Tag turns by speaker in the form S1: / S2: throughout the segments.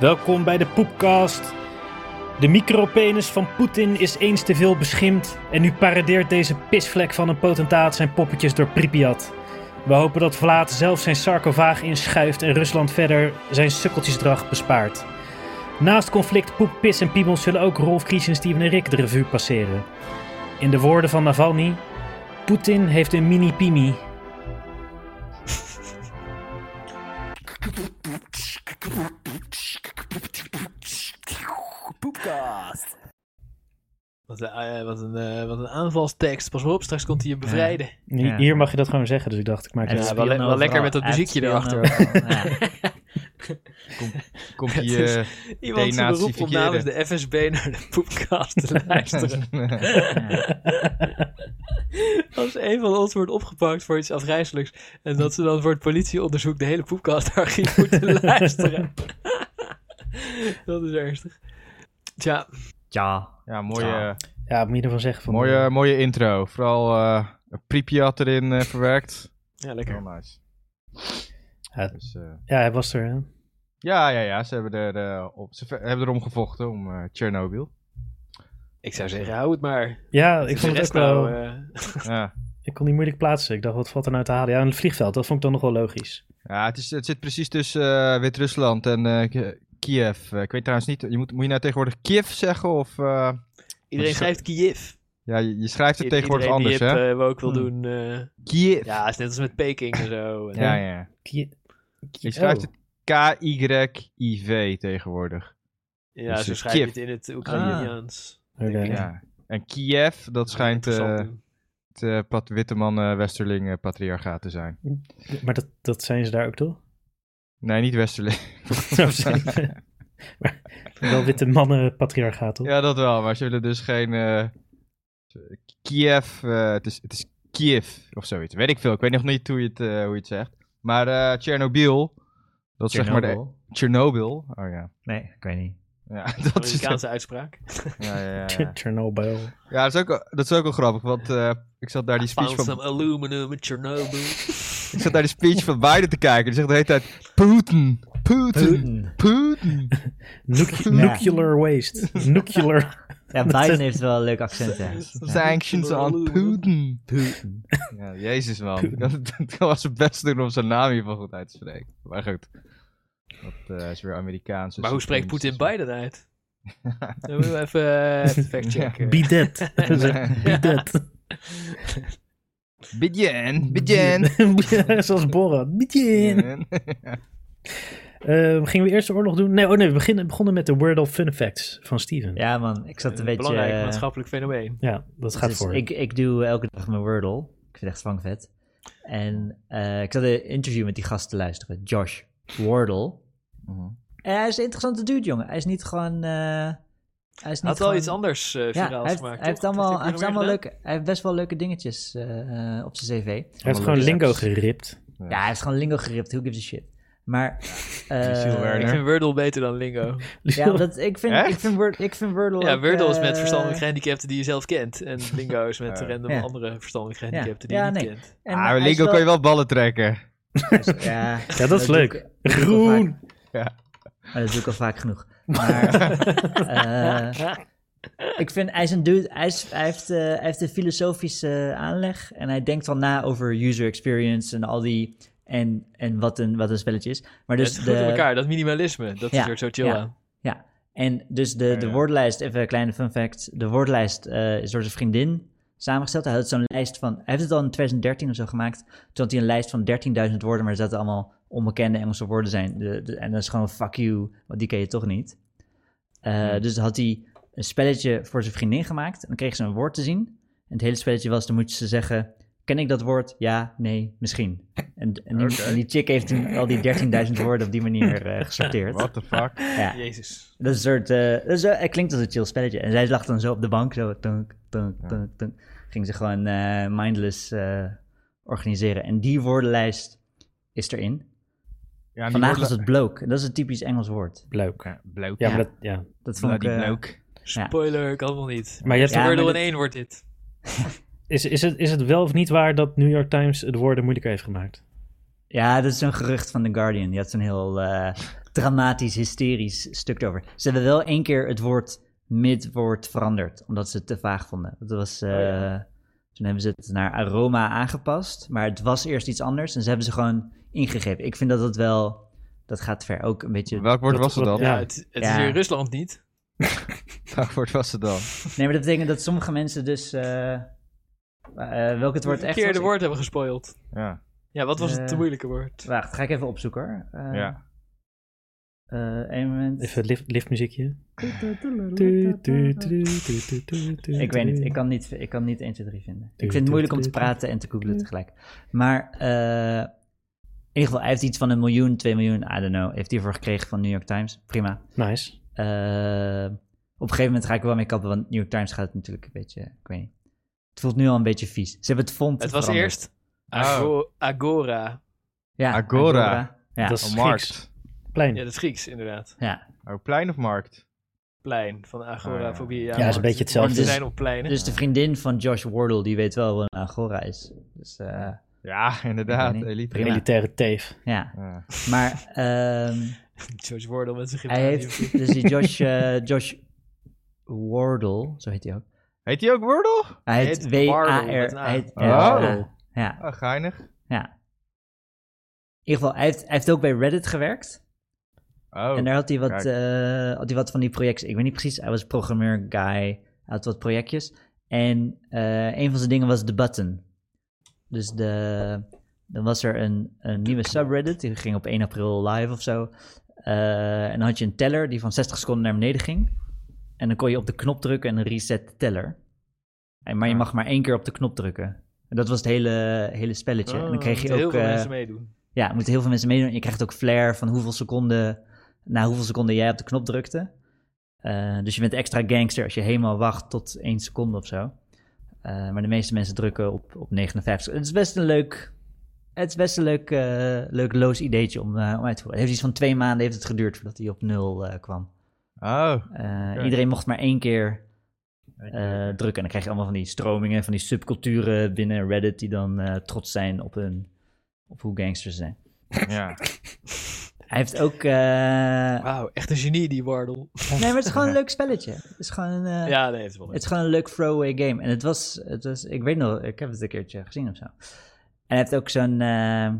S1: Welkom bij de Poepcast. De micropenis van Poetin is eens te veel beschimd en nu paradeert deze pisvlek van een potentaat zijn poppetjes door Pripyat. We hopen dat Vlaat zelf zijn sarcofaag inschuift en Rusland verder zijn sukkeltjesdrag bespaart. Naast conflict Poep, Pis en Piemels zullen ook Rolf, Kriesen, Steven en Rick de revue passeren. In de woorden van Navalny, Poetin heeft een mini-pimi.
S2: Poepcast. Wat een, eh, wat, een, eh, wat een aanvalstekst. Pas maar op, straks komt hij je bevrijden.
S3: Ja.
S1: Hier mag je dat gewoon zeggen, dus ik dacht ik maak
S3: En nou
S1: het.
S3: het
S2: Ja, wel
S3: spion
S2: le- wel lekker
S3: overal.
S2: met dat
S3: Hij heeft
S2: muziekje
S3: spion overal. Ja.
S4: Komt
S2: Het
S4: die...
S2: is-
S4: eh,
S2: Iemand zijn
S4: Denazi
S2: beroep om
S4: verkeerde.
S2: namens de FSB naar de Poepcast te
S4: eh,
S2: luisteren. Als een van ons wordt opgepakt voor iets afgrijzelijks... en dat ze dan voor het politieonderzoek de hele Poepcast-archief moeten luisteren. dat is ernstig. Tja,
S3: ja.
S4: ja, mooie,
S3: Ja.
S1: Ja, moet je ervan zeggen. Van
S2: eh,
S4: mooie, mooie intro. Vooral eh een Pripyat erin eh, verwerkt.
S2: ja, lekker.
S4: Heel nice.
S1: Ja.
S4: Dus, eh,
S1: Ja, hij was er. Hè?
S4: ja, ja, ja. Ze hebben, er, eh, op, ze ver- hebben erom gevochten om eh Tsjernobyl.
S2: Ik zou zeggen, hou het maar.
S1: Ja, ik
S2: De
S1: vond het
S2: rest
S1: ook wel.
S2: nou, eh,
S4: ja.
S1: Ik kon die moeilijk plaatsen. Ik dacht, wat valt er nou te halen? Ja, een vliegveld, dat vond ik dan nog wel logisch.
S4: ja het, is, het zit precies tussen eh, Wit-Rusland en eh, K- Kiev. Eh, ik weet trouwens niet, je moet, moet je nou tegenwoordig Kiev zeggen of... eh,
S2: iedereen schrijft Kiev.
S4: ja, je, je schrijft het
S2: I-
S4: tegenwoordig
S2: iedereen
S4: anders,
S2: die het,
S4: hè?
S2: eh, ook wil
S1: Hmm.
S2: doen. eh,
S4: Kiev.
S2: ja, is net als met Peking en zo. En-
S4: Ja, ja.
S1: Die-
S4: Je schrijft
S1: Oh.
S4: het K-Y-I-V tegenwoordig.
S2: Ja,
S4: Dus
S2: zo
S4: het
S2: schrijf je
S4: Kiev.
S2: het in het Oekraïniaans.
S1: Oké.
S2: denk ik.
S4: Ja. En Kiev, dat schijnt eh
S2: Interessant.
S4: het eh, pat- witte man eh, Westerling eh, patriarchaat te zijn.
S1: Maar dat, dat zijn ze daar ook toch?
S4: Nee, niet Westerling.
S1: Zo zijn- maar wel witte mannen patriarchaat toch?
S4: ja, dat wel, maar ze willen dus geen eh, Kiev, eh, het, is, het is Kiev of zoiets. Weet ik veel, ik weet nog niet hoe je het, eh, hoe je het zegt. Maar eh Tsjernobyl, dat is zeg maar de...
S3: Chernobyl?
S4: Tsjernobyl, oh ja.
S3: Nee, ik weet niet.
S4: Ja, dat is, ja,
S2: Amerikaanse uitspraak.
S4: ja, ja,
S1: Ch-
S4: ja.
S1: Chernobyl.
S4: ja dat, is ook, dat is ook wel grappig, want eh, ik zat daar die
S2: Found
S4: speech van
S2: some aluminum in Chernobyl.
S4: Ik zat naar de speech van Biden te kijken. Die zegt de hele tijd: Putin, Putin, Putin.
S1: Nuc-
S4: Ja.
S1: Nuclear waste. Nuclear.
S3: Ja, Biden heeft wel een leuk accent. hè. Ja.
S4: Sanctions on Putin. Ja, jezus man. Dat, dat was zijn best doen om zijn naam hiervan goed uit te spreken. Maar goed. Dat eh, is weer Amerikaans. dus
S2: maar hoe
S4: dat
S2: spreekt
S4: kan
S2: Poetin
S4: niet
S2: Biden uit? Dan moeten we even eh, even factchecken.
S1: Be dead. Ze zeggen, Be dead.
S4: zo- Bidjen, Bidjen.
S1: Zoals Borat. Begin.
S4: Bidjen.
S1: Eh, gingen we eerst de oorlog doen? Nee, oh nee, we beginnen, begonnen met de Word of Fun Facts van Steven.
S3: Ja, man, ik zat een beetje...
S2: Belangrijk
S3: eh,
S2: maatschappelijk fenomeen.
S1: Ja, dat gaat
S3: dus
S1: voor.
S3: Ik, ik doe elke dag mijn Wordle. Ik vind het echt zwangvet. En eh, ik zat een interview met die gast te luisteren. Josh Wordle.
S4: Mhm.
S3: En hij is een interessante dude, jongen. Hij is niet gewoon... eh, hij is niet
S2: Hij had
S3: gewoon...
S2: wel iets anders eh
S3: Ja,
S2: viraals
S3: hij heeft,
S2: gemaakt.
S3: hij heeft,
S2: toch? Dat
S3: allemaal, hij
S2: heeft
S3: heeft,
S2: hij nog
S3: allemaal
S2: meer
S3: leuke, hij heeft best wel leuke dingetjes eh, eh, op zijn cv.
S1: Hij heeft gewoon lingo geript.
S3: Ja, hij heeft gewoon lingo geript. Who gives a shit? Maar... eh,
S4: Lucille
S2: gedaan? Ik
S4: Werner.
S2: vind Wordle beter dan Lingo.
S3: ja, dat, ik, vind,
S4: Echt?
S3: ik, vind Word, ik vind Wordle
S2: Ja,
S3: ook,
S2: Wordle is met
S3: eh,
S2: verstandelijk gehandicapten die je zelf kent. En Lingo is met
S4: Ja.
S2: random
S3: Ja.
S2: andere verstandelijk gehandicapten die
S3: Ja,
S2: je niet
S3: nee.
S2: kent.
S3: en hij
S4: Ah,
S3: is
S4: Lingo
S3: wel-
S4: kan je wel ballen trekken.
S3: Ja,
S1: Ja, dat is
S3: doe
S1: leuk.
S3: ik- dat doe ik al
S1: Groen!
S3: vaak. Maar dat doe ik al vaak genoeg. Maar, eh, ik vind, hij is een dude, hij, is- hij heeft, eh, hij heeft een filosofische aanleg. En hij denkt wel na over user experience en al die... En, en wat, een, wat een spelletje is. Maar dus
S2: het is goed
S3: de,
S2: in elkaar, dat minimalisme. Dat
S3: Ja,
S2: is er zo chill
S3: ja.
S2: aan.
S3: Ja, en dus de, de
S4: ja.
S3: woordenlijst, even een kleine fun fact. De woordenlijst eh, is door zijn vriendin samengesteld. Hij had zo'n lijst van, hij heeft het al in 2013 of zo gemaakt. Toen had hij een lijst van 13.000 woorden, maar er zaten allemaal onbekende Engelse woorden zijn. De, de- en dat is gewoon fuck you, want die ken je toch niet. Eh,
S4: Hmm.
S3: Dus had hij een spelletje voor zijn vriendin gemaakt. En dan kreeg ze een woord te zien. En het hele spelletje was, dan moet ze zeggen... Ken ik dat woord? Ja, nee, misschien. En, en, die,
S4: Oké.
S3: en die chick heeft toen al die 13.000 woorden op die manier eh, gesorteerd.
S4: What the fuck?
S3: Ja.
S2: Jezus.
S3: Dat is een soort, eh, dat is wel- het klinkt als een chill spelletje. En zij lag dan zo op de bank, zo tunk, tunk, tunk, tunk. Ging ze gewoon eh, mindless eh, organiseren. En die woordenlijst is erin.
S4: Ja,
S3: Vandaag was het bloke. Dat is een typisch Engels woord.
S1: Leuk.
S4: Bloot.
S1: Ja,
S3: Ja.
S1: maar, dat, ja.
S3: Dat vond ik...
S4: Bloody
S3: eh,
S4: Nou, bloke.
S2: Spoiler, kan nog niet.
S1: maar je hebt,
S3: Ja, maar
S2: Wordle
S3: dit-
S2: in één wordt dit.
S1: is, is, het, is het wel of niet waar dat New York Times het woorden moeilijker heeft gemaakt?
S3: ja, dat is zo'n gerucht van The Guardian. Die had zo'n heel eh, dramatisch, hysterisch stuk over. Ze hebben wel één keer het woord midwoord veranderd, omdat ze het te vaag vonden. Dat was,
S2: Oh
S3: eh, Toen hebben ze het naar aroma aangepast, maar het was eerst iets anders en ze hebben ze gewoon ingegeven. Ik vind dat dat wel, dat gaat ver. Ook een beetje
S4: Welk woord
S1: dat
S4: was het
S1: klopt,
S4: dan?
S1: ja.
S2: Ja, het, het
S3: Ja.
S2: is hier in Rusland niet.
S4: Welk woord was het dan?
S3: Nee, maar dat betekent dat sommige mensen dus. eh eh, welk het woord echt.
S2: verkeerde
S3: was?
S2: woord hebben gespoild.
S4: Ja.
S2: Ja, wat was het te
S3: Eh.
S2: moeilijke woord?
S3: Wacht, ga ik even opzoeken hoor. Eh,
S4: Ja.
S3: eh, één moment.
S1: Even lift, liftmuziekje. Tu, tu, tu, tu, tu, tu, tu,
S3: Ik weet
S1: tu.
S3: niet, ik kan niet, ik kan niet 1, 2, 3 vinden. Ik
S1: Tuut,
S3: vind het moeilijk om
S1: tuut,
S3: te
S1: tuut.
S3: praten en te googlen tegelijk. Maar eh, in ieder geval, hij heeft iets van een miljoen, twee miljoen, I don't know. Heeft hij ervoor gekregen van New York Times. Prima.
S1: Nice.
S3: Eh, op een gegeven moment ga ik er wel mee kappen, want New York Times gaat het natuurlijk een beetje, ik weet niet. Het voelt nu al een beetje vies. Ze hebben het font
S2: Het was
S3: veranderd.
S2: eerst ago- Agora.
S3: Ja,
S4: Agora.
S3: Ja,
S1: Dat is
S4: Oh,
S1: markt.
S4: markt.
S1: Plein.
S2: Ja, dat is Grieks inderdaad.
S3: ja,
S4: Oh, plein of markt?
S2: Plein van agorafobie.
S1: Ja, dat is een beetje hetzelfde.
S2: Ze zijn op pleinen.
S3: Dus de vriendin van Josh Wardle, die weet wel wat een agora is. Dus eh,
S4: Ja, inderdaad.
S3: Ik weet niet.
S4: Elite.
S3: Prima.
S1: Militaire teef.
S3: ja,
S4: Ja.
S3: maar ehm,
S2: George Wardle met zijn
S3: hij
S2: gitaar.
S3: heeft dus die Josh, eh, Josh Wardle, zo heet hij ook.
S4: Heet die ook Wordle?
S3: Hij
S2: Hij
S3: heet
S2: heet Wardle
S3: W-A-R.
S2: met een A.
S3: Hij heet
S4: Oh.
S3: R-A. Ja,
S4: Ah, geinig.
S3: ja. In ieder geval, hij heeft, hij heeft ook bij Reddit gewerkt.
S4: Oh,
S3: en daar had hij, wat,
S4: kijk.
S3: eh, had hij wat van die projecten. Ik weet niet precies, hij was programmeur guy. Hij had wat projectjes. En eh, een van zijn dingen was de button. Dus de, dan was er een, een nieuwe subreddit. Die ging op 1 april live of zo. Eh, en dan had je een teller die van 60 seconden naar beneden ging. En dan kon je op de knop drukken en dan reset de teller. En,
S2: Ah.
S3: maar je mag maar één keer op de knop drukken. En dat was het hele, hele spelletje. en dan kreeg je ook...
S2: Oh, heel veel
S3: eh,
S2: mensen meedoen.
S3: ja, er moeten heel veel mensen meedoen. En je krijgt ook flair van hoeveel seconden, na hoeveel seconden jij op de knop drukte. Eh, dus je bent extra gangster als je helemaal wacht tot één seconde of zo. Eh, maar de meeste mensen drukken op, op 59. Het is best een leuk, het is best een leuk, eh, leuk loos ideetje om, eh, om uit te voeren. Het heeft iets van twee maanden heeft het geduurd voordat hij op nul eh, kwam.
S4: Oh,
S3: Eh, Iedereen mocht maar één keer eh, drukken. En dan krijg je allemaal van die stromingen, van die subculturen binnen Reddit... die dan eh, trots zijn op, hun, op hoe gangsters ze zijn.
S4: ja.
S3: Hij heeft ook. eh,
S2: Wauw, echt een genie die Wardle.
S3: Nee, maar het is gewoon een leuk spelletje. Het is gewoon, eh,
S2: Ja, nee, het is wel leuk.
S3: het is gewoon een leuk throwaway game. En het was, het was. Ik weet nog, ik heb het een keertje gezien of zo. En hij heeft ook zo'n. eh,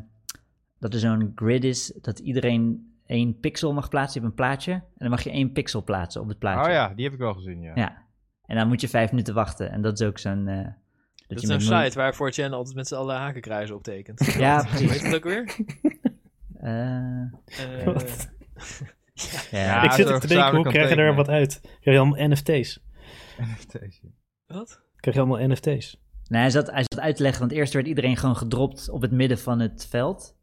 S3: dat er zo'n grid is dat iedereen één pixel mag plaatsen. Je hebt een plaatje. En dan mag je één pixel plaatsen op het plaatje.
S4: Oh ja, die heb ik wel gezien, ja.
S3: Ja. En dan moet je vijf minuten wachten. En dat is ook zo'n. eh,
S2: Dat
S3: je
S2: is een
S3: met
S2: site waar 4chan altijd met z'n allen hakenkruizen optekent.
S3: moe- Ja,
S2: Hoe heet
S3: precies.
S2: dat ook weer?
S3: Eh,
S2: Eh,
S1: Wat?
S3: ja.
S1: ik
S4: Ja,
S1: zit
S4: zo
S1: er te denken, hoe
S4: gezamenlijk
S1: krijg je
S4: aan
S1: daar
S4: tekenen.
S1: wat uit? Krijg je allemaal NFT's?
S4: NFT's.
S2: Wat?
S1: Krijg je allemaal NFT's?
S3: Nee, hij zat, hij zat uit te leggen, want eerst werd iedereen gewoon gedropt op het midden van het veld.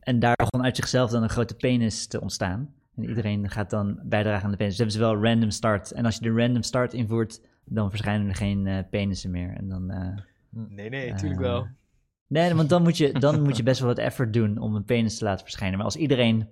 S3: En daar begon uit zichzelf dan een grote penis te ontstaan. En iedereen gaat dan bijdragen aan de penis. Dus hebben ze wel random start. En als je de random start invoert, dan verschijnen er geen eh, penissen meer. En dan, eh,
S2: Nee, nee, tuurlijk wel.
S3: Nee, want dan moet, je, dan moet je best wel wat effort doen om een penis te laten verschijnen. Maar als iedereen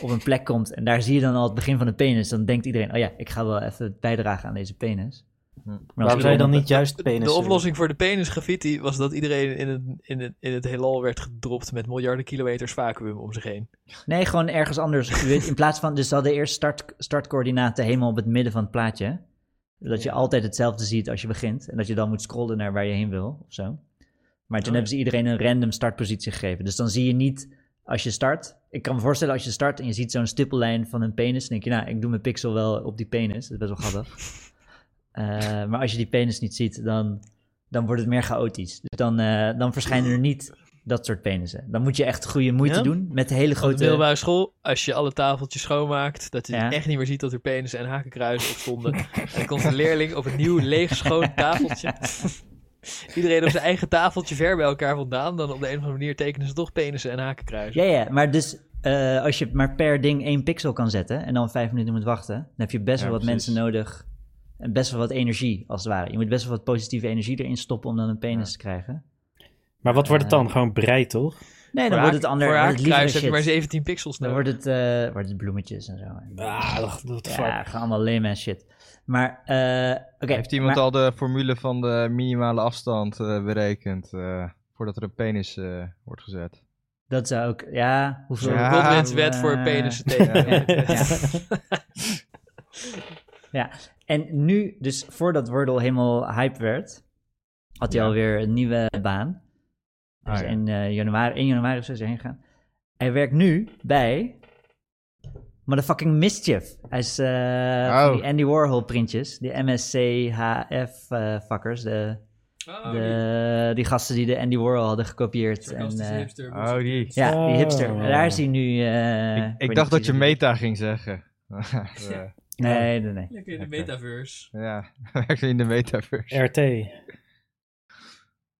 S3: op een plek komt en daar zie je dan al het begin van een penis, dan denkt iedereen, oh ja, ik ga wel even bijdragen aan deze penis. Maar als
S1: Waarom zou je dan
S3: iedereen-
S1: niet juist penis...
S2: Hm. De
S3: eh.
S2: oplossing voor de penis graffiti was dat iedereen in het, in het, in het heelal werd gedropt met miljarden kilometers vacuüm om zich heen.
S3: Nee, gewoon ergens anders. U weet, in plaats van, dus ze hadden eerst start, startcoördinaten helemaal op het midden van het plaatje. Dat je altijd hetzelfde ziet als je begint. En dat je dan moet scrollen naar waar je heen wil of zo. Maar toen hebben ze iedereen een random startpositie gegeven. Dus dan zie je niet als je start. Ik kan me voorstellen als je start en je ziet zo'n stippellijn van een penis. Dan denk je, nou, ik doe mijn pixel wel op die penis. Dat is best wel grappig. Eh, maar als je die penis niet ziet, dan, dan wordt het meer chaotisch. Dus dan, eh, dan verschijnen er niet dat soort penissen. Dan moet je echt goede moeite
S2: Ja?
S3: doen met de hele
S2: Op de
S3: grote...
S2: middelbare school, als je alle tafeltjes schoonmaakt, dat je
S3: Ja.
S2: echt niet meer ziet dat er penissen en hakenkruisen op stonden. en dan komt een leerling op een nieuw leeg schoon tafeltje. iedereen op zijn eigen tafeltje ver bij elkaar vandaan, dan op de een of andere manier tekenen ze toch penissen en hakenkruisen.
S3: Ja, ja, maar dus eh, als je maar per ding één pixel kan zetten en dan vijf minuten moet wachten, dan heb je best
S4: Ja,
S3: wel wat
S4: precies.
S3: mensen nodig en best wel wat energie, als het ware. Je moet best wel wat positieve energie erin stoppen om dan een penis te krijgen.
S1: Maar wat wordt het dan? Gewoon brei, toch?
S3: Nee, dan
S2: Voor
S3: wordt het
S2: haak-
S3: ander,
S2: Voor
S3: wordt het lievere
S2: hakenkruisen heb je maar
S3: shit.
S2: 17 pixels
S3: Dan
S2: nodig.
S3: wordt het, eh, wordt het bloemetjes en zo. En-
S1: Ah, dat- what the
S3: Ja,
S1: fuck.
S3: gaan allemaal lame ass shit. Maar, eh oké.
S4: Heeft iemand
S3: maar-
S4: al de formule van de minimale afstand eh, berekend eh, voordat er een penis eh, wordt gezet?
S3: Dat zou ook, ja, hoeveel...
S4: Ja,
S2: Godwin's wet
S3: eh,
S2: voor penissen
S3: ja.
S2: tegen.
S3: Ja, en nu, dus voordat Wordle helemaal hype werd, had hij
S4: Ja.
S3: alweer een nieuwe baan. Hij is
S4: Ah, ja.
S3: in, eh, januari, 1 januari is hij heen gegaan. Hij werkt nu bij Motherfucking Mischief. Hij is eh,
S4: Oh.
S3: van die Andy Warhol printjes, die MSCHF eh fuckers, de,
S2: Oh,
S3: de, die gasten die de Andy Warhol hadden gekopieerd. En,
S2: sarcastische
S3: eh,
S2: hipster.
S4: Oh, die.
S3: ja, die hipster.
S1: Oh.
S3: Daar is hij nu. eh,
S4: Ik-
S3: weet
S4: ik
S3: niet
S4: dacht dat je
S3: precies wie-
S4: meta ging zeggen. Eh,
S3: Nee, nee, nee.
S2: Lekker in de
S4: Oké.
S2: metaverse.
S4: ja, werkt in de metaverse.
S1: RT.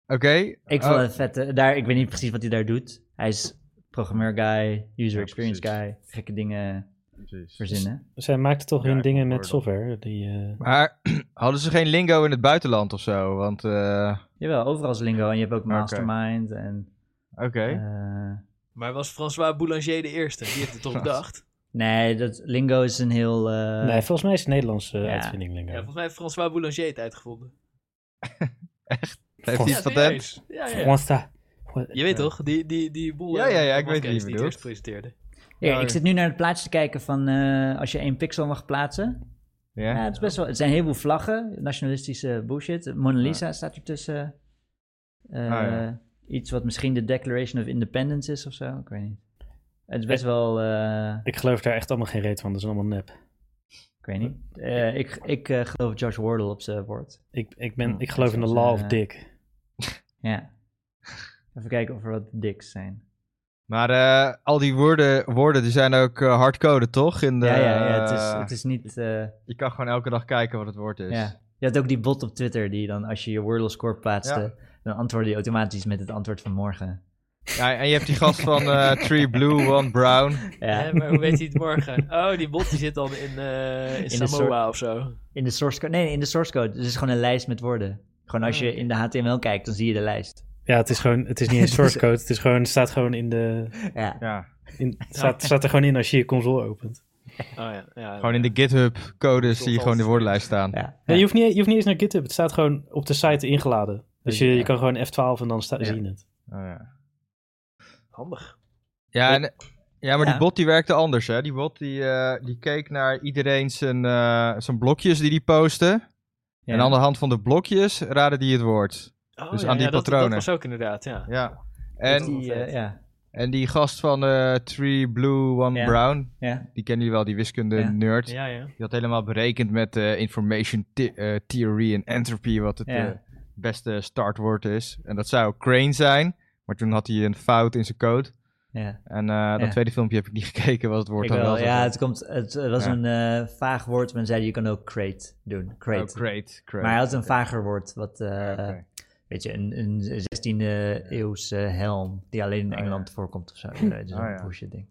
S4: Oké.
S3: Ik
S4: oh,
S3: vond het vet. eh, Daar, ik weet niet precies wat hij daar doet. Hij is programmeur guy, user
S4: Ja,
S3: experience
S4: precies.
S3: guy, gekke dingen
S4: precies.
S3: verzinnen.
S1: Zij maakten toch
S4: Ja,
S1: hun
S4: ik
S1: dingen
S4: hoor
S1: met
S4: dat.
S1: software. Die, eh,
S4: Maar hadden ze geen lingo in het buitenland of zo? Want, eh,
S3: Jawel, overal is lingo en je hebt ook mastermind en...
S4: oké.
S3: eh,
S2: Maar was François Boulanger de eerste? Die heeft het toch bedacht?
S3: nee, dat lingo is een heel... eh,
S1: nee, volgens mij is het een Nederlandse
S3: ja.
S1: uitvinding. Lingo.
S2: Ja, volgens mij heeft François Boulanger het uitgevonden.
S4: Heeft hij
S1: Frans-
S4: iets patent?
S2: serieus. Ja, ja.
S1: Fransta.
S2: Je weet toch, die, die, die boel...
S4: Ja,
S2: eh,
S4: ja, ja, ik
S2: van
S4: weet wie je
S2: Matthijs die het
S4: bedoelt.
S2: eerst presenteerde.
S3: Ja, ik zit nu naar het plaatje te kijken van eh, als je één pixel mag plaatsen.
S4: Ja?
S3: Ja, het, is best wel, het zijn een heleboel vlaggen, nationalistische bullshit. Mona Lisa staat ertussen. Eh
S4: Ah, ja.
S3: Iets wat misschien de Declaration of Independence is of zo, ik weet niet. Het is best wel... eh,
S1: Ik geloof daar echt allemaal geen reet van. Dat is allemaal nep.
S3: Ik weet niet. Eh, ik ik eh, geloof Josh Wardle op zijn woord.
S1: Ik, ik, ben,
S3: Hm,
S1: ik geloof in de
S3: soms,
S1: law of
S3: eh,
S1: dick.
S3: Ja. Even kijken of er wat dicks zijn.
S4: Maar eh, al die woorden, woorden die zijn ook eh, hardcoded, toch? In de,
S3: ja, ja, ja, het is,
S4: eh,
S3: het is niet... eh, dus.
S4: Je kan gewoon elke dag kijken wat het woord is.
S3: ja. Je had ook die bot op Twitter die dan als je je Wordle score plaatste, dan antwoordde die automatisch met het antwoord van morgen.
S4: Ja, en je hebt die gast van eh, Three Blue, One Brown.
S3: Ja.
S2: Hè, Eh, maar hoe weet hij het morgen? Oh, die bot die zit dan in, eh in,
S3: de
S2: Samoa of zo.
S3: In de source code. Nee, nee, in de source code. Dus het is gewoon een lijst met woorden. Gewoon als je in de HTML kijkt, dan zie je de lijst.
S1: Ja, het is gewoon, het is niet eens source code. Het is gewoon, het staat gewoon in de,
S3: Ja.
S4: Ja.
S1: in, het staat, het staat er gewoon in als je je console opent.
S2: Oh ja, ja.
S4: Gewoon in de GitHub codes zie je gewoon de woordenlijst staan.
S3: ja.
S1: Nee, je, hoeft niet, je hoeft niet eens naar GitHub. Het staat gewoon op de site ingeladen. Dus je, je kan gewoon F12 en dan sta,
S3: Ja.
S1: zien het.
S4: Oh, ja.
S2: handig.
S4: Ja, en- ja, maar
S3: Ja.
S4: die bot die werkte anders, hè. Die bot die, eh, die keek naar iedereen zijn, eh, zijn blokjes die die posten.
S3: Ja.
S4: En aan de hand van de blokjes raadde die het woord.
S2: Oh,
S4: Dus
S2: ja,
S4: aan die
S2: ja, dat-
S4: patronen.
S2: Dat was ook inderdaad, ja.
S4: Ja.
S3: En,
S4: En,
S3: die, eh, ja.
S4: en die gast van eh Three Blue, One
S3: Ja.
S4: Brown,
S3: Ja.
S4: die kennen jullie wel, die wiskunde
S3: Ja.
S4: nerd.
S2: Ja, ja.
S4: Die had helemaal berekend met eh, information the- eh, theory en entropy wat het
S3: Ja.
S4: eh, beste startwoord is. En dat zou crane zijn, maar toen had hij een fout in zijn code.
S3: ja.
S4: En eh, dat
S3: Ja.
S4: tweede filmpje heb ik niet gekeken, was het woord
S3: Ik
S4: dan
S3: wel,
S4: wel.
S3: ja, Oh, het, komt, het eh, was
S4: Ja.
S3: een eh, vaag woord. Men zei je kan ook crate doen. Crate.
S4: great. Oh, great,
S3: Maar hij had een vager woord, wat, eh,
S4: Ah, Oké.
S3: weet je, een, een 16e eeuwse helm die alleen in
S4: Ah, ja.
S3: Engeland voorkomt of zo. Eh, dus
S4: Oh,
S3: een
S4: ja.
S3: bullshit ding.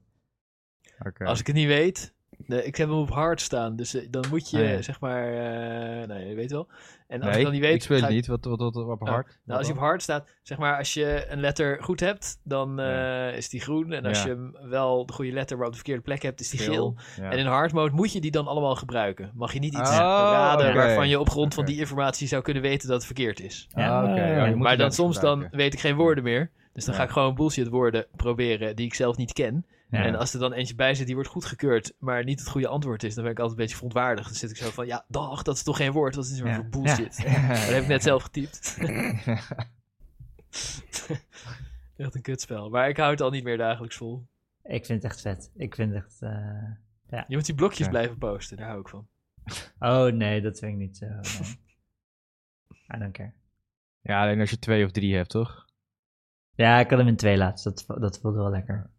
S4: Oké.
S2: Als ik het niet weet, de- ik heb hem op hard staan, dus eh, dan moet je,
S4: Oh, ja.
S2: zeg maar, eh nou, je weet wel. En als
S4: Nee,
S2: ik dan niet weet,
S4: ik speel
S2: ga
S4: het
S2: ik-
S4: niet. Wat, wat, wat, wat,
S2: Oh,
S4: hard?
S2: Nou, als je op hard staat, zeg maar, als je een letter goed hebt, dan
S4: Ja.
S2: eh, is die groen. En als
S4: Ja.
S2: je hem wel de goede letter maar op de verkeerde plek hebt, is die geel.
S4: Ja.
S2: En in hard mode moet je die dan allemaal gebruiken. Mag je niet iets
S4: Oh,
S2: raden
S4: oké.
S2: waarvan je op grond van
S4: Oké.
S2: die informatie zou kunnen weten dat het verkeerd is.
S4: Ah, oké.
S1: Ja.
S4: Oh, je moet
S2: maar
S4: die
S2: dan
S4: letters
S2: soms dan
S4: gebruiken.
S2: weet ik geen woorden meer. Dus dan
S4: Ja.
S2: ga ik gewoon bullshit woorden proberen die ik zelf niet ken.
S3: Ja.
S2: En als er dan eentje bij zit die wordt goedgekeurd, maar niet het goede antwoord is, dan ben ik altijd een beetje verontwaardigd. Dan zit ik zo van, ja, dag, dat is toch geen woord, dat is maar
S3: Ja.
S2: voor bullshit. Dat heb ik net zelf getypt. Echt een kutspel. Maar ik hou het al niet meer dagelijks vol.
S3: Ik vind het echt vet. Ik vind het echt... eh,
S2: Je moet die blokjes
S4: Ja.
S2: blijven posten, daar hou ik van.
S3: Oh nee, dat vind ik niet zo. man. I don't care.
S4: Ja, alleen als je twee of drie hebt, toch?
S3: Ja, ik had hem in twee laatst. Dat, vo- dat voelde wel lekker.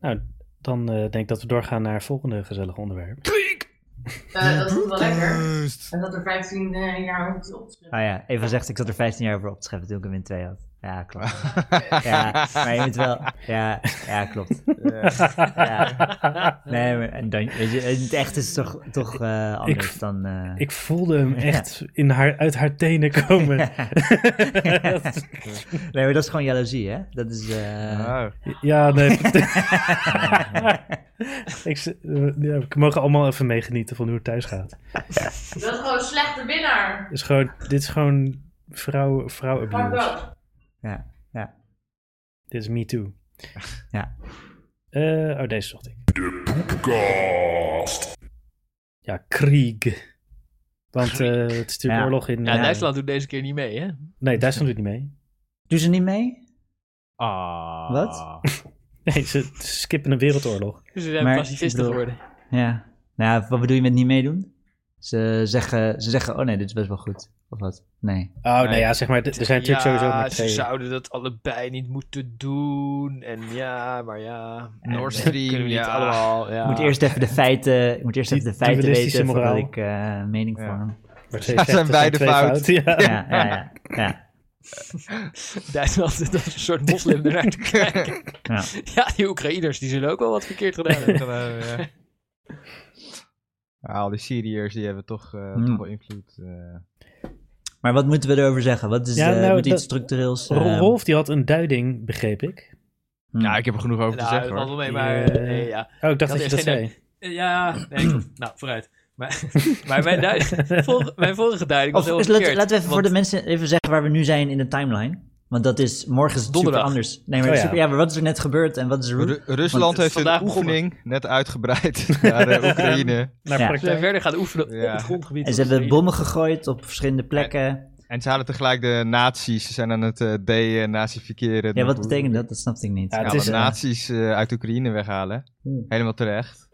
S1: Nou, dan eh, denk ik dat we doorgaan naar het volgende gezellige onderwerp.
S5: Eh, dat voelt wel lekker. En dat er 15 eh, jaar op op te
S3: Ah ja, even zegt, ik zat er 15 jaar voor op te scheppen toen ik hem in twee had. Ja, klopt. Ja, maar je moet wel... Ja, ja klopt. Ja. Nee, maar en dan, weet je, in het echt is het toch, toch eh, anders dan... eh,
S1: Ik voelde hem echt in haar, uit haar tenen komen. Dat-
S3: Nee, maar dat is gewoon jaloezie, hè? Dat is... eh,
S1: Ah.
S4: Oh.
S1: ja, nee. ik, z- eh, ja, we mogen allemaal even meegenieten van hoe het thuis gaat.
S5: doen. Dat is gewoon een slechte winnaar.
S1: Dit is gewoon, dit is gewoon vrouw,
S5: Fuck
S1: vrouwabuse.
S5: dat.
S3: Ja, ja.
S1: Dit is Me Too.
S3: Ja.
S1: Eh, oh, deze zocht ik. De Poepcast. Ja, Krieg. Want eh, het is natuurlijk
S3: Ja.
S1: oorlog in...
S2: Ja,
S1: eh,
S2: Duitsland doet deze keer niet mee, hè?
S1: Nee, Duitsland doet niet mee.
S3: Doen ze niet mee?
S4: Ah.
S3: Wat?
S1: Nee, ze skippen een wereldoorlog.
S2: Dus Ze zijn
S3: Maar-
S2: pacifisten
S3: ik bedoel-
S2: geworden.
S3: Ja. Nou, wat bedoel je met niet meedoen? Ze zeggen, ze zeggen, oh nee, dit is best wel goed. Of wat? Nee.
S1: Oh, nou
S4: Nee.
S1: ja, zeg maar, d- er zijn natuurlijk sowieso maar
S2: ze
S1: twee.
S2: zouden dat allebei niet moeten doen. En ja, maar ja.
S4: Nord
S2: dat
S4: Stream,
S2: kunnen we niet
S4: ja.
S2: allemaal. Ja.
S3: Ik moet eerst even de feiten, ik moet eerst
S1: Ah, Die
S3: even de feiten
S1: dualistische
S3: weten voordat
S1: moraal.
S3: ik eh, een mening
S4: Ja.
S3: vorm.
S1: Maar
S4: Ja, zijn beide fout.
S1: Ja.
S3: Ja, ja, ja. ja.
S2: Duitsland zit als een soort moslim ernaar te kijken.
S3: Ja.
S2: Ja, die Oekraïners die zullen ook wel wat verkeerd gedaan hebben.
S4: ja. Ja, al die Syriërs die hebben toch, eh,
S3: Hmm.
S4: toch wel invloed. eh.
S3: Maar wat moeten we erover zeggen? Wat is
S1: Ja,
S3: eh,
S1: nou,
S3: moet iets
S1: dat-
S3: structureels? eh,
S1: Ro- Rolf die had een duiding, begreep ik.
S3: hm.
S4: Ja, ik heb er genoeg over te
S2: Nou, dat
S4: zeggen
S2: valt
S4: hoor.
S2: wel mee, maar...
S1: Die,
S2: eh,
S1: eh,
S2: nee, ja.
S1: Oh, ik dacht
S2: Dat
S1: dat je
S2: is
S1: dat
S2: geen
S1: zei.
S2: Eh, ja, nee, klopt. nou, vooruit. Maar, maar mijn, duid- vol- mijn vorige duiding was
S3: Of,
S2: heel
S3: dus laten,
S2: verkeerd.
S3: laten we even voor
S2: want-
S3: de mensen even zeggen waar we nu zijn in de timeline. Want dat is, morgen is het
S2: Donderdag.
S3: super anders. Nee, maar,
S1: Oh ja.
S3: super, ja, maar wat is er net gebeurd en wat is de route?
S4: Ru-
S2: het
S4: Rusland
S2: is
S4: heeft een
S2: vandaag
S4: oefening net uitgebreid naar eh, Oekraïne.
S1: Naar
S3: Ja.
S2: Ze zijn
S1: praktijk.
S2: verder gaan oefenen
S4: Ja.
S2: op het grondgebied.
S3: En ze
S2: van
S3: hebben
S2: Oekraïne.
S3: bommen gegooid op verschillende plekken.
S4: En ze hadden tegelijk de nazi's. Ze zijn aan het eh de-nazificeren.
S3: Ja, wat betekent dat? Dat snapte ik niet.
S1: Ja, het
S4: Ja,
S1: is,
S4: de
S1: eh,
S4: nazi's eh, uit Oekraïne weghalen.
S3: Hmm.
S4: Helemaal terecht.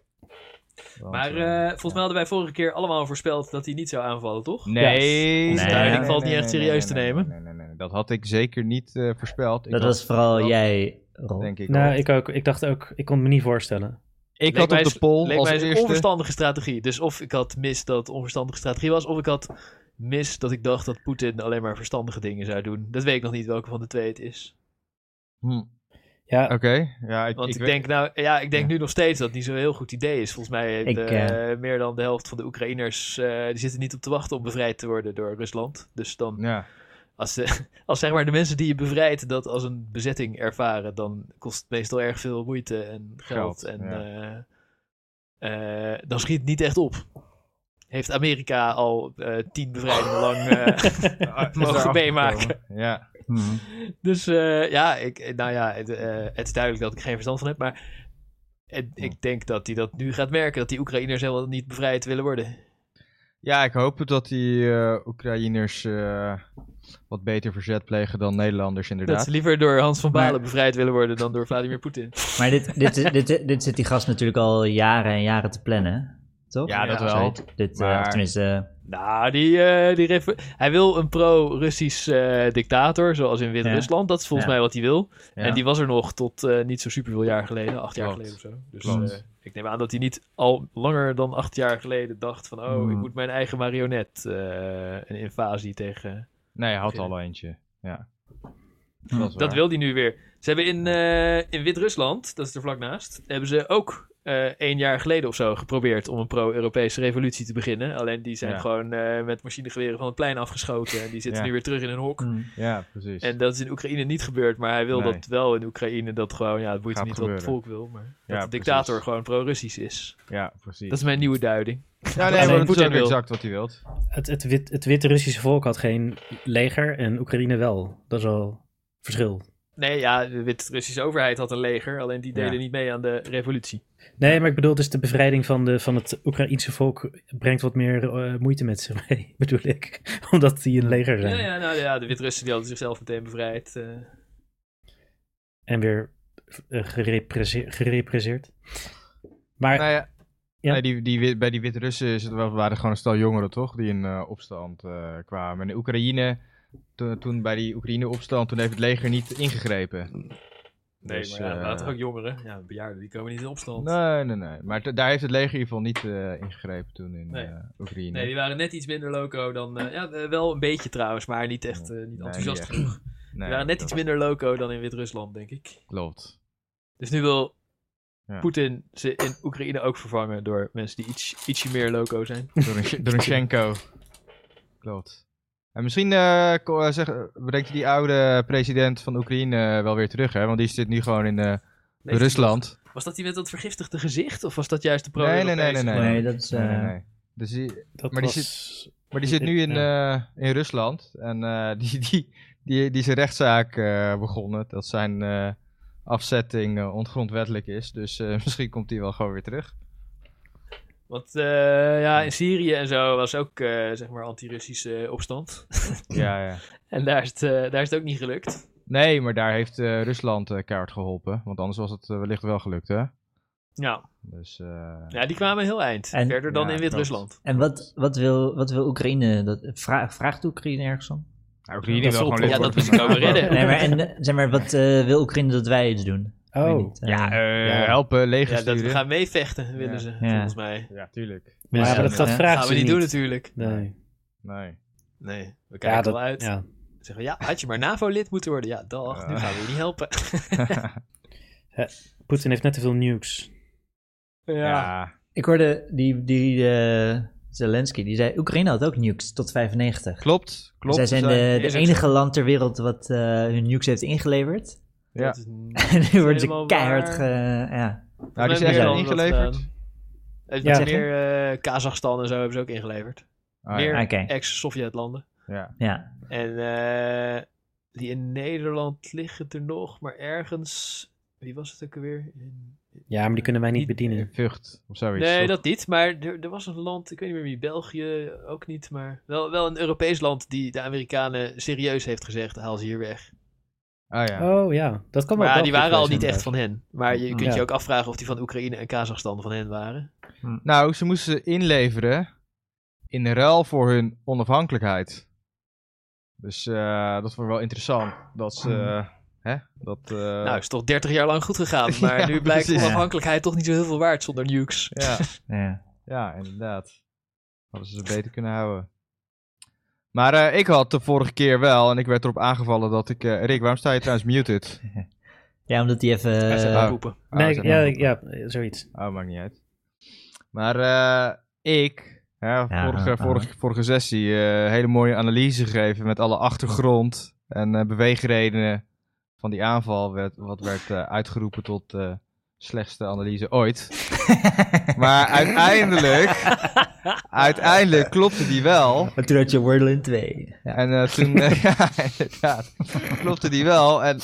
S4: Want,
S2: Maar
S4: eh,
S2: eh, volgens mij hadden wij vorige keer allemaal voorspeld dat hij niet zou aanvallen, toch?
S4: Nee,
S2: Onze
S4: nee,
S3: duiding
S4: nee,
S2: valt niet
S4: nee,
S2: echt
S4: nee,
S2: serieus te
S4: nee, nee,
S2: nemen.
S4: Nee, nee, nee, nee. Dat had ik zeker niet eh, voorspeld. Ik
S3: dat
S4: had-
S3: was vooral
S4: dat-
S3: jij, Rol.
S4: Denk ik
S1: Nou,
S4: wel.
S1: ik ook. Ik dacht ook, ik kon het me niet voorstellen.
S4: Ik had op de poll
S2: leek
S4: als
S2: mij eens een
S4: eerste...
S2: onverstandige strategie. Dus of ik had mis dat het onverstandige strategie was, of ik had mis dat ik dacht dat Poetin alleen maar verstandige dingen zou doen. Dat weet ik nog niet welke van de twee het is.
S4: Hm,
S1: Ja,
S4: Oké, ja, ik,
S2: Want ik,
S4: ik weet-
S2: denk, nou, ja, ik denk
S4: Ja.
S2: nu nog steeds dat het niet zo'n heel goed idee is. Volgens mij heeft
S3: Ik,
S2: eh, meer dan de helft van de Oekraïners, eh, die zitten niet op te wachten om bevrijd te worden door Rusland. Dus dan
S4: Ja,
S2: Als, de, als zeg maar de mensen die je bevrijdt dat als een bezetting ervaren, dan kost het meestal erg veel moeite en geld.
S4: Geld,
S2: en
S4: ja.
S2: eh, eh, dan schiet het niet echt op. Heeft Amerika al eh, tien bevrijdingen lang. eh,
S4: Is
S2: Mogen
S4: daar
S2: meemaken.
S4: afgekomen. Ja, Mhm.
S3: Hmm.
S2: dus eh, ja, ik, nou ja, het, eh, het is duidelijk dat ik geen verstand van heb, maar het- ik denk dat hij dat nu gaat merken, dat die Oekraïners helemaal niet bevrijd willen worden.
S4: ja, ik hoop het dat die eh, Oekraïners eh, wat beter verzet plegen dan Nederlanders
S2: Dat
S4: inderdaad.
S2: ze liever door Hans van Balen
S3: Maar-
S2: bevrijd willen worden dan door Vladimir Poetin.
S3: Maar dit, dit, dit, dit, dit zit die gast natuurlijk al jaren en jaren te plannen, toch?
S4: Ja, dat
S2: Ja,
S4: wel.
S3: Zoiets. Dit, eh,
S4: Maar-
S3: of tenminste, eh,
S2: Nou, die, eh, die refer- hij wil een pro-Russisch eh, dictator, zoals in Wit-Rusland. Dat is volgens
S3: Ja.
S2: mij wat hij wil.
S4: Ja.
S2: En die was er nog tot eh, niet zo superveel jaar geleden, acht jaar
S4: Klopt.
S2: geleden of zo. Dus
S4: Klopt.
S2: eh, ik neem aan dat hij niet al langer dan acht jaar geleden dacht van...
S4: Mm.
S2: oh, ik
S3: Hmm.
S2: moet mijn eigen marionet, eh, een invasie tegen...
S4: Nee, hij had
S2: Oké.
S4: al eentje. Ja.
S3: Hm.
S4: is
S2: Dat
S4: waar.
S2: wil hij nu weer. Ze hebben in, eh, in Wit-Rusland, dat is er vlak naast... hebben ze ook eh één jaar geleden of zo geprobeerd om een pro-Europese revolutie te beginnen. Alleen die zijn
S4: Ja.
S2: gewoon eh, met machinegeweren van het plein afgeschoten... en die zitten
S4: Ja.
S2: nu weer terug in hun hok.
S3: hm.
S4: Ja, precies.
S2: En dat is in Oekraïne niet gebeurd, maar hij wil
S4: Nee.
S2: dat wel in Oekraïne. Dat gewoon, ja, het boeit
S4: Gaat
S2: hem niet wat
S4: gebeuren.
S2: het volk wil, maar dat
S4: Ja,
S2: de dictator
S4: precies.
S2: gewoon pro-Russisch is.
S4: Ja, precies.
S2: Dat is mijn nieuwe duiding.
S4: ja,
S2: alleen
S4: nee, maar dat is
S2: Poetin
S4: ook
S2: wil.
S4: exact wat hij wilt.
S1: het, het, wit, het witte Russische volk had geen leger en Oekraïne wel. Dat is al verschil.
S2: Nee, ja, de Wit-Russische overheid had een leger, alleen die deden
S4: Ja.
S2: niet mee aan de revolutie.
S1: Nee, maar ik bedoel dus de bevrijding van, de, van het Oekraïense volk brengt wat meer eh, moeite met zich mee, bedoel ik. Omdat die een leger eh.
S2: Ja,
S1: zijn.
S2: ja, nou, ja de Wit-Russen die hadden zichzelf meteen bevrijd. eh.
S1: En weer eh, gereprese- gerepresseerd. Maar
S4: Nou ja,
S1: Ja.
S4: Nee, die, die, wit- bij die Wit-Russen is het wel- waren het gewoon een stel jongeren, toch? Die in eh, opstand eh, kwamen. En de Oekraïne, to- toen bij die Oekraïne-opstand, toen heeft het leger niet ingegrepen.
S2: Nee,
S4: Dus,
S2: maar ja,
S4: eh,
S2: er waren ook jongeren. Ja, bejaarden, die komen niet in opstand. Nee,
S4: Nee, nee, nee. Maar t- daar heeft het leger in ieder geval niet eh, ingegrepen toen in
S2: Nee.
S4: eh, Oekraïne.
S2: die waren net iets minder loco dan... eh, ja, eh, wel een beetje trouwens, maar niet echt eh, niet
S4: Nee,
S2: enthousiast
S4: niet echt.
S2: genoeg.
S4: Nee,
S2: Die waren net
S4: dat
S2: iets minder loco dan in Wit-Rusland, denk ik.
S4: Klopt.
S2: Dus nu wil
S4: Ja.
S2: Poetin ze in Oekraïne ook vervangen door mensen die iets, ietsje meer loco zijn.
S4: Door een, door een Schenko. Klopt. En misschien eh, ko- eh, zeg, bedenkt die oude president van Oekraïne eh, wel weer terug, hè? Want die zit nu gewoon in eh,
S2: Nee,
S4: Rusland.
S2: Was dat die met dat vergiftigde gezicht? Of was dat juist de pro
S4: Nee, nee, nee, nee, nee.
S3: nee, dat is... eh,
S4: Nee, nee, nee. Dus die,
S1: dat
S4: maar die
S1: was...
S4: maar die zit nu in, eh, in Rusland. En eh, die, die, die, die is een rechtszaak eh, begonnen. Dat zijn eh, afzetting eh, ongrondwettelijk is. Dus eh, misschien komt die wel gewoon weer terug.
S2: Want eh, ja, in Syrië en zo was ook eh, zeg maar anti-Russische opstand.
S4: Ja, ja.
S2: en daar is, het, eh, daar is het ook niet gelukt.
S4: Nee, maar daar heeft eh, Rusland eh kaart geholpen. Want anders was het eh, wellicht wel gelukt, hè?
S2: Ja,
S4: Dus, eh,
S2: ja die kwamen heel eind.
S3: En-
S2: verder dan
S4: ja,
S2: in Wit-Rusland.
S3: En wat, wat, wil, wat wil Oekraïne? Dat, vra- vraagt Oekraïne ergens om?
S4: nou, Oekraïne
S1: Dat
S4: wil
S1: ze
S4: gewoon
S1: oplossen.
S4: lid
S2: Ja, dat
S4: worden
S2: moet
S4: van
S2: ik
S4: de
S2: ook redden.
S3: Nee, maar, en, eh, zeg maar wat eh, wil Oekraïne dat wij iets doen? Ik weet
S1: Oh.
S3: niet, eh,
S4: Ja, eh,
S1: Ja.
S4: helpen, leger
S2: Ja, dat we
S4: sturen.
S2: gaan meevechten, willen ze, volgens mij.
S4: Ja, tuurlijk.
S1: Maar ja,
S4: Ja,
S1: dat
S4: ja.
S1: gaat
S3: Gaan
S1: vragen
S2: gaan
S1: ze
S2: we niet
S1: niet
S2: doen natuurlijk.
S1: Nee.
S4: Nee.
S2: Nee, we kijken
S1: Ja, dat,
S2: wel uit.
S1: ja. Eh.
S2: Zeggen we, ja, had je maar NAVO-lid moeten worden. Ja, dag, nu
S4: Ja.
S2: gaan we je niet helpen.
S1: Poetin heeft net te veel nukes.
S4: ja.
S3: Ik hoorde die, die eh, Zelensky, die zei, Oekraïne had ook nukes tot 95.
S4: Klopt, klopt.
S3: Zij
S4: ze
S3: zijn de, de
S2: is ook
S3: enige land ter wereld wat eh, hun nukes heeft ingeleverd.
S4: Ja.
S2: Dat is niet-
S3: En nu worden ze
S2: helemaal
S3: keihard
S2: waar.
S3: ge... Ja.
S4: Nou, die
S2: Volgens
S4: zijn
S2: mij
S4: ze
S2: meer dan dat,
S4: ingeleverd.
S2: eh,
S1: Ja.
S2: dat meer eh, Kazachstan en zo hebben ze ook ingeleverd.
S4: Ah,
S2: meer
S4: ja.
S3: Oké,
S2: Ex-Sovjet-landen.
S4: ja.
S3: ja.
S2: En eh, die in Nederland liggen er nog, maar ergens... Wie was het ook alweer? In-
S1: Ja, maar die kunnen wij niet
S2: Niet-
S1: bedienen.
S4: Vught of zoiets.
S2: Nee,
S4: toch?
S2: dat niet. Maar er, er was een land, ik weet niet meer wie, België ook niet. Maar wel, wel een Europees land die de Amerikanen serieus heeft gezegd, haal ze hier weg.
S4: Ah ja.
S1: Oh ja, dat kan wel.
S2: Maar ja, die
S1: België
S2: waren al
S1: zijn,
S2: niet echt
S1: inderdaad.
S2: van hen. Maar je kunt
S1: Ja.
S2: je ook afvragen of die van Oekraïne en Kazachstan van hen waren.
S4: Nou, ze moesten ze inleveren in ruil voor hun onafhankelijkheid. Dus eh, dat vond ik wel interessant. Dat ze, eh, hè, dat... eh,
S2: Hmm. nou, is toch 30 jaar lang goed gegaan. Maar
S4: Ja,
S2: nu blijkt
S4: precies. Eh,
S2: onafhankelijkheid toch niet zo heel veel waard zonder nukes.
S4: ja,
S3: ja.
S4: ja, inderdaad. Hadden ze ze beter kunnen houden. Maar eh, ik had de vorige keer wel, en ik werd erop aangevallen dat ik... eh, Rick, waarom sta je trouwens muted?
S3: Ja, omdat die even...
S2: Hij zat
S3: eh,
S2: aan het
S4: oh.
S2: poepen.
S4: Oh,
S1: Nee,
S4: zeg
S1: ja,
S4: maar.
S1: ja, zoiets.
S4: Oh, maakt niet uit. Maar eh, ik, hè, vorige,
S3: ah, ah.
S4: vorige, vorige sessie, eh, hele mooie analyse gegeven met alle achtergrond en eh, beweegredenen van die aanval, werd, wat werd eh, uitgeroepen tot eh slechtste analyse ooit. maar uiteindelijk, uiteindelijk klopte die wel.
S3: Maar toen had je Wordland 2. Ja.
S4: En eh, toen, eh, ja, inderdaad, klopte die wel. En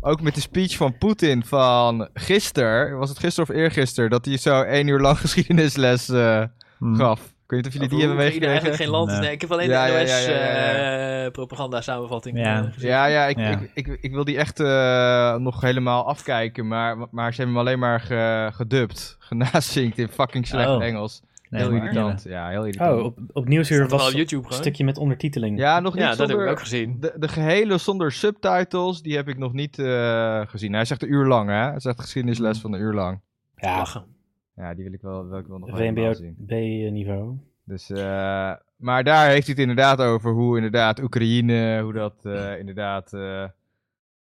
S4: ook met de speech van Poetin van gisteren, was het gisteren of eergisteren, dat hij zo één uur lang geschiedenisles eh,
S3: Hmm.
S4: gaf. Ik weet niet of jullie
S2: Oh,
S4: die hebben
S2: Oekraïne eigenlijk
S4: meegekregen.
S2: geen land is.
S3: Nee.
S2: Nee, ik heb alleen
S4: Ja,
S2: de
S4: ja,
S2: NOS
S4: ja, ja, ja,
S2: eh, propaganda-samenvatting
S3: Ja.
S2: eh, gezien.
S4: Ja, ja, ik,
S3: Ja.
S4: Ik, ik, ik wil die echt eh, nog helemaal afkijken, maar, maar ze hebben hem alleen maar ge, gedubt. Genazinkt in fucking slecht
S3: Oh.
S4: Engels.
S3: Nee,
S4: heel
S3: maar-
S4: irritant. Ja, heel irritant.
S1: Oh, op, op
S2: Staat
S1: Nieuwsuur
S2: er wel
S1: was
S2: op YouTube
S1: een
S2: gewoon.
S1: stukje met ondertiteling.
S4: Ja, nog niet
S2: Ja, dat heb ik
S4: zonder-
S2: ook gezien.
S4: De, de gehele zonder subtitles, die heb ik nog niet eh, gezien. Hij zegt een uur lang, hè? Hij zegt
S3: Mhm.
S4: geschiedenisles van een uur lang.
S1: ja
S2: Lachen.
S4: Ja, die wil ik wel, wil Oh, ik wel nog wel helemaal zien.
S1: eh, VMBO-B-niveau.
S4: Dus, eh, maar daar heeft hij het inderdaad over hoe inderdaad Oekraïne, hoe dat eh, inderdaad eh,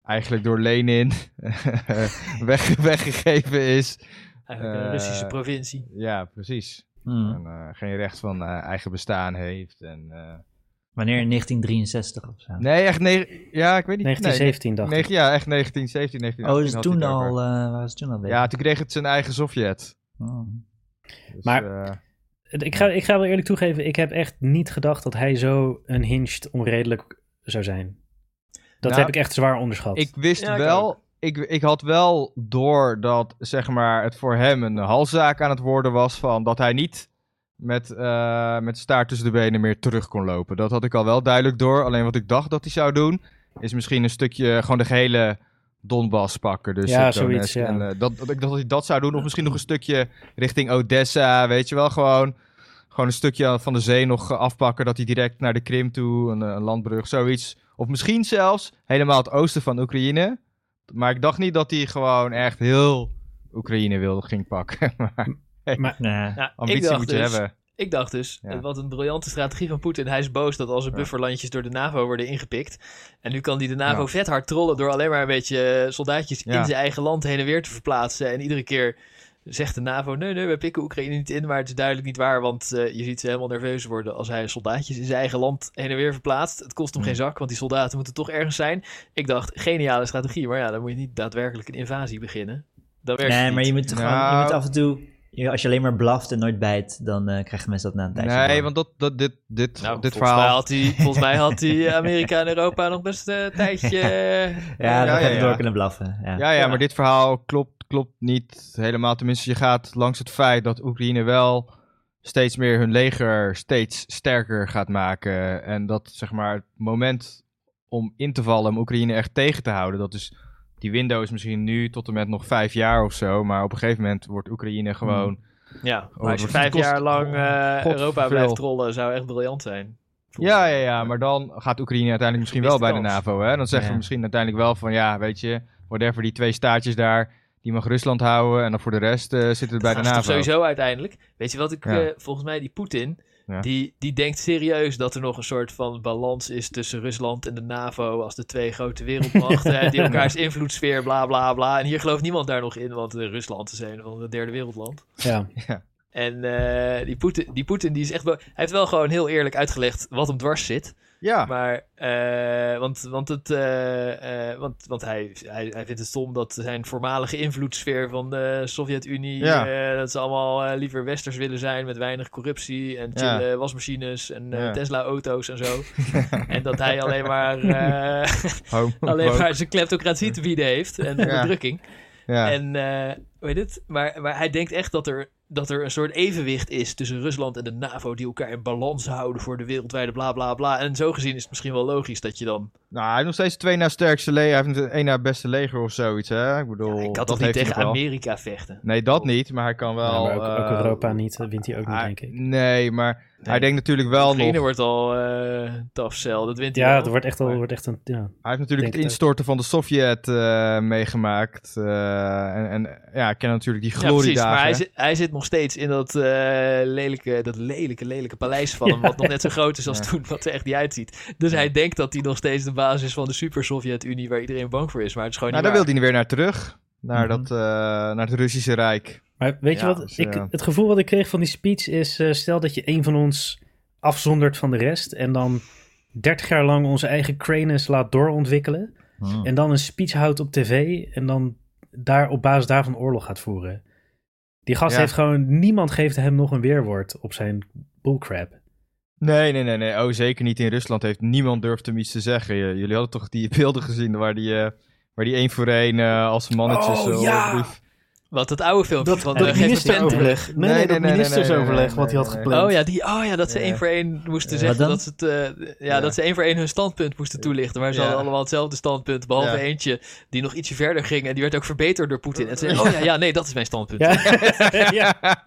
S4: eigenlijk door Lenin weg, weggegeven is.
S2: Eigenlijk een
S4: Eh,
S2: Russische provincie.
S4: Ja, precies.
S3: Hmm.
S4: En, eh, geen recht van eh, eigen bestaan heeft. En, eh,
S3: Wanneer? In 1963 of zo.
S4: Nee, echt... negen- ja, ik weet niet.
S1: 1917
S4: nee,
S1: dacht ik.
S4: negen- Ja, echt 1917, 1918
S3: Oh, dus
S4: had hij
S3: toen
S4: het over.
S3: al, eh waren ze toen al bezig?
S4: Ja, toen kreeg het zijn eigen Sovjet.
S3: Oh.
S4: Dus,
S1: Maar-
S4: eh,
S1: Ik ga, ik ga wel eerlijk toegeven, ik heb echt niet gedacht dat hij zo unhinged onredelijk zou zijn. Dat
S4: Nou,
S1: heb ik echt zwaar onderschat.
S4: ik wist
S2: Ja, ik ook.
S4: wel, ik, ik had wel door dat zeg maar, het voor hem een halszaak aan het worden was. Van dat hij niet met, eh, met staart tussen de benen meer terug kon lopen. Dat had ik al wel duidelijk door. Alleen wat ik dacht dat hij zou doen, is misschien een stukje eh, gewoon de gehele Donbass pakken. Dus
S1: Ja,
S4: het Donetsk
S1: zoiets, ja.
S4: en, eh, dat, dat, ik dacht dat hij dat zou doen. Of misschien nog een stukje richting Odessa, weet je wel, gewoon. Gewoon een stukje van de zee nog eh, afpakken. Dat hij direct naar de Krim toe, een, eh, een landbrug, zoiets. Of misschien zelfs helemaal het oosten van Oekraïne. Maar ik dacht niet dat hij gewoon echt heel Oekraïne wilde ging pakken. maar
S3: Ja.
S2: Nou, ik
S4: ambitie
S2: dacht
S4: moet je
S2: dus-
S4: hebben.
S2: Ik dacht dus,
S4: Ja.
S2: wat een briljante strategie van Poetin. Hij is boos dat al zijn
S4: Ja.
S2: bufferlandjes door de NAVO worden ingepikt. En nu kan hij de NAVO
S4: Ja.
S2: vet hard trollen door alleen maar een beetje eh, soldaatjes
S4: Ja.
S2: in zijn eigen land heen en weer te verplaatsen. En iedere keer zegt de NAVO, nee, nee, wij pikken Oekraïne niet in. Maar het is duidelijk niet waar, want eh, je ziet ze helemaal nerveus worden als hij soldaatjes in zijn eigen land heen en weer verplaatst. Het kost hem
S4: Mm.
S2: geen zak, want die soldaten moeten toch ergens zijn. Ik dacht, geniale strategie, maar ja, dan moet je niet daadwerkelijk een invasie beginnen. Dat werkt
S3: Nee,
S2: niet.
S3: maar je moet, gewoon, je
S4: Nou.
S3: moet af en toe... Je Ja, Als je alleen maar blaft en nooit bijt, dan eh, krijgen mensen dat na een tijdje.
S4: Nee,
S3: door.
S4: want dat, dat, dit, dit,
S2: Nou,
S4: dit
S2: volgens, Mij
S4: verhaal...
S2: had die, volgens mij had die Amerika en Europa nog best eh, een tijdje... eh,
S3: Ja, dan
S4: Ja,
S3: ga je
S4: ja,
S3: door
S4: ja.
S3: kunnen blaffen. Ja.
S4: Ja, ja,
S2: Ja.
S4: maar dit verhaal klopt, klopt niet helemaal. Tenminste, je gaat langs het feit dat Oekraïne wel steeds meer hun leger steeds sterker gaat maken. En dat, zeg maar, het moment om in te vallen, om Oekraïne echt tegen te houden, dat is... Die window is misschien nu tot en met nog vijf jaar of zo, maar op een gegeven moment wordt
S2: Hmm,
S4: Oekraïne gewoon...
S2: Ja,
S4: Oh,
S2: maar als je
S4: het wordt-
S2: vijf
S4: kost-
S2: jaar lang eh,
S4: God,
S2: Europa
S4: veel.
S2: blijft trollen, zou echt briljant zijn.
S4: Ja, ja, ja, maar dan gaat Oekraïne uiteindelijk misschien wel
S2: Mist de
S4: bij de
S2: kans.
S4: NAVO. Hè? Dan zeggen
S3: Ja.
S4: we misschien uiteindelijk wel van ja, weet je, whatever, die twee staartjes daar, die mag Rusland houden. En dan voor de rest eh, zitten we bij de
S2: Dat is
S4: NAVO.
S2: toch sowieso uiteindelijk. Weet je wat ik,
S4: Ja.
S2: eh, volgens mij, die Poetin,
S4: Ja.
S2: die, die denkt serieus dat er nog een soort van balans is tussen Rusland en de NAVO als de twee grote wereldmachten eh, die elkaars invloedssfeer, bla bla bla. En hier gelooft niemand daar nog in, want eh, Rusland is een van de derde wereldland.
S1: Ja.
S2: En eh, die Poetin, die, Poetin, die is echt wel, hij heeft wel gewoon heel eerlijk uitgelegd wat hem dwars zit.
S4: Ja,
S2: Maar, eh, want, want, het, eh, eh, want, want hij, hij, hij vindt het stom dat zijn voormalige invloedssfeer van de Sovjet-Unie,
S4: Ja.
S2: eh, dat ze allemaal eh, liever westers willen zijn met weinig corruptie en
S4: Ja.
S2: chille wasmachines en eh,
S4: Ja.
S2: Tesla-auto's en zo. en dat hij alleen maar, eh,
S4: Home-
S2: alleen
S4: home-
S2: maar zijn kleptocratie te bieden heeft en
S4: Ja.
S2: onderdrukking.
S4: ja.
S2: En, eh, weet het, maar, maar hij denkt echt dat er, dat er een soort evenwicht is tussen Rusland en de NAVO die elkaar in balans houden voor de wereldwijde bla bla bla. En zo gezien is het misschien wel logisch dat je dan.
S4: Nou, hij heeft nog steeds twee na sterkste leger. Hij heeft één na beste leger of zoiets. Hè? Ik bedoel,
S2: Ja, ik kan
S4: dat
S2: toch niet
S4: heeft hij
S2: tegen
S4: nog wel.
S2: Amerika vechten?
S4: Nee, dat niet, maar hij kan wel.
S1: maar ook, ook
S4: eh, ah,
S1: Europa niet, dat wint hij ook niet,
S4: hij-
S1: denk ik.
S4: Nee, maar hij
S2: Nee.
S4: denkt natuurlijk wel
S2: Oekraïne
S4: nog.
S2: wordt al eh tough cell, dat wint hij
S1: Ja,
S2: wel.
S1: het wordt echt, al, wordt echt een... Ja.
S4: Hij heeft natuurlijk
S1: Denk
S4: het
S1: het ook.
S4: instorten van de Sovjet eh, meegemaakt. eh, en, en ja, ik ken natuurlijk die
S2: Ja, precies,
S4: gloriedagen.
S2: maar hij, zit- hij zit nog steeds in dat, eh, lelijke, dat lelijke, lelijke paleis van hem, wat nog net zo groot is als
S4: Ja.
S2: toen, wat er echt niet uitziet. Dus hij denkt dat hij nog steeds de basis is van de super Sovjet-Unie waar iedereen bang voor is, maar het is gewoon
S4: Nou,
S2: niet
S4: daar
S2: waar.
S4: wilde hij weer naar terug. Naar,
S3: Mhm.
S4: dat, eh, naar het Russische Rijk.
S1: Maar weet
S4: Ja,
S1: je wat?
S4: dus,
S1: ik,
S4: ja.
S1: Het gevoel wat ik kreeg van die speech is... eh, stel dat je een van ons afzondert van de rest... en dan 30 jaar lang onze eigen Cranus laat doorontwikkelen...
S3: Hmm.
S1: en dan een speech houdt op tv... en dan daar op basis daarvan oorlog gaat voeren. Die gast
S4: Ja.
S1: heeft gewoon... Niemand geeft hem nog een weerwoord op zijn bullcrap.
S4: Nee, nee, nee, nee. Oh, zeker niet in Rusland. Heeft niemand durft hem iets te zeggen. J- Jullie hadden toch die beelden gezien waar die, eh, waar die één voor één eh, als mannetjes...
S1: Oh,
S4: eh,
S1: ja!
S4: brief-
S2: Want dat oude filmpje van
S4: dat
S2: eh, geef een pen
S1: Nee,
S2: terug.
S4: Nee,
S1: nee,
S4: nee,
S1: dat
S4: nee, nee, nee,
S1: ministersoverleg
S4: nee,
S1: wat hij had
S4: nee, nee.
S1: gepland.
S2: Oh ja, die, oh ja, dat ze
S4: Ja.
S2: één voor één moesten
S4: Ja.
S2: zeggen
S3: Wat
S2: dat ze, het, eh, ja,
S4: Ja.
S2: dat ze één voor één hun standpunt moesten toelichten. Maar ze
S4: Ja.
S2: hadden allemaal hetzelfde standpunt, behalve
S4: Ja.
S2: eentje die nog ietsje verder ging. En die werd ook verbeterd door Poetin. En ze zeiden, oh ja, ja, nee, dat is mijn standpunt. Ja.
S1: Ja. ja.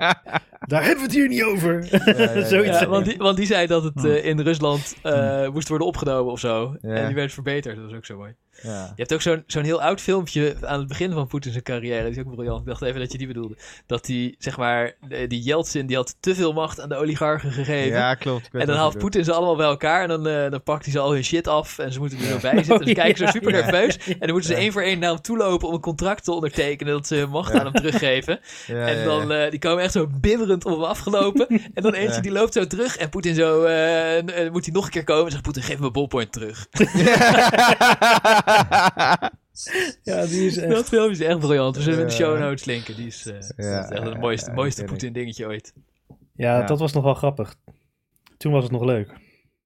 S1: Daar hebben we het hier niet over.
S4: ja, ja.
S1: Zoiets.
S4: Ja,
S2: want, die, want die zei dat het eh, in Rusland eh, moest worden opgenomen of zo.
S4: Ja.
S2: En die werd verbeterd. Dat was ook zo mooi.
S4: Ja.
S2: Je hebt ook zo'n zo'n heel oud filmpje aan het begin van Poetin's carrière. Die is ook briljant. Ik dacht even dat je die bedoelde. Dat die, zeg maar, eh, die Yeltsin, die had te veel macht aan de oligarchen gegeven.
S4: ja, klopt. Ik weet
S2: En dan
S4: wat
S2: haalt
S4: je
S2: Poetin ze allemaal bij elkaar en dan, eh, dan pakt hij ze al hun shit af en ze moeten er zo bij zitten. En ze
S1: Oh,
S2: kijken
S1: ja.
S2: zo super nerveus en dan moeten ze één voor één naar hem toe lopen om een contract te ondertekenen dat ze hun macht aan hem teruggeven.
S4: bedoelt. Ja, ja,
S2: en
S4: ja.
S2: dan, eh, die komen echt zo bibberend op hem afgelopen en dan eentje
S4: Ja.
S2: die loopt zo terug en Poetin zo, eh, en- en moet hij nog een keer komen en zegt Poetin geef me mijn ballpoint terug.
S1: Ja, die is echt...
S2: Dat filmpje is echt briljant. We zullen hem in de
S4: Ja.
S2: show notes linken. Die is, eh, dat is echt het mooiste,
S4: ja,
S2: mooiste
S4: ik weet
S2: Poetin dingetje ooit.
S1: Ja,
S4: Ja.
S1: dat was nog wel grappig. Toen was het nog leuk.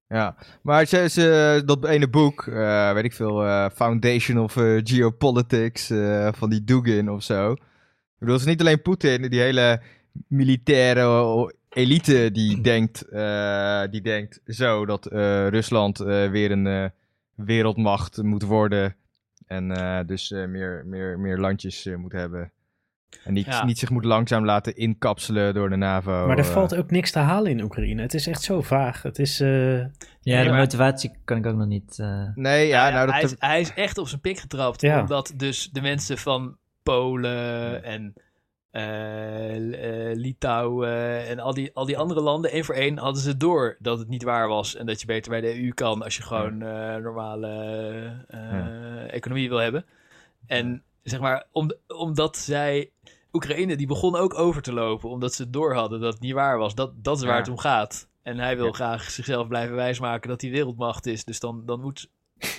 S4: Ja, maar ze, ze- dat ene boek, eh, weet ik veel, eh, Foundation of eh, Geopolitics eh, van die Dugin of zo. Ik bedoel, het is niet alleen Poetin, die hele militaire elite die denkt, eh, die denkt zo dat eh, Rusland eh, weer een eh, wereldmacht moet worden. En eh, dus eh, meer, meer, meer landjes eh, moet hebben. En niet,
S2: Ja.
S4: niet zich moet langzaam laten inkapselen door de NAVO.
S1: maar er
S4: eh.
S1: valt ook niks te halen in Oekraïne. Het is echt zo vaag. Het is... eh,
S3: Ja, de
S2: maar-
S3: motivatie kan ik ook nog niet. eh,
S4: Nee, ja,
S2: Ja,
S4: nou, dat
S2: hij, is, hij is echt op zijn pik getrapt.
S1: Ja.
S2: Omdat dus de mensen van Polen en eh, L- eh, Litouwen en al die, al die andere landen, één voor één, hadden ze door dat het niet waar was. En dat je beter bij de EU kan als je gewoon eh, normale eh, economie wil hebben. En zeg maar, om, omdat zij. Oekraïne, die begon ook over te lopen, omdat ze het door hadden dat het niet waar was. Dat, dat is waar
S4: Ja.
S2: het om gaat. En hij wil
S4: Ja.
S2: graag zichzelf blijven wijsmaken dat hij wereldmacht is. Dus dan, dan moet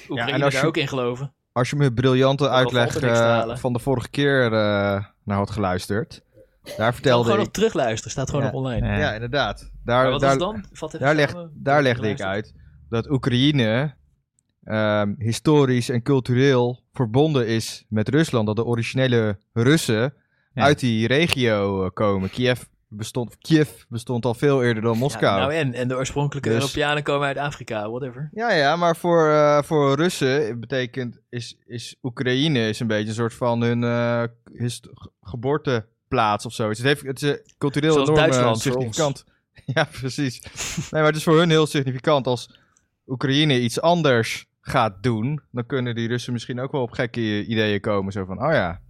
S2: Oekraïne
S4: en als
S2: daar
S4: je-
S2: ook in geloven.
S4: Als je mijn briljante
S2: valt er
S4: uitleg
S2: niks te
S4: eh,
S2: halen.
S4: van de vorige keer eh, naar had geluisterd, Daar
S2: Kan
S4: vertelde
S2: gewoon
S4: ik.
S2: nog terugluisteren, staat gewoon
S4: Ja.
S2: nog online.
S3: Ja.
S4: Ja, inderdaad.
S2: Maar
S4: Daar,
S2: wat
S4: daar,
S2: is het dan? Vat even
S4: daar, leg,
S2: samen.
S4: daar legde ik
S2: Luister.
S4: uit dat Oekraïne ehm, historisch en cultureel verbonden is met Rusland. Dat de originele Russen
S3: Ja.
S4: uit die regio eh, komen. Kiev bestond, Kiev bestond al veel eerder dan Moskou.
S2: Ja, nou en, en de oorspronkelijke
S4: Dus-
S2: Europeanen komen uit Afrika, whatever.
S4: Ja, ja, maar voor, eh, voor Russen betekent is, is Oekraïne is een beetje een soort van hun eh, hist- ge- geboorteplaats of zoiets. Het, heeft, het is eh, cultureel
S2: Zoals
S4: enorm eh,
S2: Duitsland voor
S4: significant. Ja, precies. nee, maar het is voor hun heel significant als Oekraïne iets anders gaat doen, dan kunnen die Russen misschien ook wel op gekke i- ideeën komen. Zo van, oh ja,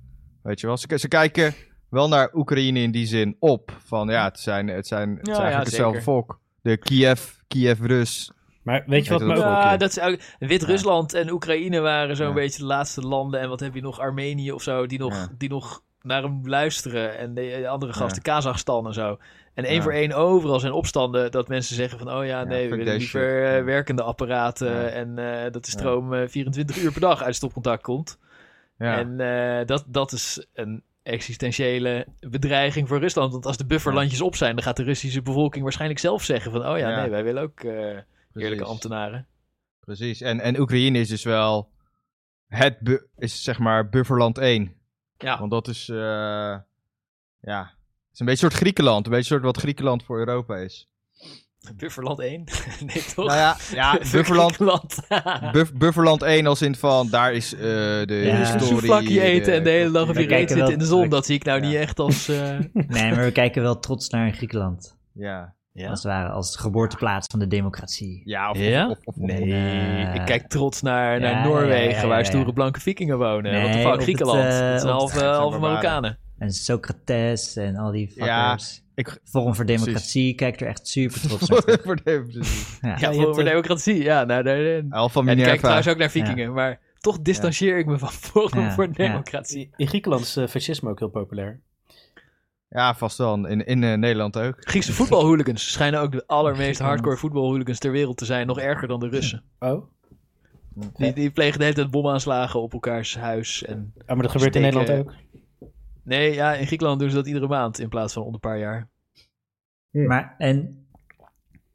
S4: weet je wel. Ze, k- ze kijken wel naar Oekraïne in die zin op. Van ja, het zijn, het zijn, het
S2: Ja,
S4: is eigenlijk
S2: ja,
S4: hetzelfde
S2: zeker.
S4: volk. De Kiev, Kiev-Rus.
S1: Maar weet je
S4: Heet
S1: wat me
S4: dat ook?
S1: ook...
S2: Ja,
S4: volkje.
S2: dat is ook- Wit-Rusland en Oekraïne waren zo'n
S4: Ja.
S2: beetje de laatste landen. En wat heb je nog? Armenië of zo, die nog,
S4: Ja.
S2: die nog naar hem luisteren. En de eh, andere
S4: Ja.
S2: gasten, Kazachstan en zo. En één
S4: Ja.
S2: voor één overal zijn opstanden dat mensen zeggen van... oh ja, nee, we
S4: fuck
S2: willen
S4: that
S2: liever
S4: shit.
S2: eh,
S4: Ja.
S2: werkende apparaten...
S4: Ja.
S2: en eh, dat de
S4: Ja.
S2: stroom eh, 24 uur per dag uit stopcontact komt.
S4: Ja.
S2: En eh, dat, dat is een existentiële bedreiging voor Rusland. Want als de bufferlandjes op zijn... dan gaat de Russische bevolking waarschijnlijk zelf zeggen van... oh ja,
S4: Ja.
S2: nee, wij willen ook eh, eerlijke
S4: Precies.
S2: ambtenaren.
S4: Precies. En, en Oekraïne is dus wel het bu- is zeg maar bufferland 1.
S2: Ja.
S4: Want dat is eh, ja, het is een beetje een soort Griekenland, een beetje een soort wat Griekenland voor Europa is.
S2: Bufferland 1? nee, toch?
S4: Nou ja, ja Bufferland,
S2: Griekenland.
S4: Buff- Bufferland 1 als in van daar is eh, de
S3: Ja.
S2: Dus een
S4: historie. eh,
S2: souvlakje eten en de hele dag op je
S3: eh, We
S2: reet
S3: kijken
S2: zitten
S3: wel-
S2: in de zon.
S3: we-
S2: Dat zie ik nou
S4: Ja.
S2: niet echt als... eh,
S3: Nee, maar we kijken wel trots naar Griekenland.
S4: Ja.
S2: ja.
S3: Als het ware, als geboorteplaats van de democratie. eh,
S4: Ja, of,
S2: Ja?
S4: Of, of, of-
S2: Nee,
S3: Nee.
S2: eh, ik kijk trots naar, naar
S3: Ja, ja,
S2: Noorwegen,
S3: ja, ja, ja,
S2: waar
S3: ja.
S2: stoere blanke vikingen wonen.
S3: Nee,
S2: Wat de
S3: op
S2: fuck,
S3: het,
S2: Griekenland.
S3: eh,
S2: dat zijn
S3: op
S2: halve,
S4: het-
S2: halve
S4: zijn barbaren.
S2: Marokkanen.
S3: En Socrates en al die fuckers.
S4: ik-
S3: Forum voor
S4: precies.
S3: Democratie kijkt er echt super trots naar. terug.
S4: voor de precies.
S3: Ja.
S2: Ja,
S3: je
S2: voor,
S3: hebt
S2: voor
S3: het-
S2: democratie. Ja, nou, daar, en
S4: Alpha
S2: ik kijk
S4: Minerva.
S2: trouwens ook naar vikingen, maar toch distancieer ik me van Forum
S3: Ja,
S2: voor
S3: ja.
S2: Democratie.
S1: In Griekenland is eh, fascisme ook heel populair.
S4: Ja, vast wel. In, in eh, Nederland ook.
S2: Griekse voetbalhooligans schijnen ook de allermeest hardcore voetbalhooligans ter wereld te zijn. Nog erger dan de Russen.
S1: Oh?
S2: Die, die plegen de hele tijd bomaanslagen op elkaars huis. En...
S1: Ah, maar dat gebeurt in
S2: Steken.
S1: Nederland ook.
S2: Nee, ja, in Griekenland doen ze dat iedere maand in plaats van onder een paar jaar.
S3: Maar, en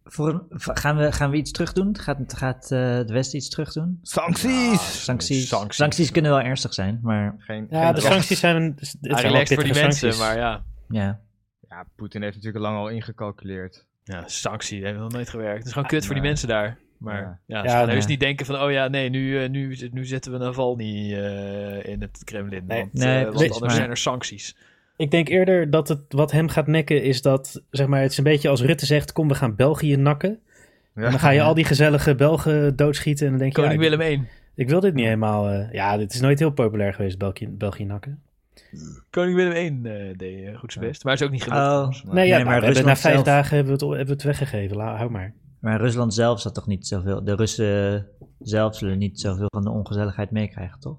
S3: voor een- gaan, we, gaan we iets terug doen? Gaat, gaat eh het Westen iets terug doen?
S4: Sancties!
S3: Sancties,
S2: Sancties.
S3: sancties. kunnen wel ernstig zijn, maar
S4: Geen,
S1: Ja,
S4: geen
S1: de
S4: drang.
S1: sancties zijn... Het
S2: Ja,
S1: zijn wel
S2: relaxed Ah, voor die
S1: pittige sancties.
S2: mensen, maar ja.
S3: ja.
S4: Ja, Poetin heeft natuurlijk lang al ingecalculeerd.
S2: Ja, sanctie, dat hebben we nog nooit gewerkt. Het is gewoon kut voor die
S4: nee.
S2: mensen daar. Maar ja,
S4: Ja.
S2: ze
S1: Ja,
S2: gaan
S1: nee.
S2: heus niet denken van, oh ja, nee, nu, eh, nu, nu zetten we Navalny eh in het Kremlin.
S1: Nee.
S2: want,
S3: Nee,
S2: eh, want
S3: precies,
S2: anders
S3: maar-
S2: zijn er sancties.
S1: Ik denk eerder dat het wat hem gaat nekken is dat, zeg maar, het is een beetje als Rutte zegt, kom we gaan België nakken.
S4: Ja.
S1: En dan ga je al die gezellige Belgen doodschieten en dan denk je,
S2: Koning
S1: ja, ik,
S2: Willem 1.
S1: ik wil dit niet helemaal. eh, ja, dit is nooit heel populair geweest, België, België nakken.
S2: Koning Willem 1 eh, deed eh, goed zijn best. Maar is ook niet gelukt.
S1: Nee,
S3: Oh,
S1: Nou ja,
S3: Nee,
S1: maar
S3: maar
S1: we hebben, na
S3: Rusland
S1: vijf
S3: zelf-
S1: dagen hebben we het, hebben we het weggegeven, La, hou maar.
S3: maar Rusland zelf zat toch niet zoveel. De Russen zelf zullen niet zoveel van de ongezelligheid meekrijgen, toch?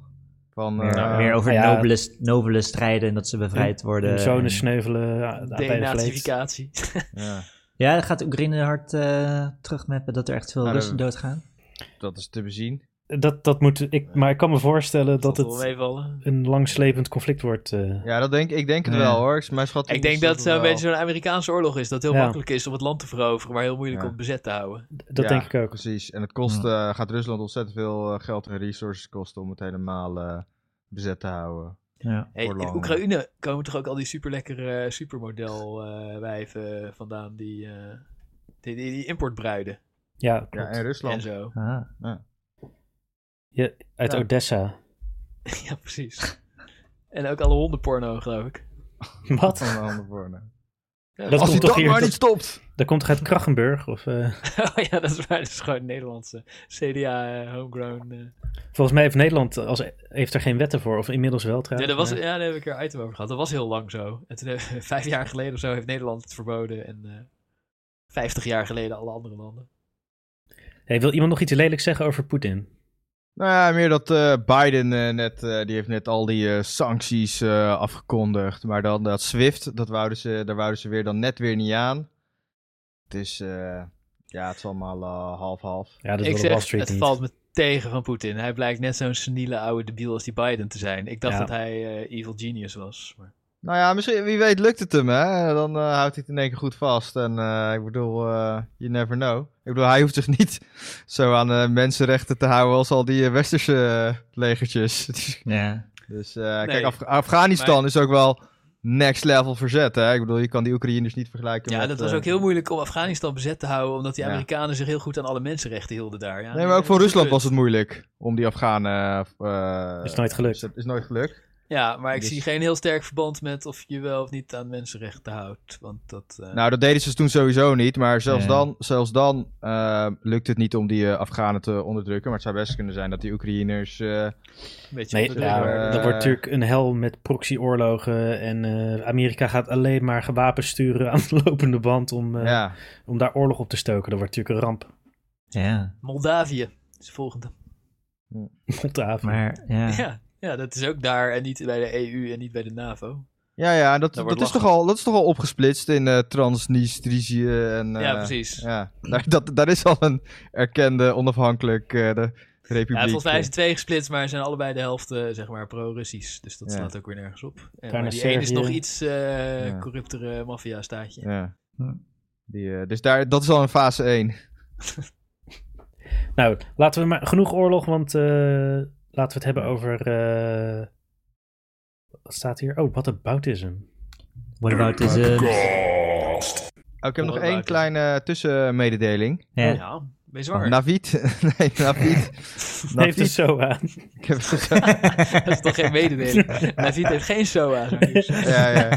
S4: Van,
S3: Meer,
S4: eh,
S3: meer over
S1: ja.
S3: nobele, st- nobele strijden en dat ze bevrijd worden.
S1: Zonen
S3: en-
S1: sneuvelen aan- aan beide vlees.
S2: Denazificatie.
S4: ja,
S3: Ja, dan gaat Oekraïne hard eh terugmappen dat er echt veel
S4: Nou,
S3: Russen
S4: dat-
S3: doodgaan.
S4: dat is te bezien.
S1: Dat, dat moet, ik, maar ik kan me voorstellen
S2: Dat
S1: dat
S2: zal wel
S1: het
S2: meevallen.
S1: een langslepend conflict wordt. eh.
S4: Ja, dat denk, ik denk het
S3: Ja.
S4: wel hoor. Is Mijn schatting
S2: Ik denk
S4: is
S2: dat het
S4: het
S2: een
S4: wel.
S2: beetje zo'n Amerikaanse oorlog is. Dat heel
S1: Ja.
S2: makkelijk is om het land te veroveren, maar heel moeilijk
S4: Ja.
S2: om het bezet te houden.
S1: dat
S4: Ja,
S1: denk ik ook.
S4: Precies. En het kost, eh, gaat Rusland ontzettend veel eh, geld en resources kosten om het helemaal eh, bezet te houden.
S3: Ja.
S2: Hey,
S4: Voor
S2: in
S4: lang.
S2: Oekraïne komen toch ook al die superlekkere eh, supermodel eh, wijven vandaan die, eh, die, die, die importbruiden
S1: Ja,
S4: Ja,
S1: klopt.
S4: en
S2: en
S4: Rusland.
S2: zo.
S3: Ah.
S1: Je- uit
S2: Ja.
S1: Odessa.
S2: ja, precies. En ook alle hondenporno, geloof ik.
S1: Wat?
S4: Van de handen voor, nou.
S2: Ja,
S1: Dat
S4: Als hij
S1: komt toch
S4: dat
S1: hier.
S4: maar niet
S1: Dat,
S4: stopt!
S1: dat komt toch uit Krachenburg? Of, eh,
S2: oh, ja, dat is waar. Dat is gewoon Nederlandse CDA eh, homegrown. eh.
S1: Volgens mij heeft Nederland als, heeft er geen wetten voor, of inmiddels wel
S2: Ja,
S1: trouwens.
S2: dat was, ja,
S1: maar-
S2: daar heb ik een item over gehad. Dat was heel lang zo. En toen, hebben- vijf jaar geleden of zo heeft Nederland het verboden. En eh, vijftig jaar geleden alle andere landen.
S1: Hey, wil iemand nog iets lelijks zeggen over Poetin?
S4: Nou ja, meer dat eh, Biden eh, net, eh, die heeft net al die eh, sancties eh, afgekondigd. Maar dan dat SWIFT, dat wouden ze, daar wouden ze weer dan net weer niet aan. Het is, eh, ja, het is allemaal eh, half-half.
S1: Ja, dat
S2: ik
S1: wil de
S2: zeg,
S1: Wall Street
S2: het
S1: niet.
S2: valt me tegen van Poetin. Hij blijkt net zo'n seniele oude debiel als die Biden te zijn. Ik dacht
S1: Ja.
S2: dat hij eh, evil genius was. Maar...
S4: Nou ja, misschien, wie weet lukt het hem, hè? Dan eh, houdt hij het in één keer goed vast. En eh, ik bedoel, eh, you never know. Ik bedoel, hij hoeft zich niet zo aan eh, mensenrechten te houden als al die eh, westerse eh, legertjes.
S3: Ja.
S4: dus eh, kijk,
S2: Nee.
S4: Af- Afghanistan
S2: Maar-
S4: is ook wel next level verzet, hè? Ik bedoel, je kan die Oekraïners niet vergelijken
S2: Ja,
S4: met...
S2: dat was
S4: eh,
S2: ook heel moeilijk om Afghanistan bezet te houden, omdat die
S4: Ja.
S2: Amerikanen zich heel goed aan alle mensenrechten hielden daar. Ja,
S4: Nee, maar ook voor
S2: dat is
S4: Rusland
S2: een
S4: was het moeilijk om die Afghanen... eh,
S1: Is nooit gelukt.
S4: Is, is nooit gelukt.
S2: punt. Ja, maar ik
S4: Dus-
S2: zie geen heel sterk verband met of je wel of niet aan mensenrechten houdt. Want dat. eh,
S4: Nou, dat deden ze toen sowieso niet. Maar zelfs
S3: Ja.
S4: dan, zelfs dan eh, lukt het niet om die eh, Afghanen te onderdrukken. Maar het zou best kunnen zijn dat die Oekraïners... eh,
S2: een beetje
S1: Nee,
S2: onderdrukt
S1: nou,
S2: worden.
S1: dat wordt natuurlijk een hel met proxyoorlogen. En eh, Amerika gaat alleen maar wapens sturen aan de lopende band om, eh,
S4: ja.
S1: om daar oorlog op te stoken. Dat wordt natuurlijk een ramp.
S3: Ja.
S2: Moldavië is de volgende.
S1: Montaven.
S3: Maar ja.
S2: Ja. ja, dat is ook daar en niet bij de EU en niet bij de NAVO.
S4: ja, ja, en dat,
S2: Dat
S4: dat,
S2: wordt
S4: is
S2: lachen.
S4: toch al, dat is toch al opgesplitst in eh Transnistrië. En,
S2: ja,
S4: eh,
S2: precies. Nou, Ja,
S4: Ja, daar, dat, daar is al een erkende onafhankelijk eh, de republiek. eh.
S2: volgens mij is het twee gesplitst, maar zijn allebei de helft eh, zeg maar pro-Russisch. Dus dat
S4: Ja.
S2: slaat ook weer nergens op. En,
S1: Daarna
S2: maar die ene is
S1: Servië.
S2: nog iets eh,
S4: Ja.
S2: corruptere maffia-staatje.
S4: Ja.
S3: Hm.
S4: Die, eh, dus daar, dat is al in fase 1.
S1: Nou, laten we maar genoeg oorlog, want eh, laten we het hebben over. eh, wat staat hier? Oh, what aboutism.
S3: What about this? eh,
S4: Oh, ik heb nog
S2: Hoor
S4: één
S2: maken.
S4: kleine eh, tussenmededeling.
S3: ja.
S2: Ja, ben je zwanger?
S4: Navid. nee, Navid.
S1: Heeft het
S2: dus-
S4: Navid.
S1: zo aan.
S4: Ik heb het zo-
S2: dat is toch geen mededeling? Navid heeft geen SOA. zo'n nieuws.
S4: ja, ja.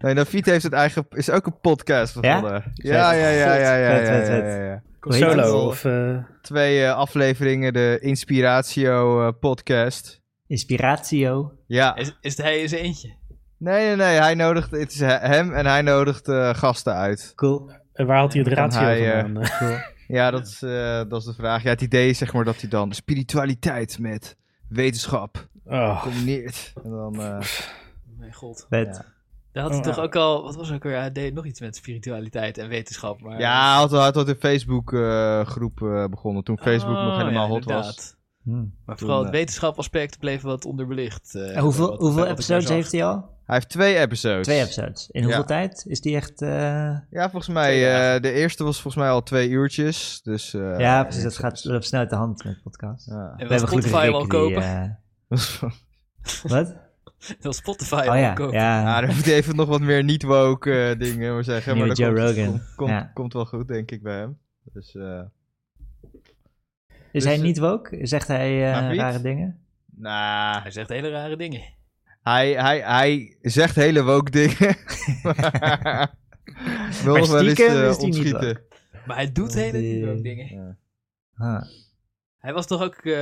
S4: Nee, Navid heeft het eigen, is ook een podcast begonnen. Ja, ja, ja, ja, ja,
S3: Vet,
S4: ja,
S3: vet,
S4: ja,
S3: vet.
S4: ja, ja.
S2: Komt
S3: Hoe heet
S2: zo.
S1: Solo. Of, eh,
S4: Twee eh, afleveringen, de Inspiratio eh, podcast.
S3: Inspiratio.
S4: Ja,
S2: Is, is het hij eens eentje?
S4: nee, nee, nee, hij nodigt, het is he- hem en hij nodigt eh, gasten uit.
S3: Cool.
S1: eh, waar haalt hij het
S4: Dan
S1: ratio
S4: hij, eh,
S1: vandaan? Eh,
S4: Ja, dat is, eh, dat is de vraag. Ja, het idee is zeg maar dat hij dan spiritualiteit met wetenschap
S1: oh.
S4: combineert. En dan, eh,
S2: Mijn god.
S3: Vet.
S2: Daar had hij
S1: Oh,
S2: toch
S1: ja.
S2: ook al... Wat was het ook weer? Hij deed nog iets met spiritualiteit en wetenschap. Maar...
S4: ja, hij had, hij had een Facebook eh, groep eh, begonnen toen Facebook nog
S2: Oh,
S4: helemaal
S2: ja,
S4: hot was.
S2: inderdaad.
S3: Hm.
S2: Maar
S4: Toen,
S2: vooral het
S4: eh,
S2: wetenschap-aspect bleef wat onderbelicht. eh,
S3: En hoeveel
S2: wat-
S3: hoeveel
S2: wat ik
S3: episodes
S2: daar zag.
S3: heeft hij al?
S4: Hij heeft twee episodes.
S3: Twee episodes. In hoeveel
S4: Ja.
S3: tijd? Is die echt... eh,
S4: Ja, volgens mij.
S2: Twee
S4: eh,
S2: dagen.
S4: de eerste was volgens mij al twee uurtjes. Dus, eh,
S3: ja, precies. Dat gaat op snel uit de hand met podcast.
S4: ja.
S2: En wil Spotify
S3: gelukkig
S2: wel
S3: Rick
S2: kopen?
S3: die, eh, wat?
S2: Wil Spotify
S3: Oh
S2: wel
S3: ja,
S2: kopen?
S4: Ja, dus-
S3: ja.
S4: dan moet hij even nog wat meer niet-woke eh, dingen maar zeggen. Maar
S3: Nieuwe
S4: dat
S3: Joe
S4: komt,
S3: Rogan.
S4: Komt, komt,
S3: Ja.
S4: komt wel goed, denk ik, bij hem. Dus, eh,
S3: Is hij niet woke? Zegt hij eh,
S4: Maar wie?
S3: rare dingen?
S4: nou,
S2: Hij zegt hele rare dingen.
S4: hij, hij, hij zegt hele woke dingen. maar wil nog wel eens
S3: stiekem
S4: eh,
S3: is hij niet
S4: ontschieten.
S2: Maar hij doet
S3: Oh,
S2: hele
S3: die-
S2: nieuwe dingen.
S3: Huh.
S2: Hij was toch ook... eh,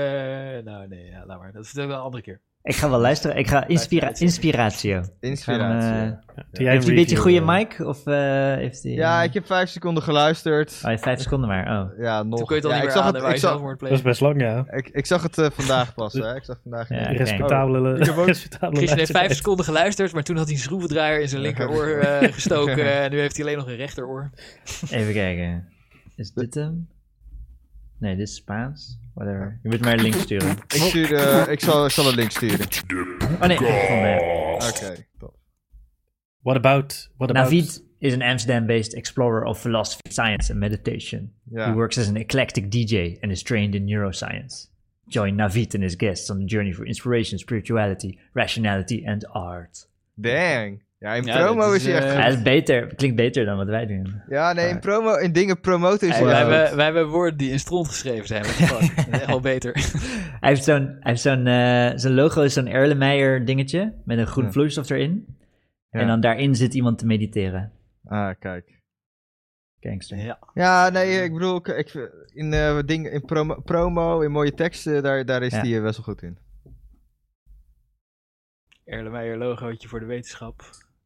S2: nou nee, ja, laat maar. Dat vertel ik wel een andere keer.
S3: Ik ga wel luisteren. Ik ga inspira
S2: Inspiratie.
S3: inspiratio.
S4: Inspiratie.
S3: Gaan, eh,
S1: Doe jij
S3: heeft hij een beetje goede
S1: review, eh?
S3: mic? Of eh, heeft hij...
S4: ja, ik heb vijf seconden geluisterd.
S3: Oh, vijf seconden maar. Oh.
S4: Ja, nog.
S2: Toen kon je het al
S4: ja,
S2: niet
S4: ik,
S2: meer
S4: zag
S2: aan
S4: het,
S2: waar
S4: ik,
S2: je
S4: zag,
S2: zelfmoord
S1: eh, Dat is best
S2: pleegt.
S1: lang, ja.
S4: ik, ik zag het eh, vandaag pas. Hè. Ik zag vandaag.
S3: Ja.
S1: Respectabele.
S4: Ik heb ook-
S1: respectabele
S2: Christian heeft vijf
S1: luistertijd.
S2: seconden geluisterd, maar toen had hij een schroevendraaier in zijn linkeroor eh, gestoken. en nu heeft hij alleen nog een rechteroor.
S3: Even kijken. Is dit hem? Nee, dit is Spaans. Whatever. Je moet mij de link sturen.
S4: Ik, stuur, eh, ik, zal, ik zal een link sturen.
S3: Oh nee, ik heb gevonden.
S4: Oké, top.
S1: What about.
S3: Nou,
S1: What about
S3: Navid is an Amsterdam-based explorer of philosophy, science and meditation.
S4: Ja.
S3: He works as an eclectic DJ and is trained in neuroscience. Join Navid and his guests on the journey for inspiration, spirituality, rationality and art.
S4: Dang. Ja, in
S2: Ja,
S4: promo
S2: dat
S4: is
S2: is,
S4: hij echt
S2: eh,
S4: goed.
S3: Hij is beter, klinkt beter dan wat wij doen.
S4: Ja, nee, in, promo, in dingen promoten is
S2: Hey,
S4: hij
S2: wij,
S4: wel goed.
S2: hebben, wij hebben woorden die in stront geschreven zijn. Wat de fuck? Dat is echt wel beter.
S3: Hij heeft zo'n, hij heeft zo'n, eh, zijn logo is zo'n Erlenmeyer dingetje met een groen vloeistof erin.
S4: Ja.
S3: En dan daarin zit iemand te mediteren.
S4: Ah, kijk.
S3: Gangster.
S2: Ja.
S4: Ja, nee, ik bedoel, ik, ik- in, eh dingen, in promo, promo, in mooie teksten, daar, daar is
S3: Ja.
S4: hij eh, best wel goed in.
S2: Erlenmeyer logootje voor de wetenschap.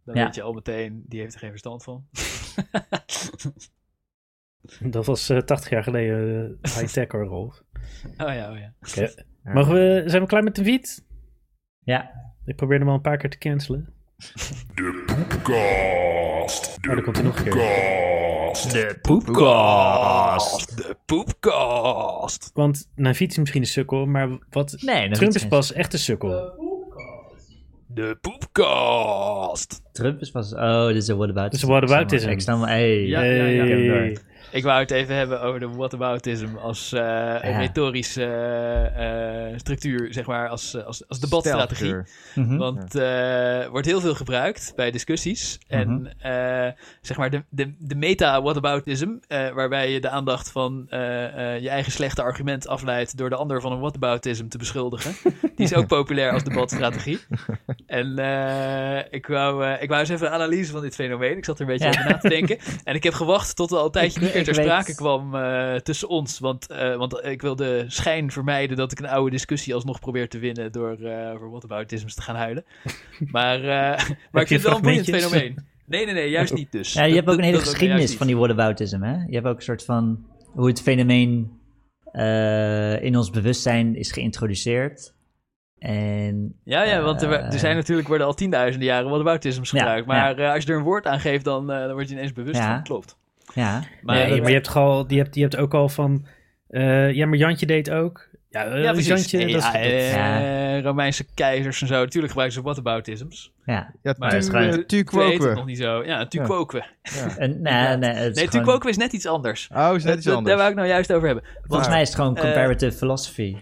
S2: Dan
S3: Ja.
S2: weet je al meteen, die heeft er geen verstand van.
S1: Dat was eh, 80 jaar geleden eh, high-tech hoor, Rolf.
S2: Oh ja, oh ja.
S1: Mogen we, zijn we klaar met de wiet?
S3: Ja,
S1: Ik probeerde hem al een paar keer te cancelen. De poepkast. Oh, daar komt hij nog een keer.
S2: De poepkast. De poepkast.
S1: Want Navid is misschien een sukkel, maar wat...
S3: nee. dat
S1: Trump
S3: is
S1: is
S3: geen-
S1: pas echt een sukkel.
S5: De podcast.
S2: De poepkast.
S3: Trump is pas... Oh, dit is een whataboutism.
S1: Dit is een whataboutism.
S3: Ik snap wel... Hey.
S2: Ja,
S1: Hey.
S2: ja, ja.
S3: Ik heb hem door.
S2: Ik wou het even hebben over de whataboutism als eh een retorische eh, eh, structuur, zeg maar, als, eh, als, als debatstrategie.
S4: Stelkleur.
S3: Mhm.
S2: Want eh wordt heel veel gebruikt bij discussies. En eh, zeg maar de, de, de meta-whataboutism, eh, waarbij je de aandacht van eh, eh, je eigen slechte argument afleidt door de ander van een whataboutism te beschuldigen. Die is ook populair als debatstrategie. En eh, ik, wou, eh, ik wou eens even een analyse van dit fenomeen. Ik zat er een beetje
S3: Ja.
S2: over na te denken. En ik heb gewacht tot er al een tijdje
S3: Ik-
S2: niet meer
S3: ik
S2: ter
S3: weet-
S2: sprake kwam eh, tussen ons. Want, eh, want ik wil de schijn vermijden dat ik een oude discussie alsnog probeer te winnen door eh over whataboutisms te gaan huilen. Maar, eh, maar
S1: je
S2: ik vind het wel een boeiend
S1: fragmentjes?
S2: fenomeen. Nee, nee, nee, juist niet dus.
S3: Ja, je hebt ook een hele geschiedenis van
S2: van
S3: die whataboutism, hè? Je hebt ook een soort van hoe het fenomeen eh, in ons bewustzijn is geïntroduceerd. En
S2: Ja, ja, want er,
S3: Eh.
S2: er zijn natuurlijk worden al tienduizenden jaren whataboutisms
S3: Ja,
S2: gebruikt. maar eh, als je er een woord aan geeft, dan, eh, dan word je ineens bewust
S3: Ja.
S2: van het klopt.
S3: ja,
S1: Maar, ja,
S2: eh,
S1: maar je hebt, gewoon, je, hebt, je hebt ook al van... eh, ja, maar Jantje deed ook. Ja, eh,
S2: Ja, precies.
S1: Jantje,
S2: ja,
S1: dat is- dat-
S2: eh,
S3: Ja.
S2: Romeinse keizers en zo. Natuurlijk gebruiken ze whataboutisms.
S3: ja.
S4: Ja,
S2: Maar
S4: tu-
S3: het is gewoon-
S4: eh, tu
S2: Ik weet het nog
S4: quoque.
S2: niet zo. Ja,
S4: Ja.
S2: Tukwoke.
S3: En, nou, nee, nee, het is
S2: Nee,
S3: gewoon-
S2: Tukwoke is net iets anders.
S4: Oh, is net
S2: Dat- dat-
S4: iets
S2: Daar
S4: anders.
S2: wou ik nou juist over hebben.
S3: Volgens mij is het gewoon comparative philosophy.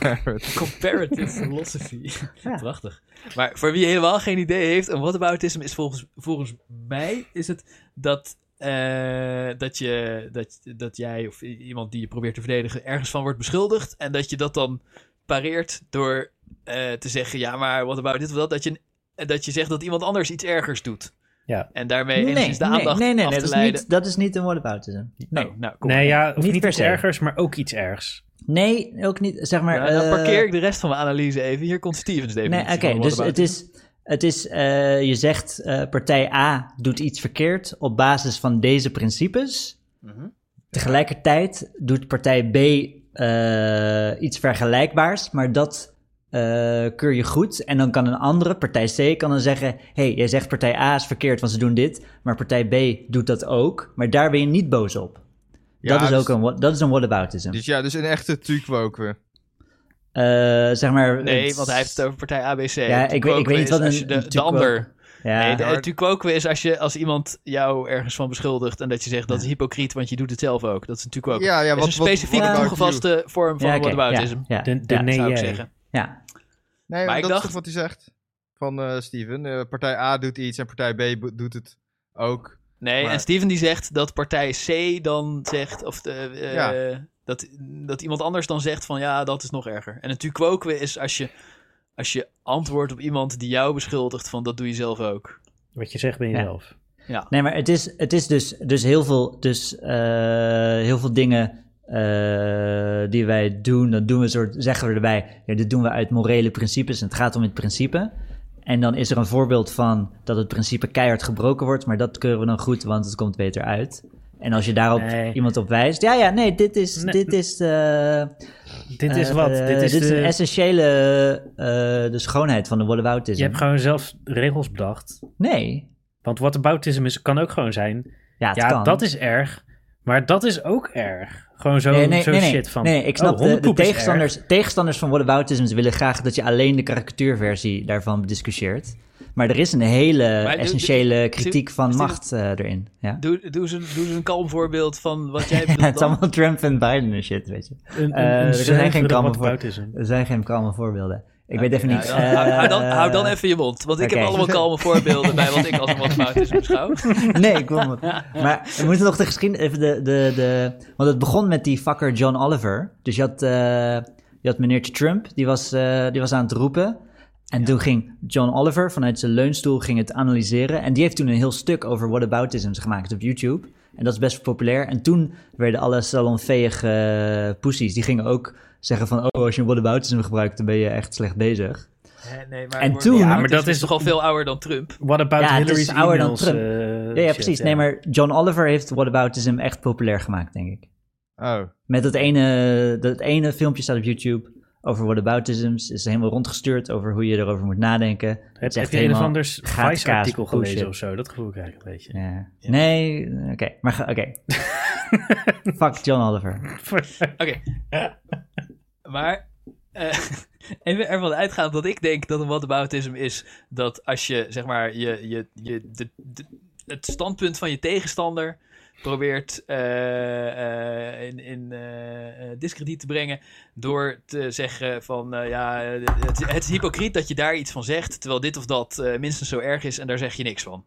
S2: Comparative philosophy.
S3: Ja.
S2: Prachtig. Maar voor wie helemaal geen idee heeft, een whataboutism is volgens, volgens mij is het dat, eh, dat, je, dat, dat jij of i- iemand die je probeert te verdedigen ergens van wordt beschuldigd. En dat je dat dan pareert door eh, te zeggen, ja maar wat about dit of dat. Dat je, dat je zegt dat iemand anders iets ergers doet.
S1: Ja.
S2: En daarmee enigszins de
S3: nee,
S2: aandacht
S3: nee, nee,
S2: af
S3: nee,
S2: te
S3: dat, is
S2: leiden.
S3: niet, dat is niet een whataboutism. Nee,
S2: Oh, nou, kom.
S1: nee, ja, of
S3: Niet
S1: niet,
S3: per
S1: iets
S3: se.
S1: ergers, maar ook iets ergs.
S3: nee, ook niet, zeg maar...
S2: Nou, dan
S3: eh,
S2: parkeer ik de rest van mijn analyse even. Hier komt Stevens
S3: Nee,
S2: definitie
S3: oké,
S2: van
S3: dus
S2: whataboutism.
S3: het is, het is eh, je zegt eh, partij A doet iets verkeerd op basis van deze principes.
S2: Mhm.
S3: Tegelijkertijd doet partij B eh, iets vergelijkbaars, maar dat eh, keur je goed. En dan kan een andere, partij C, kan dan zeggen, hé, hey, jij zegt partij A is verkeerd, want ze doen dit, maar partij B doet dat ook, maar daar ben je niet boos op.
S4: Ja,
S3: dat, is
S4: dus-
S3: ook een, what- dat is een whataboutism.
S4: Dus ja, dus een echte tu quoque.
S3: Eh, zeg maar...
S2: Nee,
S3: het-
S2: want hij heeft het over partij ABC.
S3: Ja, ik weet- ik weet niet wat
S2: is als
S3: een-
S2: je
S3: een
S2: de, de
S3: tukwo-
S2: ander.
S3: Ja.
S2: Nee, de, tukwoke is als, je, als iemand jou ergens van beschuldigt en dat je zegt dat is hypocriet, want je doet het zelf ook. Dat is een tukwoke.
S4: Ja, ja,
S2: Dat
S4: wat,
S2: is een specifieke
S4: wat,
S3: about
S2: toegepaste vorm van
S3: ja,
S2: ja,
S3: oké,
S2: whataboutism,
S3: ja, ja,
S1: De, de
S3: ja.
S1: nee
S2: zou ik
S1: jij.
S2: zeggen.
S3: ja.
S4: Nee,
S2: Maar
S4: maar
S2: ik
S4: dat
S2: dacht-
S4: is toch wat hij zegt? Van eh, Steven. eh, partij A doet iets en partij B bo- doet het ook.
S2: Nee,
S4: Maar-
S2: en Steven die zegt dat partij C dan zegt, of eh, eh,
S4: Ja.
S2: dat, dat iemand anders dan zegt van ja, dat is nog erger. En een tukwoke is als je, als je antwoordt op iemand die jou beschuldigt van dat doe je zelf ook.
S1: Wat je zegt ben je
S3: Ja.
S1: zelf.
S3: Nee, maar het is, het is dus, dus heel veel, dus, eh, heel veel dingen eh, die wij doen, dat doen we soort, zeggen we erbij, ja, dit doen we uit morele principes en het gaat om het principe. En dan is er een voorbeeld van dat het principe keihard gebroken wordt, maar dat keuren we dan goed, want het komt beter uit. En als je daarop
S1: Nee.
S3: iemand op wijst, ja, ja, nee, dit is,
S1: Nee.
S3: dit is eh, de...
S1: Dit is
S3: eh,
S1: wat.
S3: eh,
S1: dit is, de,
S3: een essentiële, eh, de schoonheid van de whataboutism.
S1: je hebt gewoon zelf regels bedacht.
S3: Nee.
S1: Want whataboutism is, kan ook gewoon zijn.
S3: Ja, het
S1: Ja,
S3: kan.
S1: dat is erg. Maar dat is ook erg. Gewoon zo,
S3: nee, nee,
S1: zo
S3: nee, nee.
S1: shit van.
S3: Nee, nee, ik snap
S1: oh,
S3: de- de,
S1: hondenpoep is
S3: tegenstanders, tegenstanders van whataboutisms willen graag dat je alleen de karikatuurversie daarvan discussieert. Maar er is een hele
S2: doe-
S3: essentiële kritiek van
S2: is dit-
S3: macht eh, erin. Ja.
S2: Doe, doe, ze, doe ze een kalm voorbeeld van wat jij
S3: Ja, het
S2: bedoelt
S3: is
S2: dan.
S3: allemaal Trump en Biden en shit, weet je.
S1: erg. Een, een,
S3: Eh,
S1: een
S3: er zijn
S1: zuivere
S3: geen kalmen voor.
S1: whataboutism.
S3: Er zijn geen kalme voorbeelden. Ik weet even niet.
S2: Ja, dan- hou, hou dan,
S3: eh,
S2: hou dan even je mond, want ik
S3: oké.
S2: heb allemaal kalme voorbeelden bij wat ik als een whataboutism beschouw.
S3: Nee, ik wil hem- Maar we moeten nog de geschiedenis... Even de, de, de, want het begon met die fucker John Oliver. Dus je had, eh, je had meneertje Trump, die was, eh, die was aan het roepen. En toen ging John Oliver vanuit zijn leunstoel ging het analyseren. En die heeft toen een heel stuk over whataboutisms gemaakt op YouTube. En dat is best populair. En toen werden alle salonveeg eh poesies, die gingen ook zeggen van... Oh, als je een whataboutism gebruikt, dan ben je echt slecht bezig.
S2: Nee, maar
S3: En wordt- toen- Ja, dus
S1: maar dat is-
S2: toch al veel ouder dan Trump.
S1: What about
S3: Ja, het is
S1: Hillary's
S3: ouder dan
S1: emails?
S3: Trump.
S1: eh,
S3: Ja, ja
S1: shit,
S3: precies.
S1: ja.
S3: Nee, maar John Oliver heeft whataboutism echt populair gemaakt, denk ik.
S4: Oh.
S3: Met dat ene, dat ene filmpje staat op YouTube over whataboutisms. Is helemaal rondgestuurd over hoe je erover moet nadenken. Het
S1: Heb,
S3: is
S1: heb
S3: echt
S1: je een of
S3: helemaal
S1: anders
S3: gaatkaas
S1: Vice-artikel
S3: bullshit.
S1: gelezen of zo? Dat gevoel krijg ik een beetje.
S3: Ja. Nee, oké. Maar ga- oké. Fuck John Oliver.
S2: Oké. maar eh, Even ervan uitgaan dat ik denk dat een whataboutism is dat als je, zeg maar, je, je, je, de, de- het standpunt van je tegenstander probeert eh, eh, in, in eh, eh, discrediet te brengen door te zeggen van, eh, ja, eh, het, het is hypocriet dat je daar iets van zegt, terwijl dit of dat eh, minstens zo erg is en daar zeg je niks van.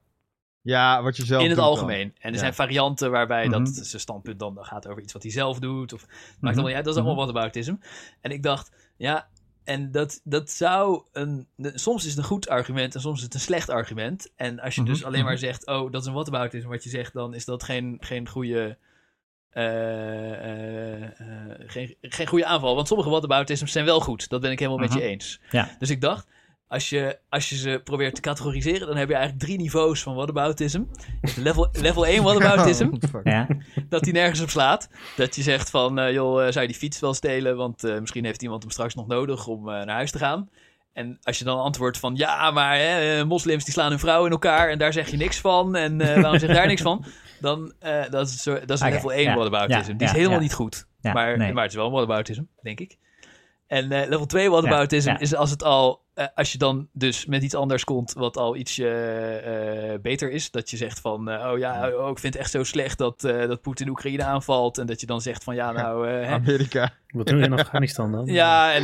S4: Ja, wat je zelf
S2: in het
S4: doet dan.
S2: algemeen. En er
S4: Ja.
S2: zijn varianten waarbij
S3: Mhm.
S2: dat zijn standpunt dan gaat over iets wat hij zelf doet. Of maakt allemaal niet uit. Dat is allemaal wat En ik dacht, ja, en dat, dat zou een. de- Soms is het een goed argument en soms is het een slecht argument. En als je dus
S3: Mhm,
S2: alleen maar zegt, oh, dat is een whataboutism wat je zegt, dan is dat geen, geen goede. eh, eh, eh, geen, geen goede aanval. Want sommige whataboutisms zijn wel goed. Dat ben ik helemaal met
S3: Mhm.
S2: je eens.
S3: Ja.
S2: Dus ik dacht, als je, als je ze probeert te categoriseren, dan heb je eigenlijk drie niveaus van whataboutism. Je hebt Level, level 1 whataboutism,
S4: Oh, fuck.
S3: Ja,
S2: dat die nergens op slaat. Dat je zegt van, eh, joh, eh, zou je die fiets wel stelen? Want eh, misschien heeft iemand hem straks nog nodig om eh, naar huis te gaan. En als je dan antwoordt van, ja, maar hè, eh, moslims die slaan hun vrouw in elkaar en daar zeg je niks van. En eh, waarom zeg je daar niks van? Dan, eh, dat is, zo, dat is een
S3: Oké,
S2: level 1
S3: Ah, ja,
S2: whataboutism.
S3: ja,
S2: die is
S3: ja,
S2: helemaal
S3: ja.
S2: niet goed.
S3: ja,
S2: maar,
S3: nee.
S2: maar het is wel een whataboutism, denk ik. En eh, level 2 whataboutism
S3: Ja, ja.
S2: is als het al, eh, als je dan dus met iets anders komt wat al iets beter is. Dat je zegt van, eh, oh ja, oh, ik vind het echt zo slecht dat, eh, dat Poetin Oekraïne aanvalt. En dat je dan zegt van, ja nou, eh, hè.
S4: Amerika.
S1: Wat doen we in Afghanistan dan?
S2: ja en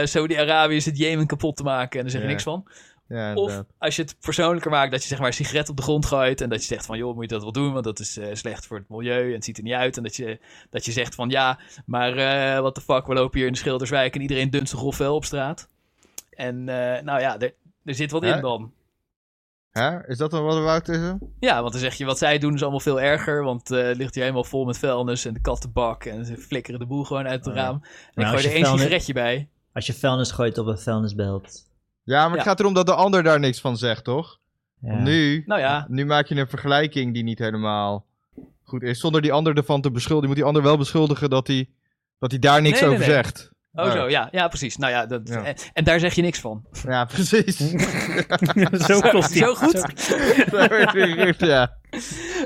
S2: eh, Saudi-Arabië zit Jemen kapot te maken en daar zeg je
S4: Ja.
S2: niks van.
S4: Ja,
S2: Of als je het persoonlijker maakt, dat je zeg maar een sigaret op de grond gooit. En dat je zegt van, joh, moet je dat wel doen? Want dat is eh, slecht voor het milieu en het ziet er niet uit. En dat je, dat je zegt van, ja, maar eh what the fuck, we lopen hier in de Schilderswijk en iedereen dunst zijn grofvel op straat. En eh, nou ja, er, er zit wat
S4: Ja.
S2: in dan.
S4: Hè? Is dat dan wat about is?
S2: Ja, want dan zeg je, wat zij doen is allemaal veel erger. Want eh, het ligt hier helemaal vol met vuilnis en de kattenbak. En ze flikkeren de boel gewoon uit het
S3: Oh, ja.
S2: raam. En
S3: Nou,
S2: ik
S3: als
S2: gooi er
S3: je
S2: één
S3: vuilnis-
S2: sigaretje bij.
S3: Als je vuilnis gooit op een vuilnisbelt.
S4: Ja, maar het
S2: Ja.
S4: gaat erom dat de ander daar niks van zegt, toch?
S3: Ja.
S4: Nu,
S2: Nou ja.
S4: nu maak je een vergelijking die niet helemaal goed is. Zonder die ander ervan te beschuldigen. Je moet die ander wel beschuldigen dat hij dat hij daar niks
S2: Nee, nee,
S4: over
S2: nee.
S4: zegt.
S2: Oh
S4: Ja.
S2: zo, ja, ja precies. Nou ja, dat,
S4: Ja.
S2: En, en daar zeg je niks van.
S4: Ja, precies.
S1: Zo klopt die.
S2: Zo goed.
S4: Daar werd weer gericht, ja.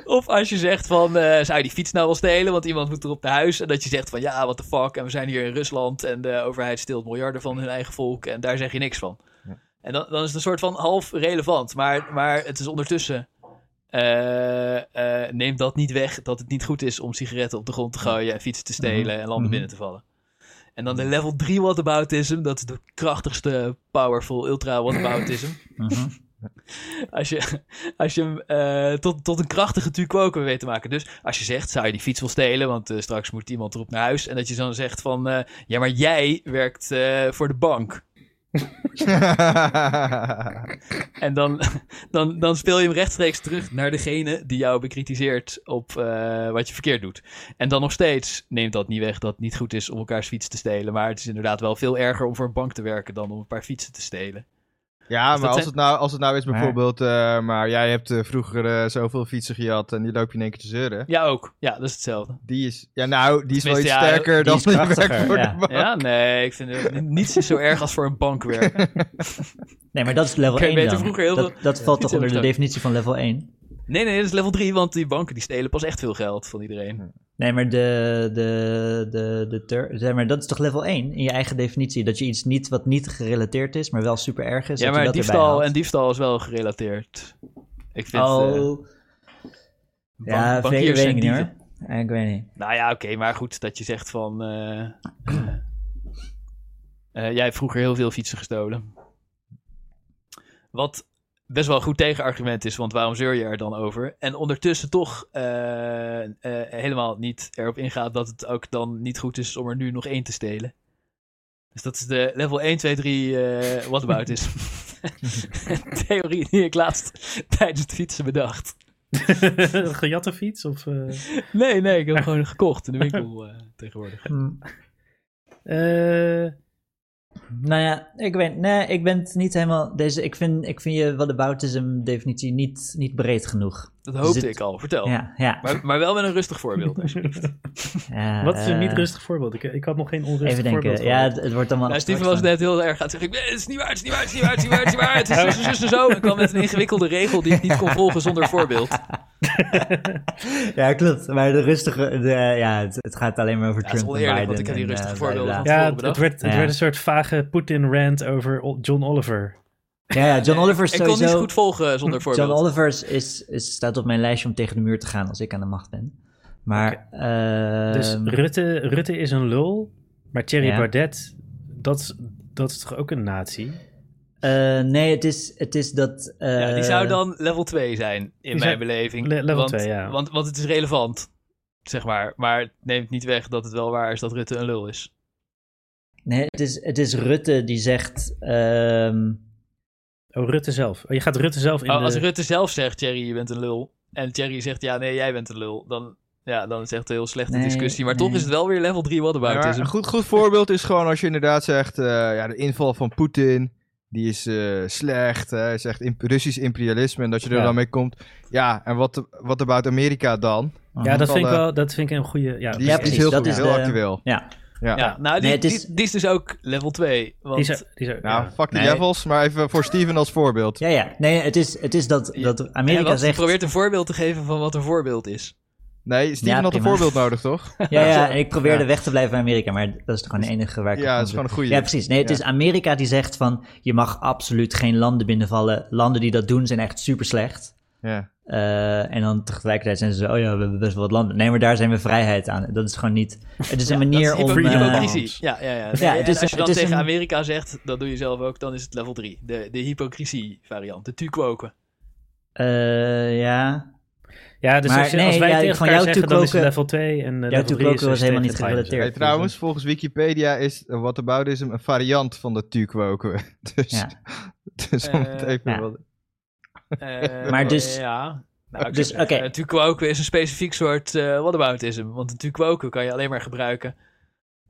S2: Of als je zegt van, eh, zou je die fiets nou wel stelen, want iemand moet erop naar huis. En dat je zegt van, ja, what the fuck, en we zijn hier in Rusland en de overheid steelt miljarden van hun eigen volk. En daar zeg je niks van.
S4: Ja.
S2: En dan, dan is het een soort van half relevant, maar, maar het is ondertussen... eh, eh, neemt dat niet weg dat het niet goed is om sigaretten op de grond te gooien en fietsen te stelen en landen
S3: Mhm.
S2: binnen te vallen. En dan de level 3 whataboutism, dat is de krachtigste powerful ultra whataboutism
S3: Mhm.
S2: als je, als je hem eh, tot, tot een krachtige tu quoque weet te maken. Dus als je zegt, zou je die fiets wel stelen? Want eh, straks moet iemand erop naar huis. En dat je dan zegt van, eh, ja, maar jij werkt eh, voor de bank. En dan, dan, dan speel je hem rechtstreeks terug naar degene die jou bekritiseert op eh, wat je verkeerd doet. En dan nog steeds neemt dat niet weg dat het niet goed is om elkaars fiets te stelen. Maar het is inderdaad wel veel erger om voor een bank te werken dan om een paar fietsen te stelen.
S4: ja,
S2: dat
S4: maar als
S2: zijn-
S4: het, nou, als het nou is
S3: Maar-
S4: bijvoorbeeld... eh, maar jij hebt eh, vroeger eh, zoveel fietsen gehad en die loop je in één keer te zeuren.
S2: Ja, ook. Ja, dat is hetzelfde.
S4: Die is... Ja, nou, die is wel iets
S2: Tenminste, ja,
S4: sterker
S3: die
S4: dan
S3: is
S4: die werkt
S3: krachtiger,
S4: voor
S3: ja.
S4: de bank.
S2: Ja, nee, ik vind het, niets is zo erg als voor een bank werken.
S3: Nee, maar dat is level
S2: Oké,
S3: 1
S2: beter
S3: dan.
S2: vroeger heel
S3: dat,
S2: veel-
S3: dat valt toch
S2: Niet heel
S3: onder de
S2: leuk.
S3: definitie van level 1?
S2: Nee, nee, dat is level 3, want die banken die stelen pas echt veel geld van iedereen.
S3: Nee, maar, de, de, de, de ter- zeg maar dat is toch level 1 in je eigen definitie? Dat je iets niet wat niet gerelateerd is, maar wel super erg is.
S2: ja,
S3: dat je
S2: maar
S3: dat erbij
S2: diefstal
S3: haalt.
S2: en diefstal is wel gerelateerd. Ik vind eh,
S3: Oh,
S2: bank-
S3: ja, weet,
S2: bankiers
S3: weet ik
S2: zijn
S3: niet hoor.
S2: dieven.
S3: Ja, ik weet niet.
S2: Nou ja, oké, maar goed dat je zegt van... eh, eh, eh, jij hebt vroeger heel veel fietsen gestolen. Wat best wel een goed tegenargument is, want waarom zeur je er dan over? En ondertussen toch eh, eh, helemaal niet erop ingaat dat het ook dan niet goed is om er nu nog één te stelen. Dus dat is de level 1, 2, 3 eh what about is. Theorie die ik laatst tijdens het fietsen bedacht.
S1: Een gejatte fiets? Of, eh,
S2: Nee, nee, ik heb hem gewoon gekocht in de winkel eh, tegenwoordig.
S1: eh,
S3: Nou ja, ik, weet, nee, ik ben het niet helemaal. Deze, ik, vind, ik vind je whataboutism definitie niet, niet breed genoeg.
S2: Dat hoopte
S3: Zit-
S2: ik al, vertel.
S3: Ja, ja.
S2: Oh. Maar, maar wel met een rustig voorbeeld, alsjeblieft.
S3: ja,
S1: wat is een
S3: eh,
S1: niet rustig voorbeeld? Ik, ik had nog geen onrustig
S3: Even denken.
S1: voorbeeld.
S3: Ja,
S1: gehoord.
S3: het, het wordt allemaal.
S2: Nou, Steven was
S3: abstract
S2: net heel erg aan het zeggen, ik ben- het is niet waar, het is niet waar, het is niet waar, het is niet waar, het is niet waar, het is zus en zus en zo. En kwam met een ingewikkelde regel die ik niet kon volgen zonder voorbeeld.
S3: ja, klopt. Maar de rustige, de, ja, het, het gaat alleen maar over
S2: Ja, het is
S3: Trump en
S2: oneerlijk,
S3: Biden.
S2: want ik heb die
S3: en,
S2: rustige
S3: eh,
S2: voorbeelden
S3: bla, bla,
S2: van
S3: bla.
S2: tevoren
S1: Ja, het, het werd,
S2: bedacht.
S1: het
S3: Ja.
S1: werd een soort vage Poetin-rant over O- John Oliver.
S3: Ja, ja, John Oliver is
S2: Ik kon niet
S3: sowieso...
S2: zo goed volgen zonder voorbeeld.
S3: John Oliver is, is, is- staat op mijn lijstje om tegen de muur te gaan als ik aan de macht ben. Maar, ehm,
S1: dus Rutte, Rutte is een lul, maar Thierry
S3: Ja.
S1: Baudet, dat, is- dat is toch ook een nazi?
S3: eh, nee, het is, het is dat...
S2: ja, die
S3: eh,
S2: zou dan level 2 zijn, in mijn
S1: die zou-
S2: beleving.
S1: le- level
S2: want,
S1: 2, ja.
S2: Want, want het is relevant, zeg maar. Maar het neemt niet weg dat het wel waar is dat Rutte een lul is.
S3: Nee, het is, het is Rutte die zegt... ehm,
S1: Oh, Rutte zelf. Oh, je gaat Rutte zelf in
S2: Oh,
S1: de...
S2: Als Rutte zelf zegt, Thierry, je bent een lul. En Thierry zegt, ja, nee, jij bent een lul. Dan, ja, dan is het echt een heel slechte
S3: Nee,
S2: discussie. Maar
S3: nee.
S2: toch is het wel weer level 3
S4: Maar
S2: whataboutism.
S4: een goed, goed voorbeeld is gewoon als je inderdaad zegt, eh, ja, de inval van Poetin, die is eh, slecht. hè. Hij zegt imp- Russisch imperialisme en dat je er
S3: Ja.
S4: dan mee komt. Ja, en wat, wat about Amerika dan?
S1: Ja, dat
S4: Van
S1: vind ik
S4: de-
S1: wel dat vind ik een goede... Ja,
S4: Die
S3: Ja,
S4: is,
S1: die,
S4: die is
S3: precies,
S4: heel
S3: dat
S4: goed,
S3: is
S4: heel
S3: de-
S4: actueel.
S3: ja.
S4: Ja.
S2: ja, nou, die,
S3: Nee, het
S2: die-
S3: is-
S2: die is dus ook level 2. Want
S1: die zou- die zou-
S4: Nou,
S1: ja.
S4: fuck die
S3: Nee.
S4: levels, maar even voor Steven als voorbeeld.
S3: Ja, ja. Nee, het is, het is dat, dat Amerika
S2: Ja, want
S3: zegt...
S2: probeert een voorbeeld te geven van wat een voorbeeld is.
S4: Nee, Steven
S3: Ja,
S4: had een
S3: prima.
S4: voorbeeld nodig, toch?
S3: Ja, ja, en ik probeerde
S4: Ja.
S3: weg te blijven bij Amerika, maar dat is toch gewoon de enige waar ik
S4: Ja,
S3: op
S4: dat
S3: kom.
S4: is gewoon een goeie.
S3: Ja, precies. Nee, het
S4: Ja.
S3: is Amerika die zegt van, je mag absoluut geen landen binnenvallen. Landen die dat doen zijn echt super slecht.
S4: Ja.
S3: Eh, en dan tegelijkertijd zijn ze zo, oh ja, we hebben best wel wat landen. Nee, maar daar zijn we vrijheid aan. Dat is gewoon niet... Het is een
S2: Dat
S3: manier
S2: is hypo-
S3: om... eh,
S2: hypocrisie. ja, ja, ja. Nee,
S3: Ja, het
S2: en
S3: is-
S2: als je dan
S3: het is
S2: tegen
S3: een-
S2: Amerika zegt, dat doe je zelf ook, dan is het level 3. De, de hypocrisie variant, de tuquoken.
S3: eh, ja,
S1: Ja, dus
S3: Maar
S1: als, je-
S3: nee,
S1: als wij
S3: ja,
S1: tegen
S3: van
S1: elkaar
S3: jou
S1: zeggen, dan is het
S3: toekoken-
S1: level 2 en eh, level
S3: Jouw
S1: 3 is...
S3: toekoken was
S1: is
S3: helemaal
S1: tegen Biden.
S3: niet gerelateerd.
S4: Hey, trouwens, volgens Wikipedia is uh, whataboutism een variant van de tukwoken. Dus,
S3: Ja.
S4: dus om het
S2: Eh,
S4: even...
S3: ja.
S4: wel-
S2: Eh,
S3: Maar dus-
S2: Ja. Nou, ik
S3: dus,
S2: zou zeggen,
S3: oké.
S2: eh, tuquoken is een specifiek soort eh whataboutism. Want een tuquoken kan je alleen maar gebruiken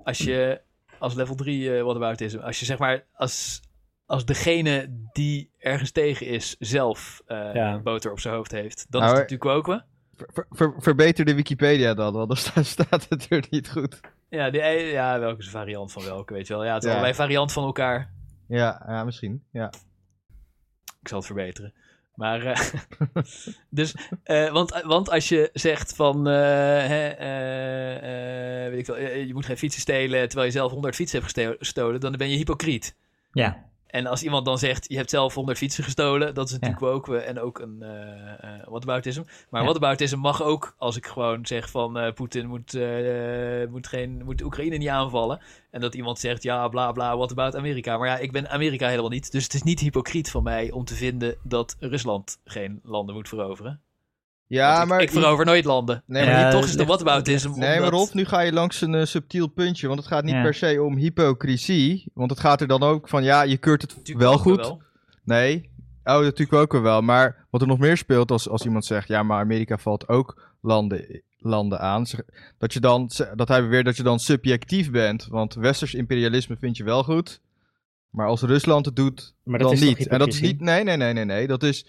S2: als je als level 3 eh, whataboutism. Als je zeg maar als, als degene die ergens tegen is zelf eh,
S1: Ja.
S2: boter op zijn hoofd heeft. Dan
S4: Nou,
S2: is
S4: maar-
S2: het tuquoken.
S4: Ver- ver- ver- verbeter de Wikipedia dan, want anders staat- staat het er niet goed.
S2: Ja, die, eh, ja, welke is een variant van welke, weet je wel. Ja, het is
S4: Ja.
S2: allerlei variant van elkaar.
S4: Ja, ja misschien. Ja.
S2: Ik zal het verbeteren. Maar, eh, dus, eh, want, want als je zegt van, eh, hè, eh, eh, weet ik wel, eh, je moet geen fietsen stelen terwijl je zelf 100 fietsen hebt gesto- gestolen, dan ben je hypocriet.
S3: ja.
S2: En als iemand dan zegt, je hebt zelf 100 fietsen gestolen, dat is natuurlijk ook eh, en ook een eh eh whataboutism. Maar
S3: Ja.
S2: whataboutism mag ook als ik gewoon zeg van, eh, Poetin moet, eh, moet, geen, moet Oekraïne niet aanvallen. En dat iemand zegt, ja bla bla, what about Amerika? Maar ja, ik ben Amerika helemaal niet, dus het is niet hypocriet van mij om te vinden dat Rusland geen landen moet veroveren. Want
S4: Ja,
S2: ik,
S4: maar...
S2: ik verover nooit landen. Nee,
S4: Nee,
S2: maar
S3: maar-
S2: hier toch is
S3: Ja,
S2: het een whataboutism.
S4: Nee, maar
S2: omdat-
S4: Rolf, nu ga je langs een eh, subtiel puntje, want het gaat niet
S3: Ja.
S4: per se om hypocrisie. Want het gaat er dan ook van, ja, je keurt het
S2: Natuurlijk
S4: wel
S2: ook
S4: goed. Nee, oh, natuurlijk ook wel. Maar wat er nog meer speelt als, als iemand zegt, ja, maar Amerika valt ook landen, landen aan. Zeg- Dat, je dan, dat hij weer dat je dan subjectief bent, want westers imperialisme vind je wel goed. Maar als Rusland het doet,
S1: Maar dat
S4: dan
S1: is toch
S4: niet. En dat is
S1: hypocrisie?
S4: niet, nee, nee, nee, nee, nee. Dat is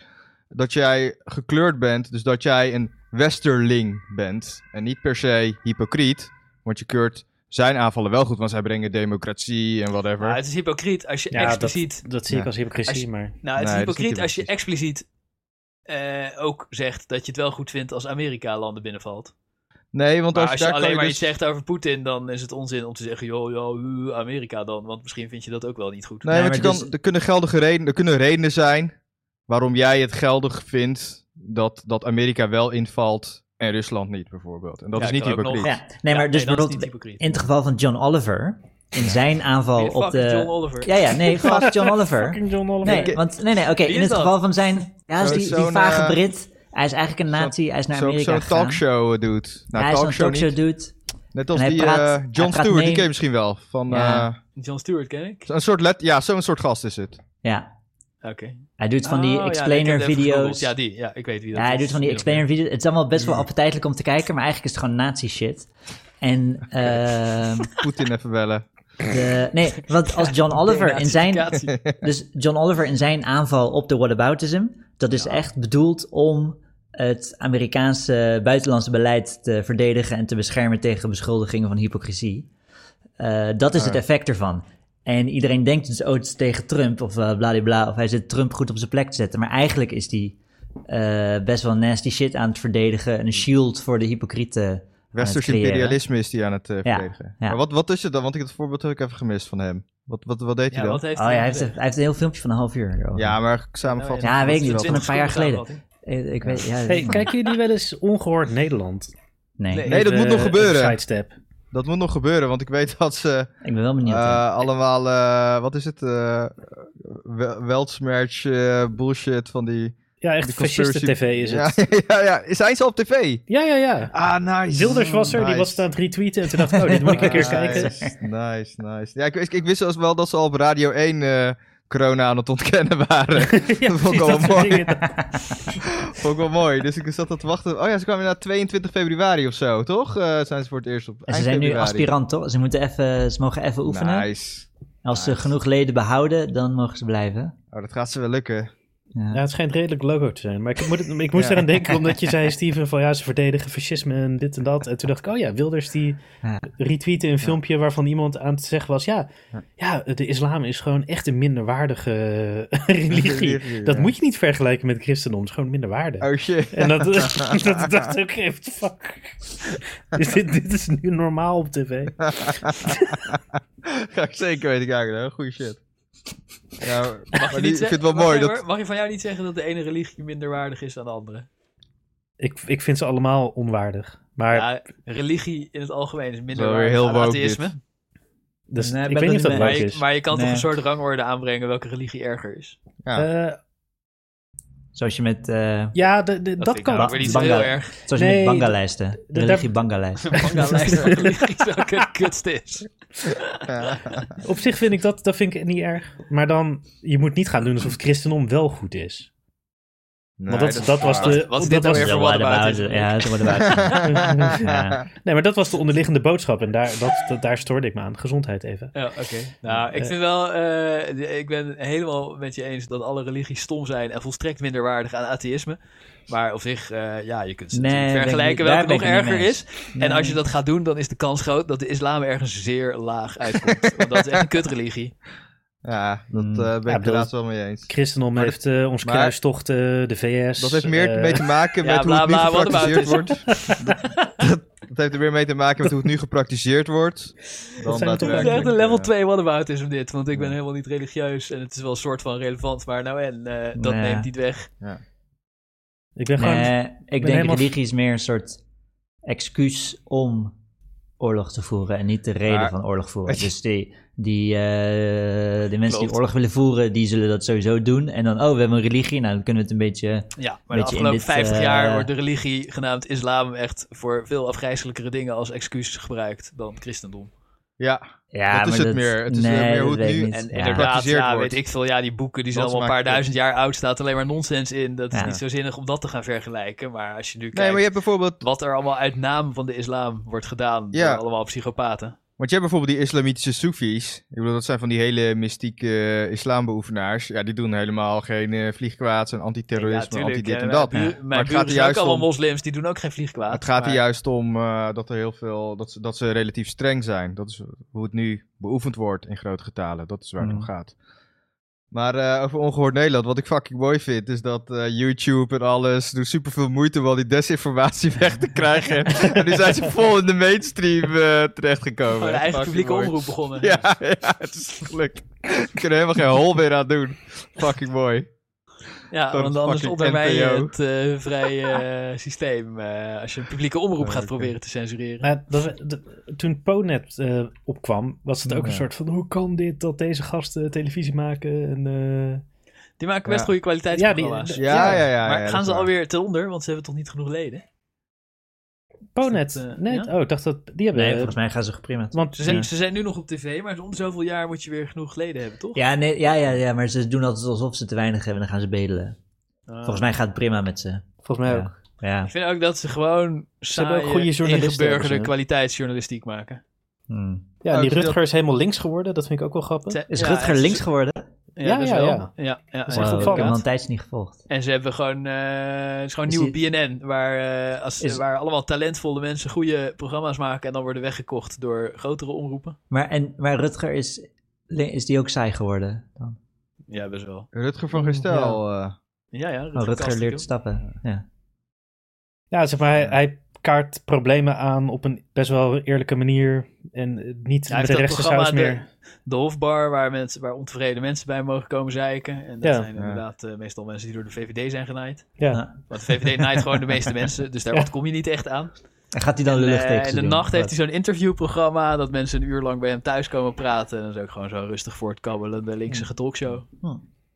S4: dat jij gekleurd bent, dus dat jij een westerling bent. En niet per se hypocriet, want je keurt zijn aanvallen wel goed, want zij brengen democratie en whatever.
S2: Maar het is hypocriet als je
S1: Ja,
S2: expliciet
S1: dat, dat zie ik
S4: Ja.
S1: als hypocrisie,
S2: Als je-
S1: maar...
S2: Nou, het
S4: Nee,
S2: is
S4: dat is niet
S2: hypocriet als je expliciet eh, ook zegt dat je het wel goed vindt als Amerika landen binnenvalt.
S4: Nee, want
S2: Maar
S4: als,
S2: als
S4: je
S2: je
S4: daar
S2: alleen
S4: kan je
S2: maar
S4: dus-
S2: iets zegt over Poetin, dan is het onzin om te zeggen, joh, joh, uh, Amerika dan. Want misschien vind je dat ook wel niet goed.
S4: Nee,
S3: Nee,
S4: want
S3: maar
S4: je kan,
S3: dus-
S4: er kunnen geldige redenen, er kunnen redenen zijn waarom jij het geldig vindt dat, dat Amerika wel invalt en Rusland niet, bijvoorbeeld. En dat
S2: Ja,
S4: is niet
S2: kan ook nog-
S4: hypocriet.
S3: ja. Nee, maar
S2: Ja, nee,
S3: dus
S2: dan is het
S3: bijvoorbeeld
S2: niet hypocriet.
S3: in het geval van John Oliver, in zijn aanval
S2: Nee,
S3: op
S2: fuck
S3: de...
S2: John Oliver.
S3: Ja, ja, nee, fuck John Oliver.
S1: Fucking John Oliver.
S3: Nee, want, nee, nee, oké.
S2: is
S3: In het
S2: dat?
S3: geval van zijn. Ja, is
S4: Zo-
S3: die, die
S4: zo'n,
S3: vage
S4: eh,
S3: Brit. Hij is eigenlijk een nazi. Hij is naar
S4: Zo- Zo'n
S3: Amerika. gegaan.
S4: talkshow eh, doet. Nou,
S3: Ja, hij is zo'n
S4: talkshow
S3: talkshow
S4: niet.
S3: dude.
S4: Net als
S3: En hij
S4: die
S3: praat-
S4: eh,
S3: hij
S4: John
S3: praat
S4: Stewart, die
S3: mee.
S4: ken je misschien wel. Van,
S3: Ja.
S4: eh,
S2: John Stewart ken ik.
S4: een soort let, ja, zo'n soort gast is het.
S3: Ja.
S2: Oké.
S3: Hij doet van
S2: Oh,
S3: die
S2: ja, nee, ik heb
S3: explainer
S2: het even gegoogeld.
S3: video's.
S2: Ja, die. Ja, ik weet wie dat
S3: Ja, hij
S2: is.
S3: doet van die explainer video's. Het is allemaal best wel appetijtelijk om te kijken, maar eigenlijk is het gewoon nazi shit. En, ehm,
S4: Poetin even bellen.
S3: de, nee, want als John Oliver in zijn,
S2: Denazificatie.
S3: Dus John Oliver in zijn aanval op de whataboutism, dat is echt bedoeld om het Amerikaanse buitenlandse beleid te verdedigen en te beschermen tegen beschuldigingen van hypocrisie. Eh, dat is het effect ervan. En iedereen denkt dus, oh, het is tegen Trump of eh, bladibla, of hij zit Trump goed op zijn plek te zetten. Maar eigenlijk is die eh, best wel nasty shit aan het verdedigen. Een shield voor de hypocrieten.
S4: Westers
S3: creëren.
S4: imperialisme is die aan het eh, verdedigen.
S3: ja.
S4: Maar wat, wat is het dan? Want ik het voorbeeld heb ik even gemist van hem. Wat, wat, wat deed hij
S2: Ja,
S4: dan?
S2: wat heeft
S3: Oh ja, hij heeft,
S2: gezegd? Oh,
S3: hij heeft een heel filmpje van een half uur. erover.
S4: Ja, maar samenvatten.
S3: Ja, weet ik niet.
S4: wat
S3: Van
S4: is
S3: een
S4: het
S3: paar
S4: dan?
S3: jaar geleden.
S2: samenvatting.
S3: Ik, ik weet, ja,
S1: Hey,
S3: man.
S1: kijken jullie wel eens ongehoord Nederland?
S3: Nee,
S2: Nee.
S4: Nee, dat
S1: Even
S4: moet nog
S1: een
S4: gebeuren.
S1: Sidestep.
S4: Dat moet nog gebeuren, want ik weet dat ze
S3: ik ben wel benieuwd.
S4: eh,
S3: hè.
S4: allemaal, eh, wat is het? eh wel- weltsmerch eh, bullshit van die...
S1: Ja, echt
S4: die
S1: fascisten
S4: conspiracy-
S1: tv is
S4: ja,
S1: het.
S4: Ja, ja, Zijn ze op tv?
S1: Ja, ja, ja.
S4: Ah, nice.
S1: Wilders was er, die
S4: Nice.
S1: was het aan het retweeten. En toen dacht ik, oh, dit moet ik een keer kijken.
S4: Nice, nice, nice. Ja, ik, ik, ik wist zelfs wel dat ze al op Radio 1 eh, corona aan het ontkennen waren.
S1: ja,
S4: Dat vond
S1: precies,
S4: ik wel
S1: dat soort
S4: mooi.
S1: dingen.
S4: Vond ik wel mooi. Dus ik zat dat te wachten. Oh ja, ze kwamen na 22 februari of zo, toch? Eh, zijn ze voor het eerst op
S3: en ze
S4: eind
S3: zijn nu
S4: februari.
S3: aspirant, toch? Ze, moeten even, ze mogen even oefenen.
S4: Nice.
S3: Als ze genoeg leden behouden, dan mogen ze blijven.
S4: Oh, dat gaat ze wel lukken.
S1: Ja, het schijnt redelijk logo te zijn. Maar ik, moet het, ik moest
S4: Ja.
S1: eraan denken, omdat je zei, Steven, van ja, ze verdedigen fascisme en dit en dat. En toen dacht ik, oh ja, Wilders die
S3: Ja.
S1: retweette een filmpje waarvan iemand aan het zeggen was, ja, ja, de islam is gewoon echt een minderwaardige religie.
S4: Religie,
S1: Dat
S4: ja.
S1: moet je niet vergelijken met christendom, het is gewoon minderwaardig.
S4: Oh shit.
S1: En dat, dat dacht ik ook even, fuck. Is dit, dit is nu normaal op tv.
S4: Ga ik zeker weten kijken, hè? Goeie shit. Ja, maar
S2: Mag je niet
S4: die- ik vind
S2: zeggen-
S4: het wel
S2: wacht
S4: mooi.
S2: even
S4: Dat,
S2: hoor. Mag je van jou niet zeggen dat de ene religie minder waardig is dan de andere?
S1: Ik, ik vind ze allemaal onwaardig. Maar
S2: Ja, religie in het algemeen is minder
S4: Wel weer
S2: waardig
S4: heel
S2: dan
S4: woke
S2: atheïsme.
S1: dat is-
S3: Nee,
S1: Dus ik
S3: ben
S1: weet niet of
S3: het
S1: dat
S3: niet
S1: leuk
S3: mee.
S2: Maar
S1: is.
S2: je, maar je kan toch
S3: Nee.
S2: een soort rangorde aanbrengen welke religie erger is?
S4: ja.
S1: Eh,
S3: Zoals je met, eh,
S1: ja, de- de-
S2: Dat,
S1: dat
S2: vind ik
S1: kan.
S2: nou ook weer niet zo heel
S3: Banga.
S2: erg.
S3: zoals je
S1: Nee,
S3: met bangalijsten.
S1: daar-
S3: Religie-bangalijst.
S2: Banga-lijst van religies welke het kutst is.
S1: Op zich vind ik dat, dat vind ik niet erg. Maar dan, je moet niet gaan doen alsof het christendom wel goed is.
S4: Nee,
S1: Want dat, dat was de...
S2: Wat
S1: dat
S2: is dit nou
S1: was-
S2: weer voor whataboutism?
S3: Ja, dat wordt about. Ja.
S1: Nee, maar dat was de onderliggende boodschap. En daar, dat, dat- daar stoorde ik me aan. Gezondheid even.
S2: Ja, oké. Nou, ik
S1: Eh.
S2: vind wel, eh, de- ik ben helemaal met je eens dat alle religies stom zijn en volstrekt minderwaardig aan atheïsme. Maar op zich, eh, ja, je kunt ze
S3: Nee,
S2: natuurlijk
S3: ben ik
S2: vergelijken
S3: niet-
S2: welke nog
S3: daar ben ik niet
S2: erger
S3: mee
S2: is. En als je dat gaat doen, dan is de kans groot dat de islam ergens zeer laag uitkomt. want dat is echt een kutreligie.
S4: Ja, dat eh,
S3: Mm.
S4: ben ik
S1: bedoel-
S4: inderdaad wel mee eens.
S1: Christendom
S4: Maar dat-
S1: heeft eh, ons
S4: maar-
S1: kruistochten, de VS...
S4: Dat heeft meer
S1: eh,
S4: mee te maken met
S2: ja, bla,
S4: hoe
S2: bla,
S4: het nu
S2: what
S4: gepraktiseerd
S2: about
S4: wordt. Dat, dat heeft er meer mee te maken met hoe het nu gepraktiseerd wordt. Dan
S1: zijn
S2: Het is echt
S4: daadwerkelijk,
S2: een level
S4: eh,
S2: 2 whataboutism dit, want ik ben
S4: Ja.
S2: helemaal niet religieus en het is wel een soort van relevant, maar nou en, eh, dat
S3: Nee.
S2: neemt niet weg.
S1: Ik ben gewoon...
S3: Nee, ik denk
S1: helemaal-
S3: religie is meer een soort excuus om oorlog te voeren en niet de reden
S4: Maar-
S3: van oorlog voeren. Dus die, die, eh, de mensen die
S2: Klopt.
S3: oorlog willen voeren, die zullen dat sowieso doen. En dan, oh, we hebben een religie, nou dan kunnen we het een beetje...
S2: Ja, maar de
S3: Beetje in
S2: afgelopen
S3: dit,
S2: 50
S3: eh,
S2: jaar wordt de religie genaamd islam echt voor veel afgrijzelijkere dingen als excuus gebruikt dan het christendom.
S4: Ja,
S3: Ja,
S4: Dat is
S3: maar
S4: het meer. Het is
S3: nee,
S4: meer hoe
S3: dat
S4: het
S3: weet ik
S4: nu-
S3: niet.
S2: En
S3: Ja.
S2: inderdaad,
S4: Gepraktiseerd
S2: ja,
S4: wordt.
S2: weet ik veel, ja, die boeken die zijn
S4: Dat
S2: allemaal een paar
S4: maakt het.
S2: duizend jaar oud, staat alleen maar nonsens in. Dat is
S3: Ja.
S2: niet zo zinnig om dat te gaan vergelijken, maar als je nu
S4: nee,
S2: kijkt
S4: maar je hebt bijvoorbeeld
S2: wat er allemaal uit naam van de islam wordt gedaan
S4: Ja.
S2: door allemaal psychopaten.
S4: Want je hebt bijvoorbeeld die islamitische Soefies. Ik bedoel, dat zijn van die hele mystieke eh, islambeoefenaars. Ja, die doen helemaal geen eh, vliegkwaad en
S2: Ja,
S4: antiterrorisme,
S2: tuurlijk.
S4: anti-dit
S2: Eh,
S4: en
S2: Mijn,
S4: dat.
S2: buur,
S3: Ja.
S2: mijn
S4: Maar het
S2: buren
S4: gaat er
S2: zijn ook
S4: juist
S2: allemaal
S4: om-
S2: moslims, die doen ook geen vliegkwaad.
S4: Het gaat er
S2: maar-
S4: juist om eh, dat er heel veel, dat, ze- dat ze relatief streng zijn. Dat is hoe het nu beoefend wordt in grote getalen. Dat is waar het
S3: Mm.
S2: Mhm.
S4: om gaat. Maar eh, over ongehoord Nederland, wat ik fucking mooi vind, is dat eh, YouTube en alles doen superveel moeite om al die desinformatie weg te krijgen. en nu zijn ze vol in de mainstream eh, terechtgekomen.
S2: Gewoon een
S4: Echt
S2: eigen
S4: fucking
S2: publieke
S4: mooi.
S2: omroep begonnen.
S4: Ja, ja, het is gelukt. We kunnen helemaal geen hol meer aan doen. Fucking mooi.
S2: Ja,
S4: Gewoon
S2: want
S4: het
S2: anders
S4: fucking
S2: ondermijn je
S4: NPO.
S2: het eh, vrije eh, systeem. eh, als je een publieke omroep gaat
S4: Oké.
S2: proberen te censureren.
S1: Maar dat, dat- toen Ponet eh, opkwam, was het ook een
S4: Ja.
S1: soort van... Hoe kan dit dat deze gasten televisie maken? En, eh,
S2: Die maken best
S4: Ja.
S2: goede
S1: ja,
S2: kwaliteitsprogramma's.
S1: die,
S4: Ja, ja, ja. ja,
S2: maar
S4: dat
S2: gaan
S4: is
S2: ze
S4: waar.
S2: alweer te onder? Want ze hebben toch niet genoeg leden?
S1: Ponet.
S2: dat, eh,
S1: nee,
S2: ja?
S1: oh, ik dacht dat... Die hebben...
S3: Nee, volgens mij gaan ze geprimaat.
S1: want
S2: Ze zijn,
S3: Ja.
S2: ze zijn nu nog op tv, maar om zoveel jaar moet je weer genoeg leden hebben, toch?
S3: Ja, nee, ja, ja, ja, maar ze doen altijd alsof ze te weinig hebben en dan gaan ze bedelen.
S2: Ah.
S3: Volgens mij gaat het prima met ze.
S1: volgens mij ook.
S3: Ja. Ja.
S2: Ik vind ook dat ze gewoon
S1: hebben ook
S2: saaie,
S1: goede journalisten, hebben
S2: ingeburgerde
S1: ze.
S2: kwaliteitsjournalistiek maken.
S3: Hm.
S1: Ja, en
S4: Oh,
S1: die
S4: dat-
S1: Rutger is helemaal links geworden. Dat vind ik ook wel grappig.
S2: Ze-
S3: Is
S2: ja,
S3: Rutger
S2: en ze-
S3: links geworden?
S1: Ja,
S2: Ja, best
S1: ja,
S2: wel.
S1: ja.
S2: ja. ja,
S1: is
S2: ja, Oh,
S1: echt
S3: Wow, ik
S1: opvallend.
S3: heb hem al
S2: inderdaad.
S3: een tijdje niet gevolgd.
S2: En ze hebben gewoon, eh, het is gewoon
S3: Is
S2: nieuwe BNN, waar, eh, als,
S3: Is-
S2: waar allemaal talentvolle mensen goede programma's maken en dan worden weggekocht door grotere omroepen.
S3: Maar, en, maar Rutger is, is die ook saai geworden dan?
S2: Ja, best wel.
S4: Rutger van Gestel. eh,
S2: Ja, ja.
S3: Oh, Rutger
S2: Kastrikum.
S3: leert stappen. Ja.
S1: Ja, zeg maar, hij, hij kaart problemen aan op een best wel eerlijke manier. En eh, niet
S2: Hij
S1: met
S2: heeft
S1: de
S2: dat
S1: rechte
S2: programma
S1: saus meer.
S2: De Hofbar, waar, mensen, waar ontevreden mensen bij mogen komen zeiken. En dat
S1: Ja.
S2: zijn inderdaad eh, meestal mensen die door de VVD zijn genaaid.
S1: Ja.
S3: Ja.
S2: Want de VVD naait gewoon de meeste mensen, dus daar
S1: Ja.
S2: ontkom je niet echt aan.
S3: En gaat hij dan lullig
S2: Eh,
S3: tegen
S2: in de nacht heeft hij zo'n interviewprogramma dat mensen een uur lang bij hem thuis komen praten. En dan is ook gewoon zo rustig voortkabbelende
S1: Hmm.
S2: linkse talkshow.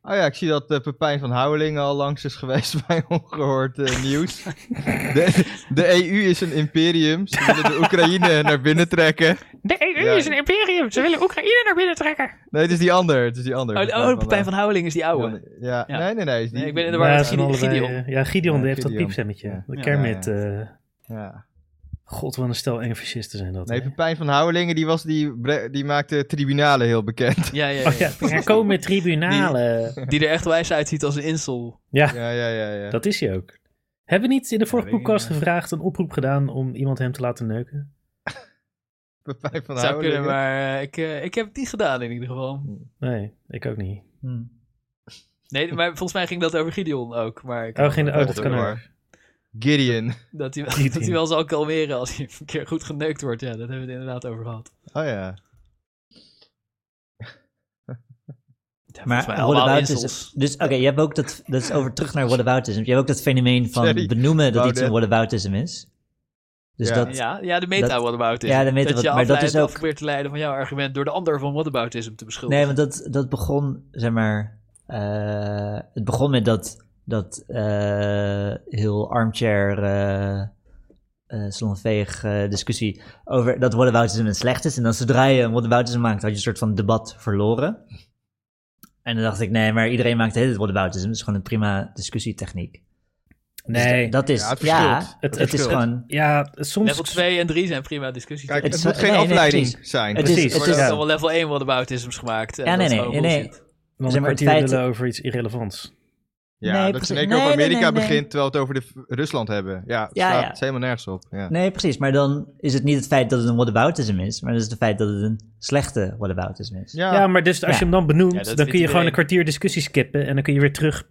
S4: Oh ja, ik zie dat eh, Pepijn van Houweling al langs is geweest bij ongehoord eh, nieuws. De, de EU is een imperium. Ze willen de Oekraïne naar binnen trekken.
S6: De EU
S4: Ja.
S6: is een imperium. Ze willen Oekraïne naar binnen trekken.
S4: Nee, het is die ander. Het is die ander.
S2: Oh, oh Pepijn van Houweling is die ouwe.
S4: Ja.
S2: Ja.
S4: nee, nee, nee. is die-
S2: Nee, ik ben in de war
S1: Ja,
S2: met
S1: zijn
S2: Gide-
S1: allebei,
S2: Gideon.
S1: eh, ja, Gideon
S4: Ja,
S1: die heeft dat
S4: Gideon.
S1: piepstemmetje.
S4: Ja.
S1: De
S2: Ja,
S1: Kermit.
S4: ja,
S1: eh,
S4: Ja.
S1: God, wat een stel enge fascisten zijn dat.
S4: Nee,
S1: hè?
S4: Pepijn van Houwelingen die was die, bre- die maakte tribunalen heel bekend.
S2: Ja, ja, ja.
S1: Oh ja, er komen tribunalen.
S2: Die er echt wijs uitziet als een insel.
S1: Ja,
S4: Ja, ja, ja. ja.
S1: dat is hij ook. Hebben we niet in de vorige
S4: weet ik
S1: podcast
S4: niet.
S1: gevraagd, een oproep gedaan om iemand hem te laten neuken?
S4: Pepijn van
S2: Zou kunnen,
S4: Houwelingen.
S2: maar eh, ik, eh, ik heb het niet gedaan in ieder geval.
S1: Nee, ik ook niet.
S3: hmm.
S2: Nee, maar volgens mij ging dat over Gideon ook. Maar ik
S1: Oh, geen, oh dat
S4: Doe
S1: kan
S4: maar.
S1: ook.
S4: Gideon. Oh
S2: Dat hij, wel,
S1: Gideon.
S2: dat hij wel zal kalmeren als hij een keer goed geneukt wordt. Ja, dat hebben we het inderdaad over gehad.
S4: Oh ja.
S2: Ja, volgens
S3: Maar
S2: mij allemaal
S3: whataboutism.
S2: insels.
S3: Dus oké, je hebt ook dat. Dat is over terug naar whataboutism. Je hebt ook dat fenomeen van
S4: Sorry,
S3: benoemen dat
S4: wou
S3: iets een
S4: net-
S3: whataboutism is. Dus
S4: Ja.
S3: dat.
S2: Ja, ja, de meta
S3: dat-
S2: whataboutism.
S3: ja, de meta-
S2: dat je
S3: maar dat is
S2: afleidt-
S3: ook-
S2: probeert te leiden van jouw argument door de ander van whataboutism te beschuldigen.
S3: Nee, want dat, dat begon, zeg maar. eh, het begon met dat. Dat eh, heel armchair. eh eh, salonveeg eh, discussie over dat whataboutism het slecht is. En dan zodra je een whataboutism maakt, had je een soort van debat verloren. En dan dacht ik, nee, maar iedereen maakt de hele tijd whataboutism. Het is gewoon een prima discussietechniek. Dus
S1: Nee.
S3: d- dat is,
S4: Ja,
S3: ja,
S4: het
S3: het,
S4: verschilt.
S3: het,
S1: Het- het-
S3: is
S1: het-
S3: gewoon...
S1: Ja, soms...
S2: Level 2 en 3 zijn prima discussies.
S4: Kijk,
S3: Het
S4: het,
S3: is-
S4: moet geen
S3: nee, nee,
S4: afleiding
S3: precies.
S4: zijn.
S3: Het is-
S1: Precies,
S2: Er
S3: het
S2: worden
S3: is,
S1: ja.
S2: allemaal level 1 whataboutisms gemaakt. en
S3: Ja, nee,
S2: dat is
S3: nee,
S2: gewoon
S3: nee, nee.
S2: bullshit.
S1: Dan
S3: zeg
S1: een
S3: maar, het
S1: kwartier
S3: feit-
S1: lullen over iets irrelevants.
S4: Ja,
S3: Nee,
S4: dat
S3: precies.
S4: ze in één keer
S3: Nee,
S4: over
S3: nee,
S4: Amerika
S3: nee, nee.
S4: begint, terwijl we het over de v- Rusland hebben. Ja, het
S3: Ja,
S4: slaat
S3: ja.
S4: het is helemaal nergens op. Ja.
S3: Nee, precies. Maar dan is het niet het feit dat het een whataboutism is, maar het is het feit dat het een slechte whataboutism is.
S4: Ja,
S1: Ja, maar dus als
S3: Ja.
S1: je hem dan
S2: Ja,
S1: benoemt,
S2: dat
S1: dan kun je
S2: vindt
S1: gewoon
S2: iedereen.
S1: een kwartier discussie skippen en dan kun je weer terug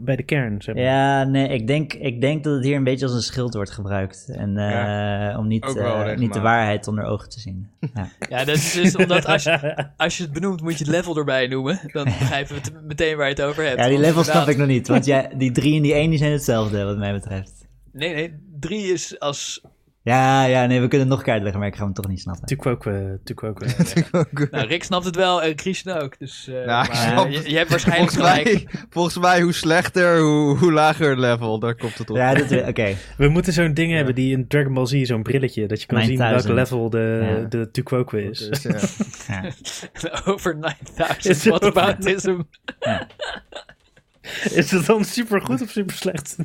S1: bij de kern. Zeg maar.
S3: Ja, nee, ik denk, ik denk dat het hier een beetje als een schild wordt gebruikt. En eh, om niet,
S4: ook wel
S3: eh, niet de
S4: regelmatig.
S3: waarheid onder ogen te zien. Ja.
S2: Ja, dat is dus omdat als je, als je het benoemt, moet je het level erbij noemen. Dan begrijpen we het meteen waar je het over hebt.
S3: ja, die
S2: Want
S3: levels snap
S2: inderdaad-
S3: ik nog niet, want jij, die drie en die één die zijn hetzelfde, wat mij betreft.
S2: Nee, nee, 3 is als...
S3: Ja, ja, nee, we kunnen het nog kaart leggen, maar ik ga hem toch niet snappen.
S1: Tukwoke, tukwoke.
S2: Nou, Rick snapt het wel en Christian ook. Dus eh,
S4: Nou, ik
S2: maar,
S3: snap
S2: eh, je, je hebt waarschijnlijk
S4: Volgens
S2: gelijk.
S4: mij, volgens mij hoe slechter, hoe, hoe lager het level. Daar komt het op.
S3: Ja, dat, oké.
S1: We moeten zo'n ding hebben die in Dragon Ball Z, zo'n brilletje, dat je kan zien welk
S3: 9000.
S1: level de,
S3: Ja.
S1: de Tukwoke is.
S4: Dus, ja.
S3: Ja.
S2: Over
S1: Is
S2: 9000
S1: het over-
S2: whataboutism.
S1: Is dat dan super goed of super slecht?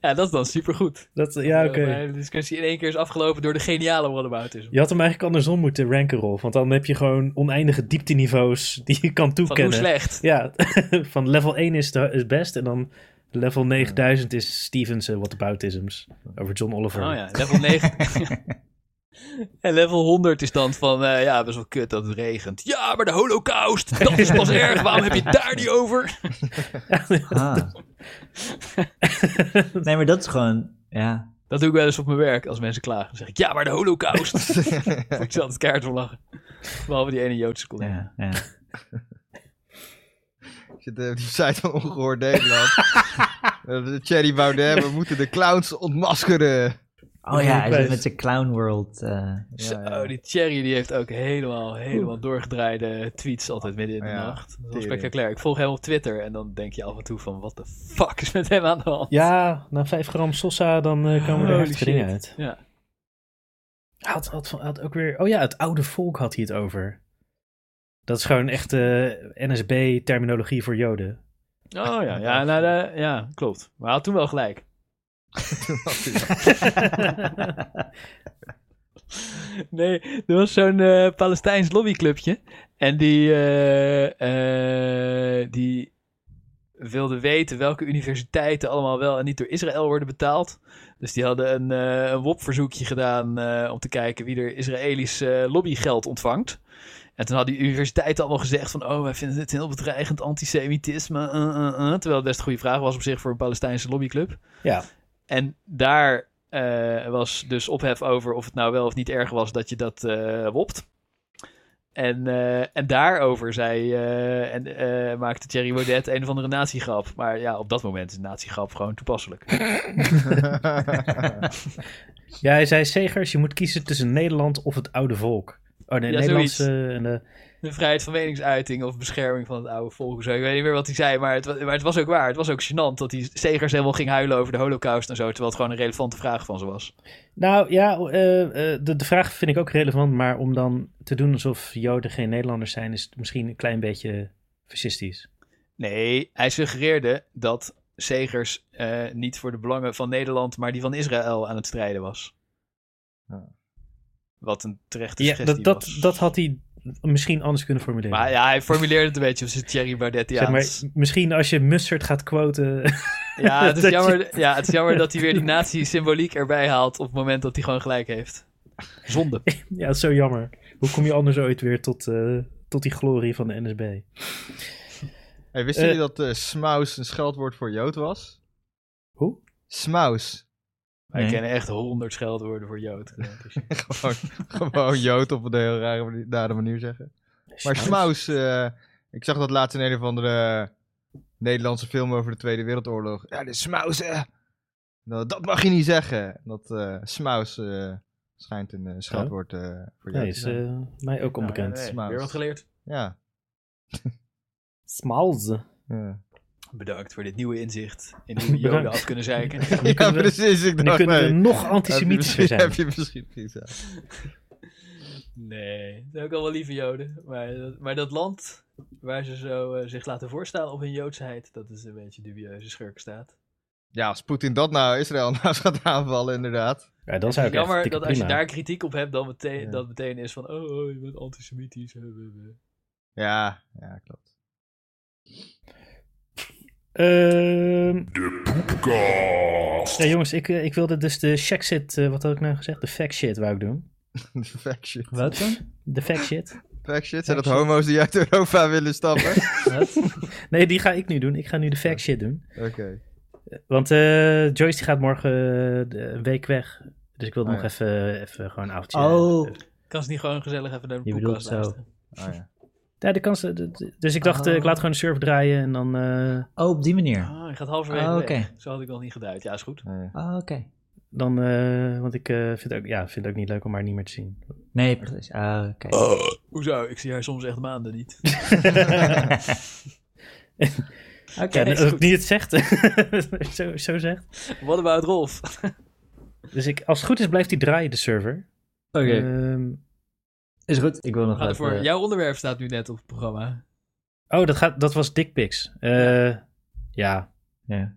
S2: Ja, dat is dan supergoed.
S1: Dat, ja, oké.
S2: Eh, De discussie in één keer is afgelopen door de geniale whataboutism.
S1: Je had hem eigenlijk andersom moeten ranken, Rolf. Want dan heb je gewoon oneindige diepteniveaus die je kan
S2: Van hoe
S1: toekennen.
S2: slecht.
S1: ja, van level 1 is de- is best en dan level 9000 is Stevens' uh, Whataboutisms over John Oliver.
S2: Oh ja, level 9. en level 100 is dan van, eh, ja, best wel kut dat het regent. Ja, maar de holocaust, dat is pas erg. Waarom heb je het daar niet over?
S3: Ah. Nee, maar dat is gewoon, ja.
S2: Dat doe ik wel eens op mijn werk als mensen klagen. Dan zeg ik, ja, maar de holocaust. Moet ik ze altijd kaart om lachen. Behalve die ene Joodse collega.
S3: ja, ja.
S4: Ik zit eh, op die site van Ongehoord Nederland. Eh, Thierry Baudet, we moeten de clowns ontmaskeren.
S3: Oh ja, hij
S1: Kwijt.
S3: zit met zijn Clown World. eh,
S2: Zo, die Thierry die heeft ook helemaal, helemaal doorgedraaide tweets altijd midden in de
S4: Ja,
S2: nacht. Dat is wel
S4: tering.
S2: spectaculair. Ik volg hem op Twitter en dan denk je af en toe van, wat de fuck is met hem aan de hand?
S1: Ja, na 5 gram Sosa, dan eh, komen er
S2: Holy
S1: heftige dingen
S2: shit.
S1: uit.
S2: Ja.
S1: Hij Had, had, had ook weer. Oh ja, het oude volk had hij het over. Dat is gewoon echt eh, NSB-terminologie voor Joden.
S2: Oh ja, ja, nou, eh, ja, klopt. Maar hij had toen wel gelijk. Nee, er was zo'n eh, Palestijns lobbyclubje. En die, eh, eh, die wilden weten welke universiteiten allemaal wel en niet door Israël worden betaald. Dus die hadden een, eh, een WOP-verzoekje gedaan eh, om te kijken wie er Israëlisch eh, lobbygeld ontvangt. En toen hadden die universiteiten allemaal gezegd van... oh, wij vinden dit heel bedreigend, antisemitisme, eh, eh, eh. Terwijl het best een goede vraag was op zich voor een Palestijnse lobbyclub.
S1: Ja.
S2: En daar eh, was dus ophef over of het nou wel of niet erg was dat je dat eh, wopt. En, eh, en daarover zei, eh, en, eh, maakte Thierry Baudet een of andere natiegrap. Maar ja, op dat moment is een natiegrap gewoon toepasselijk.
S1: Ja, hij zei Segers, je moet kiezen tussen Nederland of het oude volk. Oh nee,
S2: Ja,
S1: Nederlandse en de...
S2: De vrijheid van meningsuiting of bescherming van het oude volk. of Zo. Ik weet niet meer wat hij zei, maar het, wa- maar het was ook waar. Het was ook gênant dat hij Segers helemaal ging huilen over de holocaust en zo. Terwijl het gewoon een relevante vraag van ze was.
S1: Nou ja, eh, eh, de, de vraag vind ik ook relevant, maar om dan te doen alsof Joden geen Nederlanders zijn, is het misschien een klein beetje fascistisch.
S2: Nee, hij suggereerde dat Segers eh, niet voor de belangen van Nederland, maar die van Israël aan het strijden was.
S4: Ja.
S2: Wat een terechte
S1: Ja,
S2: suggestie
S1: dat, dat,
S2: was.
S1: dat had hij misschien anders kunnen formuleren.
S2: Maar ja, hij formuleerde het een beetje als Thierry Baudet. Ja,
S1: zeg maar,
S2: het-
S1: misschien als je Mustard gaat quoten.
S2: ja, het is
S1: dat
S2: jammer, ja, het is jammer dat hij weer die nazi-symboliek erbij haalt op het moment dat hij gewoon gelijk heeft. Zonde.
S1: ja, dat is zo jammer. Hoe kom je anders ooit weer tot, eh, tot die glorie van de NSB?
S4: Hey, wisten jullie dat eh, smaus een scheldwoord voor Jood was?
S1: Hoe?
S4: Smaus.
S2: Wij
S3: Nee.
S2: kennen echt honderd scheldwoorden voor Jood.
S4: Gewoon, gewoon Jood op een heel rare manier, nare manier zeggen. Maar smaus, eh, ik zag dat laatst in een of andere eh, Nederlandse film over de Tweede Wereldoorlog. Ja, de smausen. Nou, dat mag je niet zeggen. Dat eh smaus eh, schijnt een eh, scheldwoord eh, voor
S1: Nee,
S4: Jood te
S1: is
S4: zijn.
S1: eh, mij
S2: Nou,
S1: ook onbekend.
S4: nee.
S2: Weer wat geleerd.
S4: Ja,
S1: Smalze.
S4: ja.
S2: Bedankt voor dit nieuwe inzicht in hoe we Joden
S1: Bedankt.
S2: af kunnen zeiken.
S1: Nu
S4: ja
S1: kunnen we,
S4: precies. Ik
S1: nu
S4: dacht,
S1: kunnen we
S4: nee.
S1: nog
S4: Heb je
S1: antisemitischer
S4: misschien-
S1: zijn.
S4: Heb je misschien niet, ja.
S2: Nee, dat zijn ook allemaal lieve Joden. Maar dat, maar dat land waar ze zo, eh, zich laten voorstaan op hun Joodsheid, dat is een beetje dubieuze schurkenstaat.
S4: Ja, als Poetin dat nou Israël nou gaat aanvallen, inderdaad.
S1: Ja, dan zou ik echt
S2: Jammer
S1: dikke
S2: dat als je
S1: prima.
S2: daar kritiek op hebt, dan meteen,
S4: Ja.
S2: dat meteen is van, oh, oh, je bent antisemitisch. eh, eh, eh.
S4: Ja, ja klopt.
S1: Ehm. Ja, jongens, ik, eh, ik wilde dus de check shit, eh, wat had ik nou gezegd? De fact shit wou ik doen.
S4: Fact shit.
S3: Wat dan?
S1: De fact shit.
S4: Fact shit? Zijn
S1: Fact
S4: dat
S1: shit.
S4: homo's die uit Europa willen stappen?
S1: Nee, die ga ik nu doen. Ik ga nu de fact shit doen.
S4: Oké.
S1: Want eh, Joyce die gaat morgen eh, de- een week weg. Dus ik wilde
S4: Oh,
S1: nog
S4: ja.
S1: even, even gewoon een avondje. eh,
S3: Oh,
S2: Kan ze niet gewoon gezellig even naar de
S3: Je bedoelt
S2: podcast
S3: zo.
S2: luisteren?
S4: Oh, ja.
S1: Ja, de kans, de- de- dus ik dacht, eh, ik laat gewoon de server draaien en dan... eh,
S3: oh, op die manier.
S2: Ah, je gaat halverwege
S3: Ah,
S2: weg.
S3: oké.
S2: Zo had ik nog niet geduid. Ja, is goed.
S4: Oh, ja.
S3: Oh, oké.
S1: dan eh, want ik eh, vind, ook, ja, vind het ook niet leuk om haar niet meer te zien.
S3: Nee, precies. Ah, oké.
S2: Eh, Hoezo? Ik zie haar soms echt maanden niet.
S3: Oké.
S1: Ja,
S2: is
S1: dat ik
S2: goed.
S1: niet het zegt. zo, zo zegt.
S2: What about Rolf?
S1: Dus ik, als het goed is blijft die draaien, de server. Ehm,
S3: Is goed. Ik wil nog
S2: Ga
S3: even...
S2: ervoor. Jouw onderwerp staat nu net op het programma.
S1: Oh, dat, gaat, dat was dickpics. Eh, ja. ja.
S3: Ja.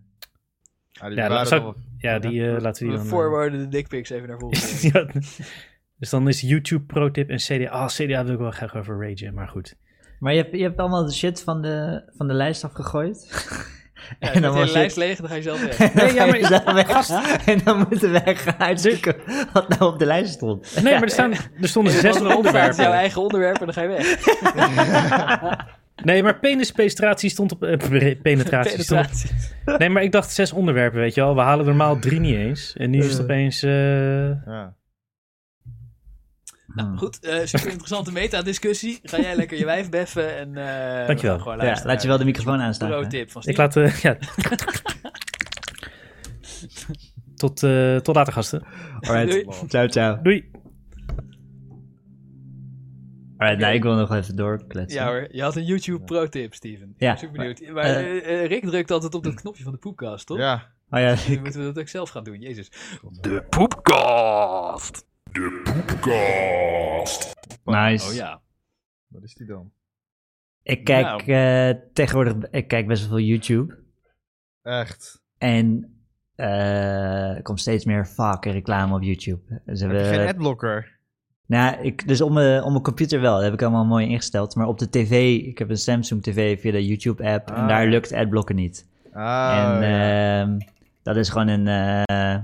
S4: Ah,
S1: Ja,
S4: die waren
S1: dat zou-
S4: er nog.
S1: die eh, laten we
S2: We
S1: die dan... eh,
S2: forwarden de dickpics even naar voren.
S1: ja. Dus dan is YouTube pro tip en CDA. Ah, CDA wil ik wel graag over ragen, maar goed.
S3: Maar je hebt, je hebt allemaal de shit van de, van de lijst afgegooid.
S2: Ja, en dan de
S3: was
S2: hele
S3: je-
S2: lijst leeg, dan ga je zelf weg.
S3: En dan
S1: Nee, ja,
S3: ga
S1: maar-
S3: je zelf weg. En dan moeten wij gaan uitzoeken wat nou op de lijst stond.
S1: Nee, maar er, staan, er stonden
S2: Als
S1: zes
S2: er opgaat, is jouw
S1: onderwerpen.
S2: eigen onderwerp en dan ga je weg.
S1: Nee, maar penispenetratie stond op... eh, penetratie, stond
S2: Penetratie.
S1: op... Nee, maar ik dacht zes onderwerpen, weet je wel. We halen er normaal drie niet eens. En nu is het
S3: Eh.
S1: opeens... eh,
S4: Ja.
S3: Hmm.
S2: Goed, eh, super interessante meta-discussie. Ga jij lekker je wijf beffen en... eh,
S1: Dankjewel.
S2: we gaan gewoon
S3: Ja,
S2: luisteren
S3: laat je wel de microfoon aanstaan.
S2: naar
S3: hè.
S2: de tip van
S1: ik
S2: Steve.
S1: laat... eh, ja. tot, eh, tot later, gasten.
S3: Alright, ciao, ciao.
S1: Doei.
S3: Alright, nou, ik wil nog even doorkletsen.
S2: Ja hoor, je had een YouTube pro-tip, Steven. Ik
S3: Ja.
S2: ben super benieuwd. Maar
S3: Eh,
S2: eh, eh, Rick drukt altijd op dat knopje van de poepkast, toch?
S4: ja.
S3: Oh ja,
S2: Nu
S3: ik-
S2: moeten we dat ook zelf gaan doen, jezus.
S3: nice.
S2: Oh ja.
S4: Wat is die dan?
S3: Ik
S2: Nou.
S3: kijk eh, tegenwoordig ik kijk best wel veel YouTube.
S4: Echt.
S3: En eh, er komt steeds meer fucking reclame op YouTube. Ze
S4: Heb je geen
S3: hebben,
S4: adblocker?
S3: Nou, ik, dus op mijn, op mijn computer wel, dat heb ik allemaal mooi ingesteld. Maar op de tv, ik heb een Samsung TV via de YouTube-app. En
S4: Ah.
S3: daar lukt adblocken niet.
S4: Ah,
S3: en
S4: ja.
S3: ehm, dat is gewoon een, eh,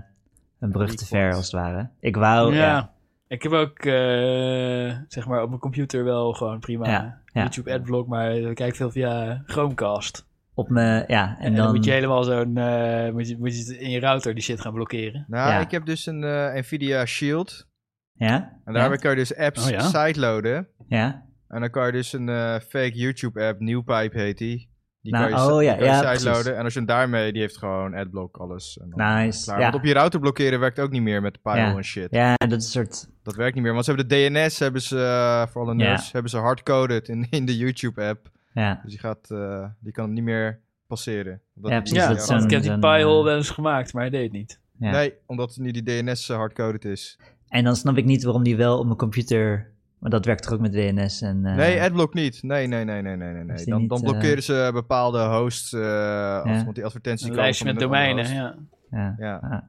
S3: een brug te ver,
S4: Default.
S3: als het ware. Ik wou...
S2: ja.
S3: Oh, Ja.
S2: Ik heb ook, eh, zeg maar, op mijn computer wel gewoon prima
S3: Ja, ja.
S2: YouTube adblock, maar ik kijk veel via Chromecast.
S3: Op mijn... Ja, en,
S2: En, dan,
S3: dan...
S2: moet je helemaal zo'n, eh, moet, je, moet je het in je router die shit gaan blokkeren.
S4: nou,
S3: ja.
S4: ik heb dus een eh, Nvidia Shield.
S3: Ja?
S4: En daarmee
S3: ja?
S4: kan je dus apps
S2: Oh, ja?
S4: sideloaden.
S3: Ja?
S4: En dan kan je dus een eh, fake YouTube-app, Newpipe heet die. Die
S3: Nou,
S4: kan je, si-
S3: oh ja,
S4: die kan je
S3: ja,
S4: sideloaden.
S3: precies.
S4: En als je hem daarmee, die heeft gewoon adblock alles. En dan
S3: Nice.
S4: klaar.
S3: Ja.
S4: Want op je router blokkeren werkt ook niet meer met Pyro
S3: Ja.
S4: en shit.
S3: ja, dat is een soort...
S4: Dat werkt niet meer. Want ze hebben de DNS, hebben ze, eh, voor alle
S3: Ja.
S4: nerds, hebben ze hardcoded in, in de YouTube-app.
S3: Ja.
S4: Dus die, gaat, eh, die kan hem niet meer passeren. Omdat
S3: Ja,
S4: het
S3: precies,
S4: niet
S2: ja,
S4: jouw-
S3: dat
S2: want
S3: zo'n-
S2: ik heb die
S3: zo'n,
S2: pile
S3: eh, Dus
S2: wel eens gemaakt, maar hij deed het niet.
S3: ja.
S4: Nee, omdat nu die DNS eh, hardcoded is.
S3: En dan snap ik niet waarom die wel op mijn computer... Maar dat werkt toch ook met DNS en... eh,
S4: Nee, Adblock niet. Nee, nee, nee, nee, nee, nee. nee.
S3: Is die
S4: Dan,
S3: niet,
S4: dan
S3: eh,
S4: blokkeren ze bepaalde hosts. eh, als- Want die advertenties
S2: Een
S4: komen
S2: lijstje
S4: van
S2: met
S4: een andere
S2: domeinen,
S4: host.
S2: ja.
S3: ja.
S4: Ja.
S3: Ah.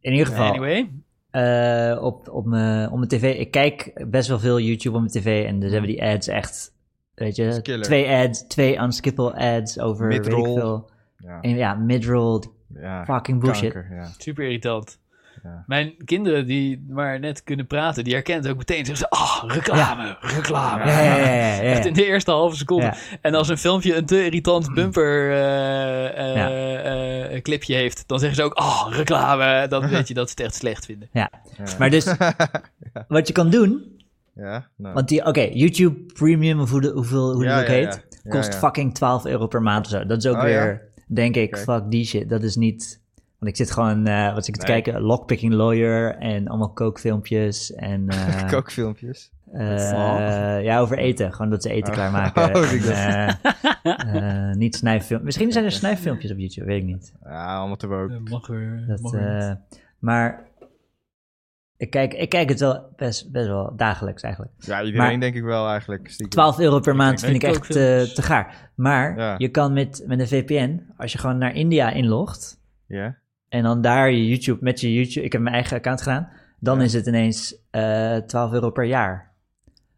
S3: In ieder geval...
S2: Anyway,
S3: Eh, op, op, mijn, op mijn tv. Ik kijk best wel veel YouTube op mijn tv. En dus hebben die ads echt. Weet
S4: Dat
S3: je,
S4: is killer.
S3: twee ads, twee unskippable ads over weet ik
S4: Midroll.
S3: veel.
S4: Ja.
S3: En ja, midroll, die
S4: Ja.
S3: fucking bullshit.
S4: kanker, ja.
S2: super irritant.
S4: Ja.
S2: Mijn kinderen die maar net kunnen praten, die herkent ook meteen. Zeggen ze, ah, reclame, reclame.
S3: Ja, ja, ja, ja, ja.
S2: Echt in de eerste halve seconde.
S3: Ja. Mm.
S2: En als een filmpje een te irritant bumper eh, eh,
S3: Ja.
S2: eh, eh, clipje heeft, dan zeggen ze ook, oh, reclame. Dan weet je dat ze het echt slecht vinden.
S4: Ja.
S3: Maar dus, wat je kan doen.
S4: ja, nou.
S3: Want die, oké, YouTube Premium, of hoe, de, hoeveel, hoe
S4: Ja,
S3: dat ook
S4: ja, ja.
S3: heet,
S4: Ja,
S3: kost
S4: ja.
S3: fucking 12 euro per maand of zo. Dat is ook
S4: Oh,
S3: weer, denk ik,
S4: Oké.
S3: fuck die shit. Dat is niet. Want ik zit gewoon, eh, wat zit ik
S4: Nee.
S3: te kijken? Lockpicking Lawyer en allemaal kookfilmpjes en. eh,
S4: Kookfilmpjes.
S3: Eh,
S2: Fuck.
S3: ja, over eten. Gewoon dat ze eten
S4: Oh.
S3: klaarmaken.
S4: Oh, ik
S3: En, eh, eh, niet snijfilm. Misschien zijn er snijfilmpjes op YouTube, weet ik niet.
S4: Ja, allemaal te woke.
S2: Dat mag weer.
S3: Dat,
S2: mag weer niet.
S3: eh, maar ik kijk, ik kijk het wel best, best wel dagelijks eigenlijk.
S4: Ja, iedereen
S3: maar-
S4: denk ik wel eigenlijk. stiekem.
S3: 12 euro per maand
S2: kijk
S3: vind ik
S2: ook
S3: echt eh,
S2: filmpjes.
S3: te gaar. Maar
S4: Ja.
S3: je kan met, met een VPN, als je gewoon naar India inlogt
S4: Ja?
S3: en dan daar je YouTube met je YouTube, ik heb mijn eigen account gedaan, dan is het ineens eh 12 euro per jaar.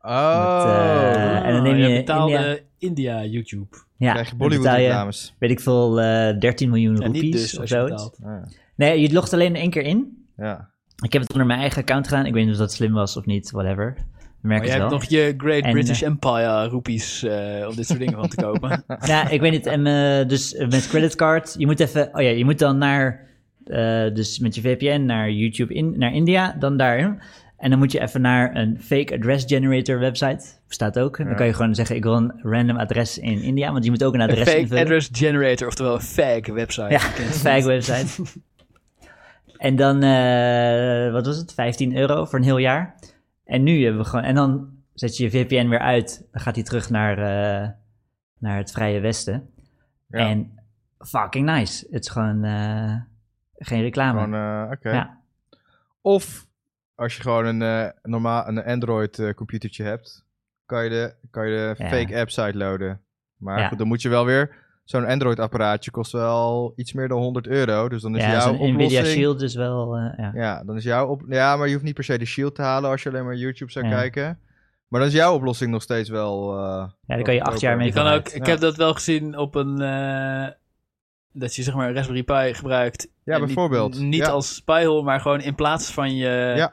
S4: Oh.
S3: eh, en dan neem
S2: Ah,
S3: je
S2: betaalde
S3: India-
S2: India, YouTube.
S3: Ja,
S4: krijg je
S3: dan betaal je-
S4: Bollywood-reclames.
S3: weet ik veel, eh 13 miljoen
S2: En
S3: roepies
S2: niet dus
S3: of
S2: als je
S3: zoiets.
S2: betaalt.
S4: Ja.
S3: Nee, je logt alleen één keer in.
S4: ja.
S3: Ik heb het onder mijn eigen account gedaan. Ik weet niet of dat slim was of niet, whatever. Ik Merk
S2: Maar
S3: het
S2: jij hebt
S3: wel.
S2: nog je Great
S3: En, eh,
S2: British Empire roepies eh, om dit soort dingen van te kopen.
S3: Ja, ik weet niet. En, eh, dus eh, met creditcard, je moet even... Oh ja, je moet dan naar... eh, dus met je VPN naar YouTube, in, naar India, dan daarin. En dan moet je even naar een fake address generator website. Bestaat ook. Dan kan je gewoon zeggen, ik wil een random adres in India. Want je moet ook een
S2: Een
S3: adres
S2: fake
S3: invullen.
S2: address generator, oftewel een fake website.
S3: Ja, fake website. en dan, eh, wat was het? 15 euro voor een heel jaar. En nu hebben we gewoon. En dan zet je je VPN weer uit. Dan gaat hij terug naar, eh, naar het Vrije Westen.
S4: Ja.
S3: En fucking nice. Het is gewoon eh, geen reclame.
S4: Gewoon, eh, oké.
S3: Ja.
S4: Of als je gewoon een, eh, normaal, een Android eh, computertje hebt, kan je de, kan je de
S3: Ja.
S4: fake app sideloaden. Maar
S3: Ja.
S4: goed, dan moet je wel weer... Zo'n Android apparaatje kost wel iets meer dan 100 euro. Dus dan is
S3: ja,
S4: jouw
S3: zo'n Nvidia
S4: oplossing...
S3: Shield is wel. eh, ja.
S4: Ja, dan is jouw op... ja, maar je hoeft niet per se de shield te halen als je alleen maar YouTube zou
S3: Ja.
S4: kijken. Maar dan is jouw oplossing nog steeds wel. eh,
S3: ja, daar kan je acht jaar mee
S2: Je kan ook,
S3: vooruit.
S2: ik
S4: Ja.
S2: heb dat wel gezien op een. eh, dat je zeg maar een Raspberry Pi gebruikt.
S4: Ja,
S2: En niet-
S4: bijvoorbeeld.
S2: Niet,
S4: Ja.
S2: als spyhole, maar gewoon in plaats van je
S4: Ja,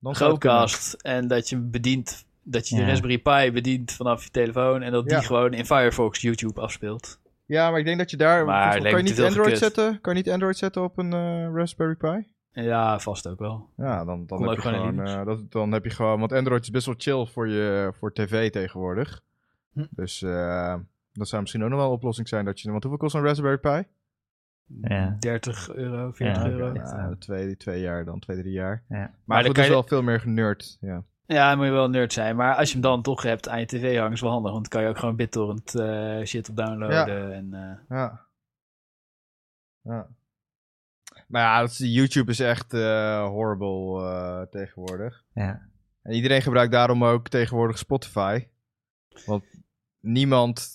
S4: dan zou het
S2: Chromecast. En dat je hem bedient. Dat je de
S3: Ja.
S2: Raspberry Pi bedient vanaf je telefoon. En dat
S4: Ja.
S2: die gewoon in Firefox YouTube afspeelt.
S4: kunnen. Ja, maar ik denk dat je daar.
S2: Maar
S4: volgens mij
S2: lijkt
S4: kan
S2: me
S4: je
S2: te
S4: niet
S2: veel
S4: Android
S2: gekut.
S4: zetten? Kan je niet Android zetten op een eh, Raspberry Pi?
S2: En Ja, vast ook wel.
S4: Ja, dan, dan,
S2: Kom
S4: heb
S2: ook
S4: je
S2: gewoon in
S4: gewoon,
S2: Linux.
S4: eh, dat, dan heb je gewoon. Want Android is best wel chill voor, je, voor tv tegenwoordig.
S2: Hm.
S4: Dus eh, dat zou misschien ook nog wel een oplossing zijn. Dat je, want hoeveel kost een Raspberry Pi?
S3: Ja.
S2: 30 euro, 40
S3: Ja,
S2: euro.
S3: oké.
S4: Nou, twee, twee jaar dan, twee, drie jaar.
S3: Ja.
S4: Maar,
S2: Maar dan kan
S4: goed, dat is
S2: je-
S4: wel veel meer generd. Ja.
S2: Ja, dan moet je wel een nerd zijn. Maar als je hem dan toch hebt aan je tv hangen, is wel handig. Want dan kan je ook gewoon BitTorrent eh, shit op downloaden. En, eh,
S4: Ja. ja. Maar ja, dat is- YouTube is echt eh, horrible eh, tegenwoordig.
S3: Ja.
S4: En iedereen gebruikt daarom ook tegenwoordig Spotify. Want niemand,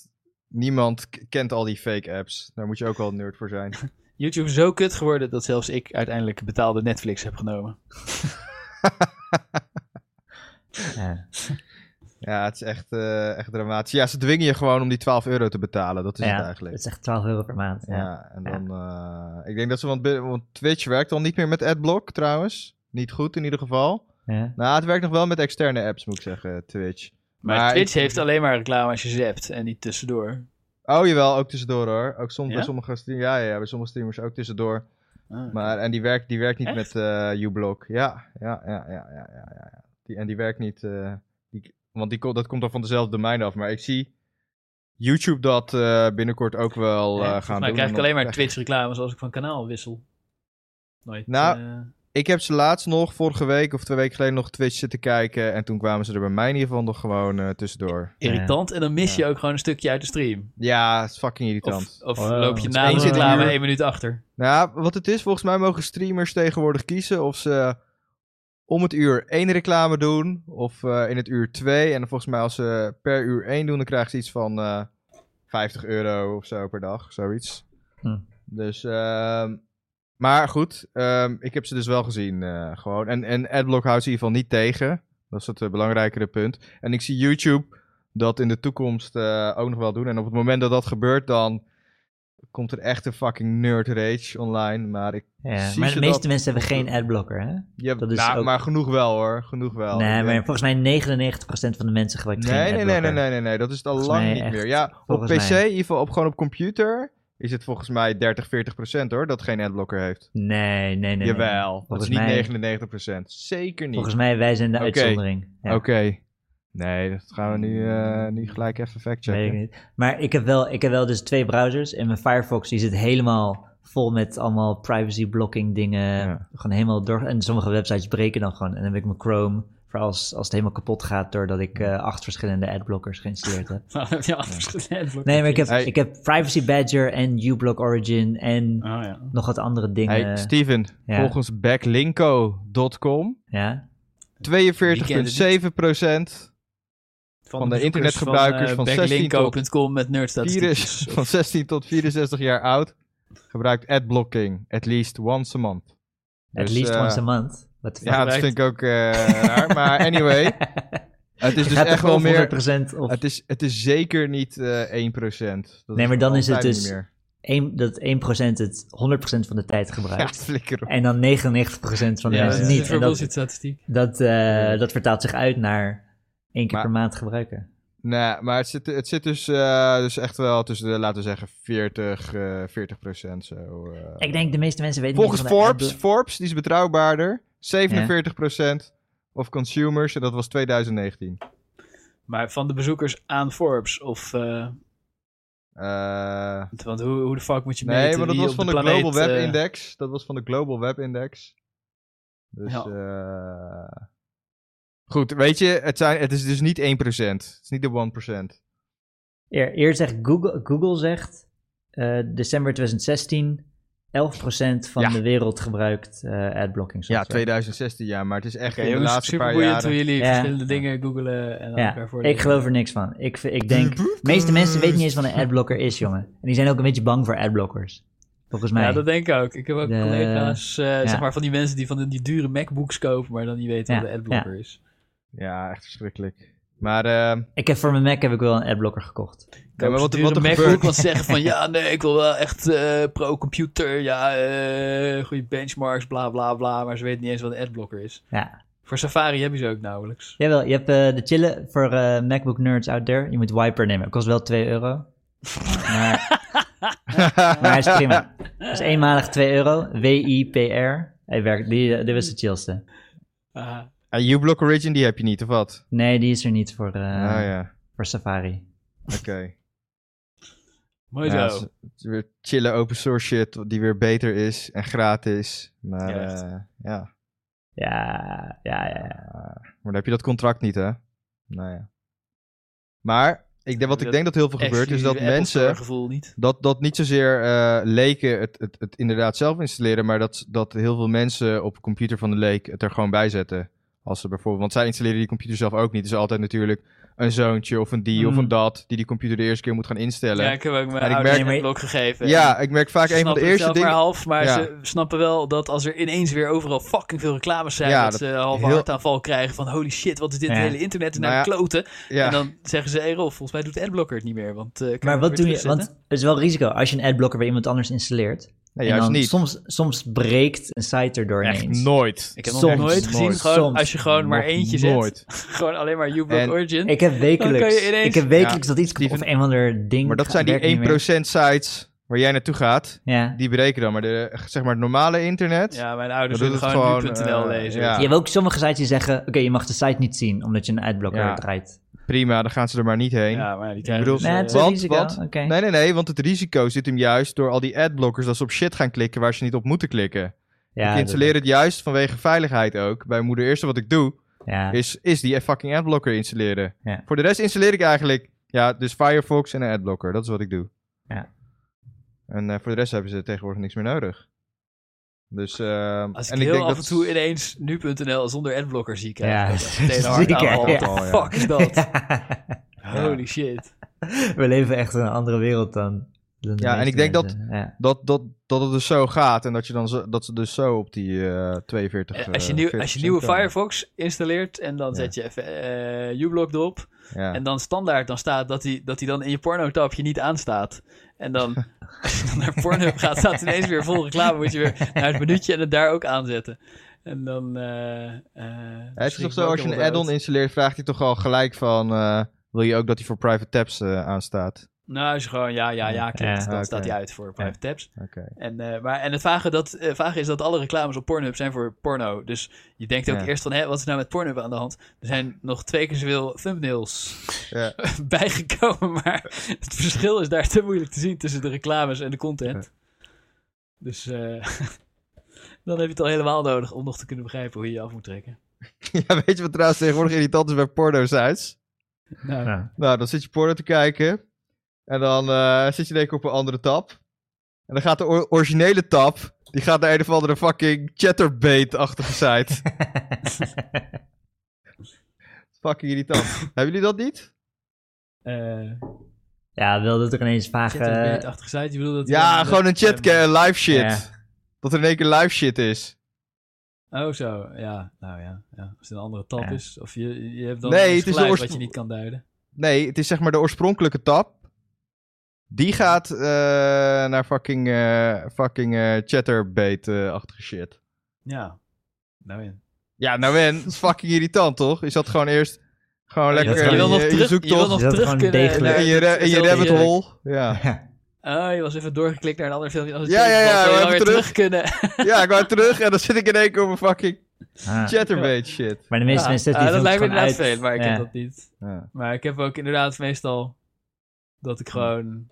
S4: niemand k- kent al die fake apps. Daar moet je ook wel een nerd voor zijn.
S2: YouTube is zo kut geworden dat zelfs ik uiteindelijk betaalde Netflix heb genomen.
S4: Ja, het is echt, eh, echt dramatisch. Ja, ze dwingen je gewoon om die 12 euro te betalen. Dat is het
S3: ja,
S4: eigenlijk.
S3: het is echt 12 euro per maand. Ja.
S4: Ja, en dan... eh, ik denk dat ze... Want, bi- want Twitch werkt al niet meer met Adblock, trouwens. Niet goed in ieder geval.
S3: Ja.
S4: Nou, het werkt nog wel met externe apps, moet ik zeggen, Twitch.
S2: Maar,
S4: Maar
S2: Twitch
S4: ik-
S2: heeft alleen maar reclame als je zapt en niet tussendoor.
S4: Oh, jawel, ook tussendoor hoor. Ook soms
S2: Ja?
S4: bij sommige streamers. Ja, ja, ja, bij sommige streamers ook tussendoor.
S2: Ah.
S4: Maar, en die werkt, die werkt niet
S2: Echt?
S4: met eh uBlock. Ja, ja, ja, ja, ja, ja. ja, ja. Die, en die werkt niet. eh, die, want die, ko- dat komt dan van dezelfde domein af. Maar ik zie YouTube dat eh, binnenkort ook wel eh,
S2: Ja,
S4: gaan
S2: volgens
S4: doen.
S2: mij
S4: En
S2: krijg ik
S4: dan
S2: alleen maar
S4: krijg je-
S2: Twitch reclames als ik van kanaal wissel. Nooit.
S4: Nou,
S2: eh,
S4: Ik heb ze laatst nog, vorige week of twee weken geleden, nog Twitch zitten kijken. En toen kwamen ze er bij mij in ieder geval nog gewoon eh, tussendoor.
S2: irritant. En dan mis je ook gewoon een stukje uit de stream.
S4: Ja, het is fucking irritant.
S2: Of, of
S3: Oh,
S2: loop je
S3: het
S2: na
S4: is
S2: de
S4: één
S2: reclame
S4: uur.
S2: één minuut achter.
S4: Nou, wat het is, volgens mij mogen streamers tegenwoordig kiezen of ze om het uur één reclame doen of eh, in het uur twee. En dan volgens mij als ze per uur één doen, dan krijgen ze iets van eh 50 euro of zo per dag, zoiets.
S3: Hm.
S4: Dus, ehm, maar goed, ehm, ik heb ze dus wel gezien eh, gewoon. En, en Adblock houdt ze in ieder geval niet tegen. Dat is het eh, belangrijkere punt. En ik zie YouTube dat in de toekomst eh, ook nog wel doen. En op het moment dat dat gebeurt, dan komt er echt een fucking nerd rage online. Maar ik.
S3: Ja.
S4: Zie
S3: Maar
S4: je
S3: de meeste
S4: dat-
S3: mensen hebben geen adblocker, hè?
S4: Ja,
S3: Dat is
S4: nou,
S3: ook-
S4: maar genoeg wel hoor. Genoeg wel.
S3: nee,
S4: Ik
S3: maar
S4: denk-
S3: volgens mij 99% van de mensen gebruikt geen
S4: Oh, Nee, nee, nee,
S3: adblocker.
S4: nee, nee, nee, nee, dat is het al
S3: Volgens
S4: lang
S3: mij
S4: niet
S3: echt,
S4: meer. Ja, op PC,
S3: volgens mij.
S4: in ieder geval op, gewoon op computer, is het volgens mij 30, 40 procent hoor, dat geen adblocker heeft.
S3: Nee, nee, nee, nee.
S4: Jawel, dat is
S3: Volgens
S4: niet
S3: mij-
S4: 99 procent. Zeker niet.
S3: Volgens mij, wij zijn de
S4: Oké.
S3: uitzondering. Ja,
S4: Oké. Nee, dat gaan we nu, eh, nu gelijk even
S3: weet ik
S4: factchecken.
S3: niet. Maar ik heb, wel, ik heb wel dus twee browsers en mijn Firefox die zit helemaal vol met allemaal privacy blocking dingen.
S4: Ja.
S3: Gewoon helemaal door. En sommige websites breken dan gewoon. En dan heb ik mijn Chrome voor als, als het helemaal kapot gaat doordat ik eh, acht verschillende adblockers geïnstalleerd heb.
S2: Nou, heb je anders gedaan.
S3: Nee, maar ik heb,
S4: Hey.
S3: ik heb Privacy Badger en uBlock Origin en
S2: Oh ja.
S3: nog wat andere dingen.
S4: Hey, Steven,
S3: ja.
S4: volgens backlinko.com
S3: ja?
S4: 42,7%
S2: Van,
S4: de
S2: bezoekers
S4: internetgebruikers
S2: eh,
S4: van 16
S2: backlinko.com met Dus, nerdstatistiekjes.
S4: virus van 16 tot 64 jaar oud gebruikt adblocking at least once a month.
S3: At
S4: Dus,
S3: least
S4: eh,
S3: once a month. What the fuck?
S4: Ja, dat vind ik ook eh, raar. Maar anyway, het is
S3: Je
S4: dus
S3: gaat
S4: echt
S3: toch
S4: wel
S3: over
S4: meer...
S3: 100% of
S4: Het is, het is zeker niet eh 1%. Dat
S3: Nee, maar dan is het
S4: altijd
S3: dus-
S4: niet meer.
S3: één- dat 1% het 100% van de tijd
S4: Ja,
S3: gebruikt.
S4: flikker op.
S3: En dan 99% van de
S4: Ja,
S2: Ja, dat
S4: dat
S3: mensen
S2: is
S3: niet.
S2: voor
S3: En dat,
S2: bullshit statistiek.
S3: dat, eh, dat vertaalt zich uit naar één keer
S4: Maar-
S3: per maand gebruiken.
S4: Nee, maar het zit, het zit dus, eh, dus echt wel tussen de, laten we zeggen, 40, eh 40 zo. eh.
S3: Ik denk de meeste mensen weten
S4: Volgens
S3: niet van de
S4: Forbes,
S3: adblo-
S4: Forbes, die is betrouwbaarder, 47 of consumers, en dat was 2019.
S2: Maar van de bezoekers aan Forbes of... eh,
S4: Eh...
S2: want hoe, hoe de fuck moet je meten
S4: Nee, maar dat
S2: wie
S4: was
S2: op
S4: van de,
S2: planeet,
S4: Global Web
S2: eh,
S4: Index. Dat was van de Global Web Index. Dus,
S2: Ja.
S4: eh, Goed, weet je, het, zijn, het is dus niet 1%. Het is niet de 1%.
S3: Eer, eerst zegt Google, Google zegt eh, december 2016 11% van
S4: Ja.
S3: de wereld gebruikt eh adblocking
S4: Ja,
S3: software.
S4: 2016, ja, maar het is echt
S2: Oké,
S4: in de
S2: jongens,
S4: laatste
S2: super
S4: paar
S2: boeiend
S4: jaren.
S2: hoe jullie
S3: Ja.
S2: verschillende dingen googelen en dan elkaar
S3: Ja,
S2: voor.
S3: ik geloof er niks van. Ik, v- ik denk, de meeste mensen weten niet eens wat een adblocker is, jongen. En die zijn ook een beetje bang voor adblockers. Volgens mij.
S2: Ja, dat denk ik ook. Ik heb ook
S3: De-
S2: collega's, eh,
S3: ja.
S2: zeg maar, van die mensen die van die dure MacBooks kopen, maar dan niet weten wat
S3: Ja,
S2: de adblocker is.
S4: Ja, echt verschrikkelijk. Maar ehm,
S3: Ik heb voor mijn Mac heb ik wel een adblocker gekocht.
S2: Kopen
S4: maar
S2: ze
S4: wat-
S2: dure
S4: wat er
S2: MacBook
S4: gebeurt-
S2: dan zeggen van, ja, nee, ik wil wel echt eh, pro-computer, ja, eh, goede benchmarks, bla, bla, bla, maar ze weten niet eens wat een adblocker is.
S3: Ja.
S2: Voor Safari hebben ze ook nauwelijks.
S3: Jawel, je hebt eh, de chille voor eh, MacBook nerds out there. Je moet Wiper nemen. Het kost wel 2 euro. Maar, maar hij is prima. Dat is eenmalig 2 euro. W-I-P-R. Hij werkt, die, eh, dit was de chillste.
S2: Ah,
S4: en uBlock Origin, die heb je niet, of wat?
S3: Nee, die is er niet voor, eh,
S4: Ah ja,
S3: voor Safari.
S4: oké.
S2: mooi
S4: Ja,
S2: zo.
S4: het is- het is weer chille open source shit die weer beter is en gratis. Maar
S2: Ja, echt.
S4: eh, ja,
S3: Ja, ja, ja. ja.
S4: maar dan heb je dat contract niet, hè? Nou ja. Maar ik, denk- wat ik
S2: Dat-
S4: denk dat heel veel
S2: Echt
S4: gebeurt is
S2: jullie
S4: dat
S2: Apple Store
S4: mensen...
S2: gevoel niet.
S4: Dat, dat niet zozeer eh, leken het, het, het inderdaad zelf installeren, maar dat, dat heel veel mensen op de computer van de leek het er gewoon bij zetten. Als ze bijvoorbeeld, want zij installeren die computer zelf ook niet. Dus altijd natuurlijk, een zoontje of een die of
S3: Mm.
S4: een dat, die die computer de eerste keer moet gaan instellen.
S2: Hmm. Ja, ik heb ook mijn
S4: ik
S2: ouders
S4: merk-
S2: een blok gegeven.
S4: Ja, ik merk vaak
S2: Ze
S4: een van de
S2: snappen het
S4: eerste
S2: zelf
S4: dingen.
S2: maar half, maar
S4: Ja.
S2: ze snappen wel dat als er ineens weer overal fucking veel reclames zijn,
S4: Ja,
S2: dat,
S4: dat
S2: ze half
S4: heel-
S2: hartaanval krijgen van holy shit, wat is dit
S3: Ja.
S2: het hele internet en
S4: Nou
S2: naar de
S4: ja.
S2: kloten.
S4: Ja.
S2: En dan zeggen ze, hey Rolf, volgens mij doet Adblocker het niet meer, want eh, kan
S3: Maar
S2: hem
S3: wat
S2: weer
S3: doe je? Want
S2: terugzetten?
S3: het is wel risico als je een adblocker bij iemand anders installeert. en
S4: nee, juist
S3: dan
S4: niet.
S3: Soms, soms breekt een site er doorheen.
S4: Echt nooit.
S2: Ik heb nog
S3: Soms,
S2: nooit gezien,
S4: nooit,
S2: gewoon,
S3: soms,
S2: als je gewoon maar
S4: Nog
S2: eentje
S4: nooit.
S2: zet, gewoon alleen maar uBlock
S4: En-
S2: Origin.
S3: Ik heb
S2: Dan
S3: wekelijks,
S2: kan je ineens-
S3: ik heb wekelijks dat iets
S4: die
S3: of
S4: van-
S3: een of ander ding.
S4: Maar dat
S3: gaat-
S4: zijn
S3: werkt niet
S4: die
S3: meer.
S4: 1% sites waar jij naartoe gaat.
S3: Ja.
S4: Die berekenen dan. Maar de, zeg maar het normale internet.
S2: Ja, mijn ouders
S4: Dat
S2: willen
S4: doet het
S2: gewoon
S4: gewoon,
S2: nu.nl
S4: eh,
S2: lezen.
S4: ja.
S3: Je hebt ook sommige sites die zeggen: oké, je mag de site niet zien omdat je een adblocker
S4: Ja.
S3: draait.
S4: Prima, dan gaan ze er maar niet heen.
S2: Ja, maar ja, die krijgen
S4: bedoel-
S2: dus,
S3: Nee,
S2: eh,
S3: het is
S4: Want-
S3: een risico.
S4: want-
S3: Oké.
S4: Nee, nee, nee, want het risico zit hem juist door al die adblockers dat ze op shit gaan klikken waar ze niet op moeten klikken.
S3: Ja,
S4: ik
S3: dat-
S4: installeer het juist vanwege veiligheid ook. Bij moeder eerste wat ik doe,
S3: Ja.
S4: is, is die fucking adblocker installeren.
S3: Ja.
S4: Voor de rest installeer ik eigenlijk, ja, dus Firefox en een adblocker. Dat is wat ik doe.
S3: Ja.
S4: En eh, voor de rest hebben ze tegenwoordig niks meer nodig. Dus, ehm,
S2: Als ik
S4: en
S2: heel
S4: denk
S2: af
S4: dat-
S2: en toe ineens nu.nl zonder adblocker zie krijgen,
S3: Ja,
S2: dan
S3: dat
S2: is
S3: is
S2: het meteen hard
S3: zeker,
S2: aan,
S4: ja.
S2: What the
S4: Ja.
S2: fuck is dat?
S4: Ja.
S2: Holy shit.
S3: We leven echt in een andere wereld dan. dan de
S4: Ja, en
S3: meeste
S4: ik denk dat-
S3: mensen. Ja.
S4: dat, dat, dat het dus zo gaat en dat, je dan zo, dat ze dus zo op die eh, 42.
S2: Eh, Als je,
S4: eh,
S2: nieuw, als je
S4: 40%
S2: nieuwe
S4: komen.
S2: Firefox installeert en dan zet je even eh uBlock erop
S4: Ja.
S2: en dan standaard dan staat dat hij dat die dan in je porno-tabje niet aanstaat. En dan, als je dan naar porno gaat, staat het ineens weer vol reclame. Moet je weer naar het minuutje en het daar ook aanzetten. En dan... eh, eh,
S4: Ja, het is
S2: schrik
S4: toch
S2: ik
S4: zo,
S2: me ook
S4: als je een
S2: helemaal
S4: add-on
S2: dood.
S4: installeert, vraagt hij toch al gelijk van... eh, wil je ook dat hij voor private tabs eh, aanstaat?
S2: Nou, is gewoon ja, ja, ja, klikt.
S3: Ja,
S2: dan
S4: oké.
S2: staat hij uit voor private tabs.
S4: Oké.
S2: En, eh, maar, en het vage, dat, eh, vage is dat alle reclames op Pornhub zijn voor porno. Dus je denkt ook
S4: Ja.
S2: eerst van, hé, wat is nou met Pornhub aan de hand? Er zijn nog twee keer zoveel thumbnails
S4: Ja.
S2: bijgekomen, maar het verschil is daar te moeilijk te zien tussen de reclames en de content. Dus eh, dan heb je het al helemaal nodig om nog te kunnen begrijpen hoe je je af moet trekken.
S4: ja, weet je wat trouwens tegenwoordig irritant is bij porno-sites?
S2: Nou,
S3: Ja.
S4: Nou, dan zit je porno te kijken. En dan eh, zit je denk ik op een andere tab. En dan gaat de or- originele tab... Die gaat naar een of andere fucking chatterbait-achtige site. fucking irritant. Hebben jullie dat niet?
S2: eh
S3: ja, wel dat er ineens eh, vage.
S2: chat achter site, je bedoelt dat...
S4: eh, Ja,
S2: dat-
S4: gewoon een
S2: dat,
S4: chat eh, live shit.
S3: Ja.
S4: Dat er in één keer live shit is.
S2: Oh, zo. Ja, nou ja. ja. Als het een andere tab
S3: Ja.
S2: is. Of je, je hebt dan
S4: Nee,
S2: een
S4: het is de
S2: geluid wat
S4: oorsprong-
S2: je niet kan duiden.
S4: Nee, het is zeg maar de oorspronkelijke tab. Die gaat eh, naar fucking, eh fucking eh chatterbait-achtige shit.
S2: Ja. Nou ja.
S4: Ja, nou en, dat is fucking irritant, toch? Is dat gewoon eerst gewoon
S2: Je
S4: lekker
S3: wil-
S4: je,
S2: wil nog
S4: je
S2: terug, je wil
S4: zoektocht
S2: nog
S3: Is dat
S2: terug
S3: gewoon
S2: kunnen
S3: degelijk?
S2: naar-
S4: in je, ra- in je
S2: zelfs
S4: rabbit
S2: hier-
S4: hole? Ja.
S2: Oh, je was even doorgeklikt naar een ander filmpje. Als
S4: Ja, ja, ja,
S2: Je
S4: we
S2: wel
S4: hebben
S2: weer terug,
S4: terug.
S2: kunnen.
S4: ja, ik wou terug en dan zit ik in één keer op een fucking
S3: Ah.
S4: chatterbait shit.
S3: Maar de meeste
S2: Ja.
S3: mensen
S2: Ah,
S3: zetten die
S2: dat lijkt me
S3: filmpjes
S2: inderdaad
S3: gewoon uit.
S2: veel, maar ik
S3: Ja.
S2: heb dat niet.
S4: Ja.
S2: Maar ik heb ook inderdaad meestal dat ik gewoon...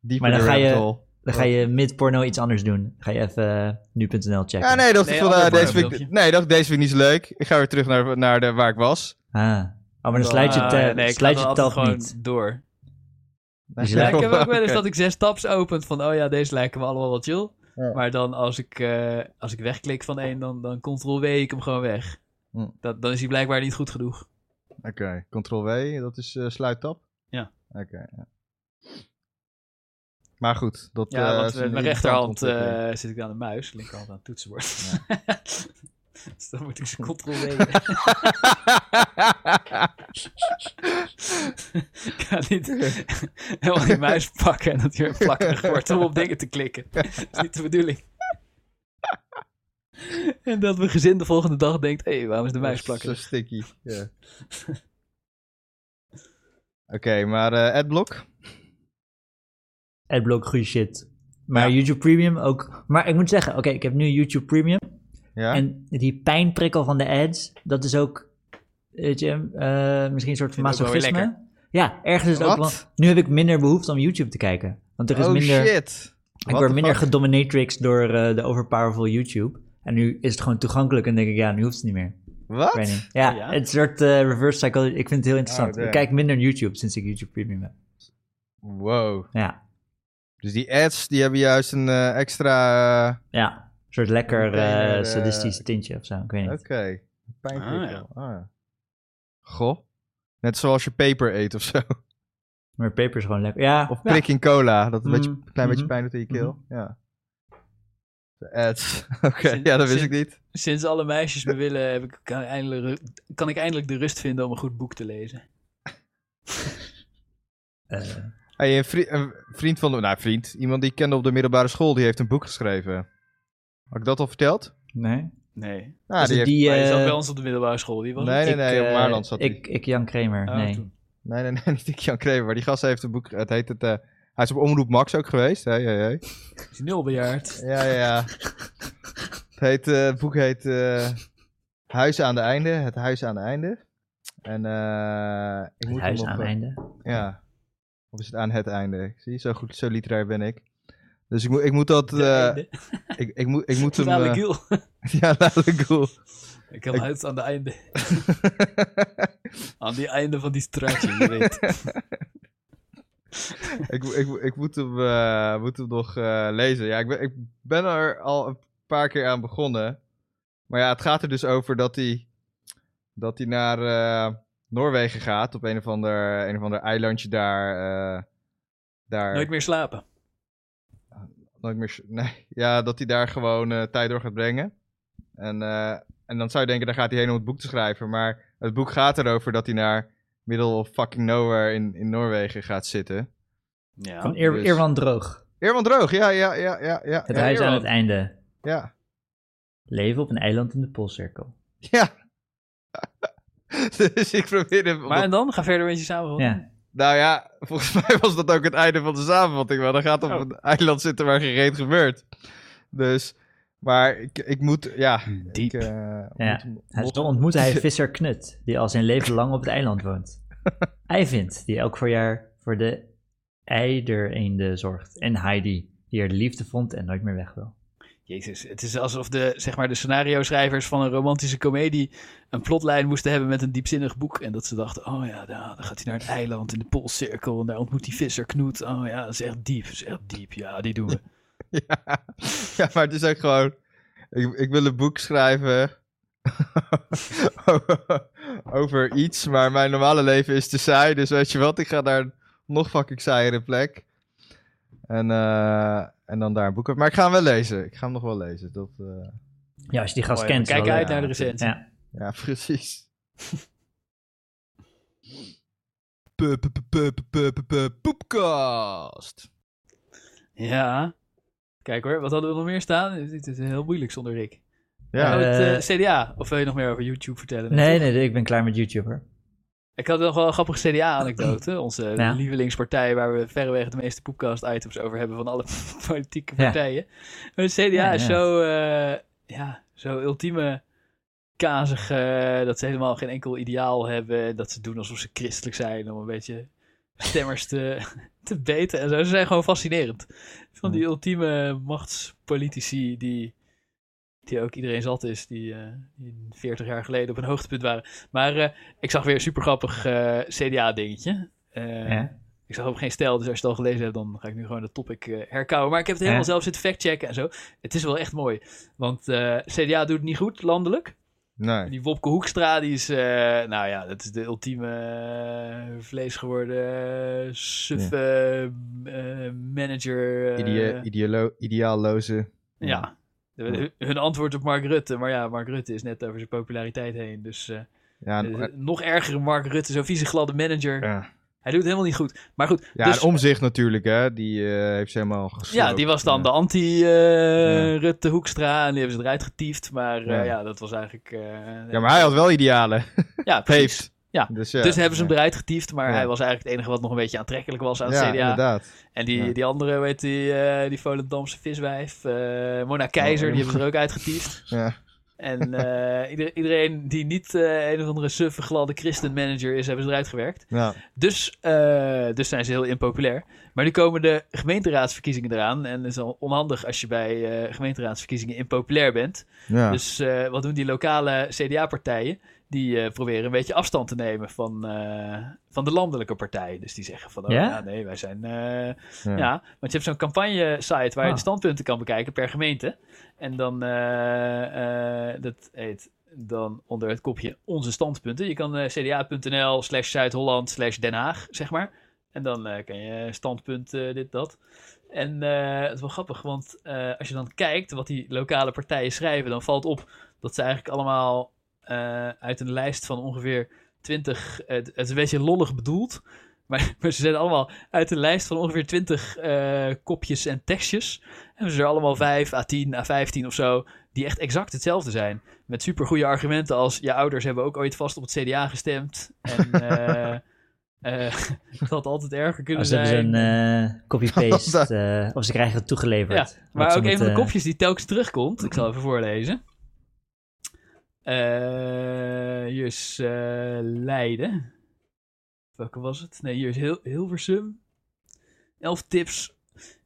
S4: Diep
S3: Maar
S4: in
S3: dan
S4: de
S3: ga
S4: rabbit
S3: je-
S4: hole.
S3: Dan ga je mid-porno iets anders doen. Ga je even eh, nu.nl checken.
S4: Ja, nee, dat
S2: Nee,
S4: ik van,
S2: ander
S4: eh, deze vind ik,
S2: voorbeeldje.
S4: nee, dat, deze vind ik niet zo leuk. Ik ga weer terug naar, naar de, waar ik was.
S3: Ah. Oh, maar dan sluit je,
S2: Ah,
S3: het, eh,
S2: nee, ik ga
S3: sluit
S2: dan
S3: je
S2: altijd
S3: tab
S2: gewoon
S3: niet.
S2: door.
S3: Dus je
S2: Ja,
S3: lijkt-
S2: ik heb ook wel eens
S4: Oké.
S2: dat ik zes tabs opent van, oh ja, deze lijken me allemaal wel chill.
S4: Ja.
S2: Maar dan als ik, eh, als ik wegklik van één, dan, dan ctrl-w ik hem gewoon weg.
S4: Hm.
S2: Dat, dan is hij blijkbaar niet goed genoeg.
S4: Oké, Ctrl-W, dat is eh sluittab?
S2: Ja.
S4: Oké. ja. Maar goed, dat...
S2: Ja,
S4: eh,
S2: want
S4: is
S2: met
S4: een
S2: mijn
S4: interessante
S2: rechterhand
S4: ontwikkeling.
S2: eh, zit ik aan de muis, linkerhand aan het toetsenbord. dus dan moet ik ze ctrl-w. eh, ik ga niet helemaal die muis pakken en dat hij weer plakkerig wordt om op dingen te klikken. Dat is niet de bedoeling. en dat mijn gezin de volgende dag denkt, hé, hey, waarom is de muis
S4: Dat is
S2: plakkerig?
S4: Zo sticky, ja. Oké, maar eh Adblock?
S3: Adblock, goede shit. Maar YouTube Premium ook. Maar ik moet zeggen, oké, ik heb nu YouTube Premium.
S4: Ja?
S3: En die pijnprikkel van de ads, dat is ook, weet je, eh, misschien een soort
S2: Vind ik ook wel weer
S3: masochisme. Ja, ergens is het ook wel.
S4: Wat?
S3: Nu heb ik minder behoefte om YouTube te kijken. Want er is
S4: oh
S3: minder,
S4: shit!
S3: ik word minder gedominatrixed door eh, de overpowerful YouTube. En nu is het gewoon toegankelijk en denk ik, ja, nu hoeft het niet meer. Ik weet
S4: Wat?
S3: niet. Ja,
S2: Oh, Ja? Ah,
S3: het is een soort eh, reverse psychology. Ik vind het heel interessant.
S4: Oh,
S3: ik
S4: damn.
S3: kijk minder YouTube sinds ik YouTube Premium heb.
S4: Wow.
S3: Ja,
S4: Dus die ads, die hebben juist een eh, extra... eh,
S3: ja. Een soort lekker
S4: Een kleiner,
S3: eh,
S4: eh,
S3: sadistisch tintje of zo. Ik weet niet.
S4: Oké. Pijnprikkel. Ah. Goh. Net zoals je peper eet of zo.
S3: Maar peper is gewoon lekker. Ja,
S4: Of
S3: ja.
S4: prik in cola, dat een,
S3: Mm,
S4: beetje, een klein beetje
S3: mhm.
S4: pijn doet in je keel. Ja. De ads. Oké, ja, dat wist ik niet.
S2: Sinds alle meisjes me willen, heb ik, kan, eindelijk, ru- kan ik eindelijk de rust vinden om een goed boek te lezen.
S3: Eh,
S4: Hey, een, vri- een vriend van de... Nou, vriend. Iemand die ik kende op de middelbare school, die heeft een boek geschreven. Had ik dat al verteld?
S3: nee.
S2: Nee.
S4: Nou,
S3: Is
S4: die
S3: het
S4: heeft-
S3: die,
S2: Maar je zat
S3: eh,
S2: bij ons op de middelbare school. Wie was
S4: Nee,
S2: het?
S4: nee, nee.
S3: ik,
S4: op
S3: eh,
S4: Maarland zat die.
S3: ik, ik, Jan Kramer,
S2: Oh,
S3: nee.
S2: toen.
S4: Nee, nee, nee, niet ik Jan Krever. Maar die gast heeft een boek. Het heet het. eh, hij is op Omroep Max ook geweest. Hey, hey, hey.
S2: Is hij nulbejaard?
S4: Ja, ja, ja. het, heet, eh, het boek heet. eh, Huis aan de Einde. Het Huis aan de Einde. En. eh ik moet
S3: Het
S4: hem
S3: huis
S4: op,
S3: aan
S4: eh,
S3: einde.
S4: Ja. Of is het aan het einde? Zie je, zo goed, zo literair ben ik. Dus ik, moet- ik moet dat.
S2: De
S4: eh,
S2: einde.
S4: ik, ik moet, ik moet hem.
S2: Totale
S4: eh,
S2: giel.
S4: ja, dadelijk cool.
S2: Ik heb
S4: Ik-
S2: uit aan de einde. aan die einde van die straatje, je weet.
S4: ik, ik, ik moet, hem, eh, moet hem nog eh, lezen. Ja, ik ben, ik ben er al een paar keer aan begonnen. Maar ja, het gaat er dus over dat hij, dat hij naar eh, Noorwegen gaat. Op een of ander, een of ander eilandje daar. eh, daar
S2: Nooit meer slapen.
S4: nooit meer sch- nee, ja, dat hij daar gewoon eh, tijd door gaat brengen. En, eh, en dan zou je denken, daar gaat hij heen om het boek te schrijven. Maar het boek gaat erover dat hij naar middle of fucking nowhere in, in Noorwegen gaat zitten.
S2: Ja.
S3: Van Eer-
S4: dus-
S3: Eerwan Droog.
S4: Eerwan Droog, ja, ja, ja, ja. ja
S3: Het
S4: ja,
S3: huis aan
S4: Eerwan.
S3: het einde.
S4: Ja.
S3: Leven op een eiland in de Poolcirkel.
S4: Ja. dus ik probeer hem...
S2: Maar en dan? Ga verder met je samen.
S3: Ja.
S4: Nou ja, volgens mij was dat ook het einde van de samenvatting. Maar dan gaat op
S6: Oh.
S4: een eiland zitten waar gereed gebeurt. Dus, maar ik, ik moet, ja...
S2: Diep.
S4: Ik, eh, moet hem
S3: Hmm, Hij-
S4: nog-
S3: Dan ontmoet hij visser Knut, die al zijn leven lang op het eiland woont. Eivind, die elk voorjaar voor de eidereenden zorgt. En Heidi, die er de liefde vond en nooit meer weg wil.
S2: Jezus, het is alsof de, zeg maar, de scenario-schrijvers van een romantische komedie een plotlijn moesten hebben met een diepzinnig boek. En dat ze dachten, oh ja, nou, dan gaat hij naar het eiland in de Poolcirkel en daar ontmoet hij visser Knoet. Oh ja, dat is echt diep, dat is echt diep. Ja, die doen we.
S4: Ja. ja, maar het is ook gewoon... Ik, ik wil een boek schrijven over iets, maar mijn normale leven is te saai. Dus weet je wat, ik ga naar een nog fucking saaiere plek. En, eh, en dan daar een boek over. Maar ik ga hem wel lezen. Ik ga hem nog wel lezen. Dat, eh,
S3: Ja, als je die gast
S2: Mooi, we
S3: kent. is
S2: kijken
S3: wel
S2: uit
S3: leuk.
S2: naar de recensie.
S3: Ja.
S4: ja, precies. Pu- pu- pu- pu- pu- pu- pu- pu- Poepkast.
S2: Ja. Kijk hoor, wat hadden we nog meer staan? Dit is heel moeilijk zonder Rick.
S4: Ja,
S2: Oh,
S3: Eh,
S2: het eh, CDA. Of wil je nog meer over YouTube vertellen?
S3: Nee, nee, nee, ik ben klaar met YouTuber.
S2: Ik had nog wel een grappige CDA-anekdote. Onze
S3: Ja.
S2: lievelingspartij waar we verreweg de meeste podcast-items over hebben van alle politieke
S3: Ja.
S2: partijen. Maar de CDA
S3: Ja,
S2: is
S3: ja.
S2: zo, eh, ja, zo ultieme kazig eh, dat ze helemaal geen enkel ideaal hebben. Dat ze doen alsof ze christelijk zijn om een beetje stemmers te, te beten en zo. Ze zijn gewoon fascinerend. Van die ultieme machtspolitici die, die ook iedereen zat is, die, eh, die 40 jaar geleden op een hoogtepunt waren. Maar eh, ik zag weer een eh, super grappig CDA-dingetje.
S3: Ja.
S2: Eh, Ik zag ook geen stijl, dus als je het al gelezen hebt, dan ga ik nu gewoon het topic eh, herkouwen. Maar ik heb het helemaal
S3: Ja.
S2: zelf zitten factchecken en zo. Het is wel echt mooi, want eh, CDA doet het niet goed landelijk.
S4: nee.
S2: Die Wopke Hoekstra, die is, eh, nou ja, dat is de ultieme eh, vlees geworden eh, suffe eh, manager. eh,
S4: Idea- idealo- ideaalloze.
S2: ja, De- hun antwoord op Mark Rutte. Maar ja, Mark Rutte is net over zijn populariteit heen. Dus eh,
S4: Ja, en-
S2: eh, nog ergere Mark Rutte, zo'n vieze gladde manager.
S4: eh,
S2: Hij doet het helemaal niet goed. Maar goed,
S4: Ja,
S2: dus,
S4: en omzicht natuurlijk, hè. Die eh, heeft ze helemaal gesloopt.
S2: ja die was dan de
S4: Ja.
S2: anti-Rutte Hoekstra. En die hebben ze eruit getiefd. Maar eh,
S4: Ja.
S2: ja. dat was eigenlijk... eh,
S4: Ja, maar hij had wel idealen.
S2: ja, precies.
S4: Heeft.
S2: Ja,
S4: Dus, ja.
S2: Dus hebben ze hem eruit getiefd, maar
S4: Ja.
S2: hij was eigenlijk het enige wat nog een beetje aantrekkelijk was aan het
S4: Ja,
S2: CDA.
S4: inderdaad.
S2: En die,
S4: Ja.
S2: die andere, weet die, eh die Volendamse viswijf, eh, Mona Keizer,
S4: Oh, ja.
S2: die hebben ze er ook uitgetiefd.
S4: Ja.
S2: En eh, ieder- iedereen die niet eh, een of andere suffe gladde christenmanager is, hebben ze eruit gewerkt.
S4: Ja.
S2: Dus, eh, dus zijn ze heel impopulair. Maar nu komen de gemeenteraadsverkiezingen eraan. En het is al onhandig als je bij eh, gemeenteraadsverkiezingen impopulair bent.
S4: Ja.
S2: Dus eh, wat doen die lokale CDA-partijen? die eh, proberen een beetje afstand te nemen van, eh, van de landelijke partij. Dus die zeggen van, oh,
S3: Ja?
S2: ja, nee, wij zijn... eh,
S4: Ja.
S2: ja. want je hebt zo'n campagne-site waar je
S3: Ah.
S2: de standpunten kan bekijken per gemeente. En dan, eh, eh, dat heet dan onder het kopje onze standpunten. Je kan eh, cda.nl slash Zuid-Holland slash Den Haag, zeg maar. En dan eh kan je standpunt eh, dit, dat. En eh, het is wel grappig, want eh, als je dan kijkt wat die lokale partijen schrijven, dan valt op dat ze eigenlijk allemaal eh, uit een lijst van ongeveer 20. het, het is een beetje lollig bedoeld. Maar, maar ze zijn allemaal uit een lijst van ongeveer 20 eh, kopjes en tekstjes. Hebben ze er allemaal 5 à 10 à 15 of zo. Die echt exact hetzelfde zijn. Met super goede argumenten als je ouders hebben ook ooit vast op het CDA gestemd. En eh, eh, het had altijd erger kunnen
S3: Als ze
S2: zijn.
S3: hebben zo'n eh, copy-paste, eh, of ze krijgen het toegeleverd.
S2: Ja, maar
S3: Wat ze
S2: ook
S3: met,
S2: een van de
S3: eh,
S2: kopjes die telkens terugkomt. Ik zal even voorlezen. Eh, hier is eh, Leiden. Welke was het? Nee, hier is Hil Hilversum. Elf tips.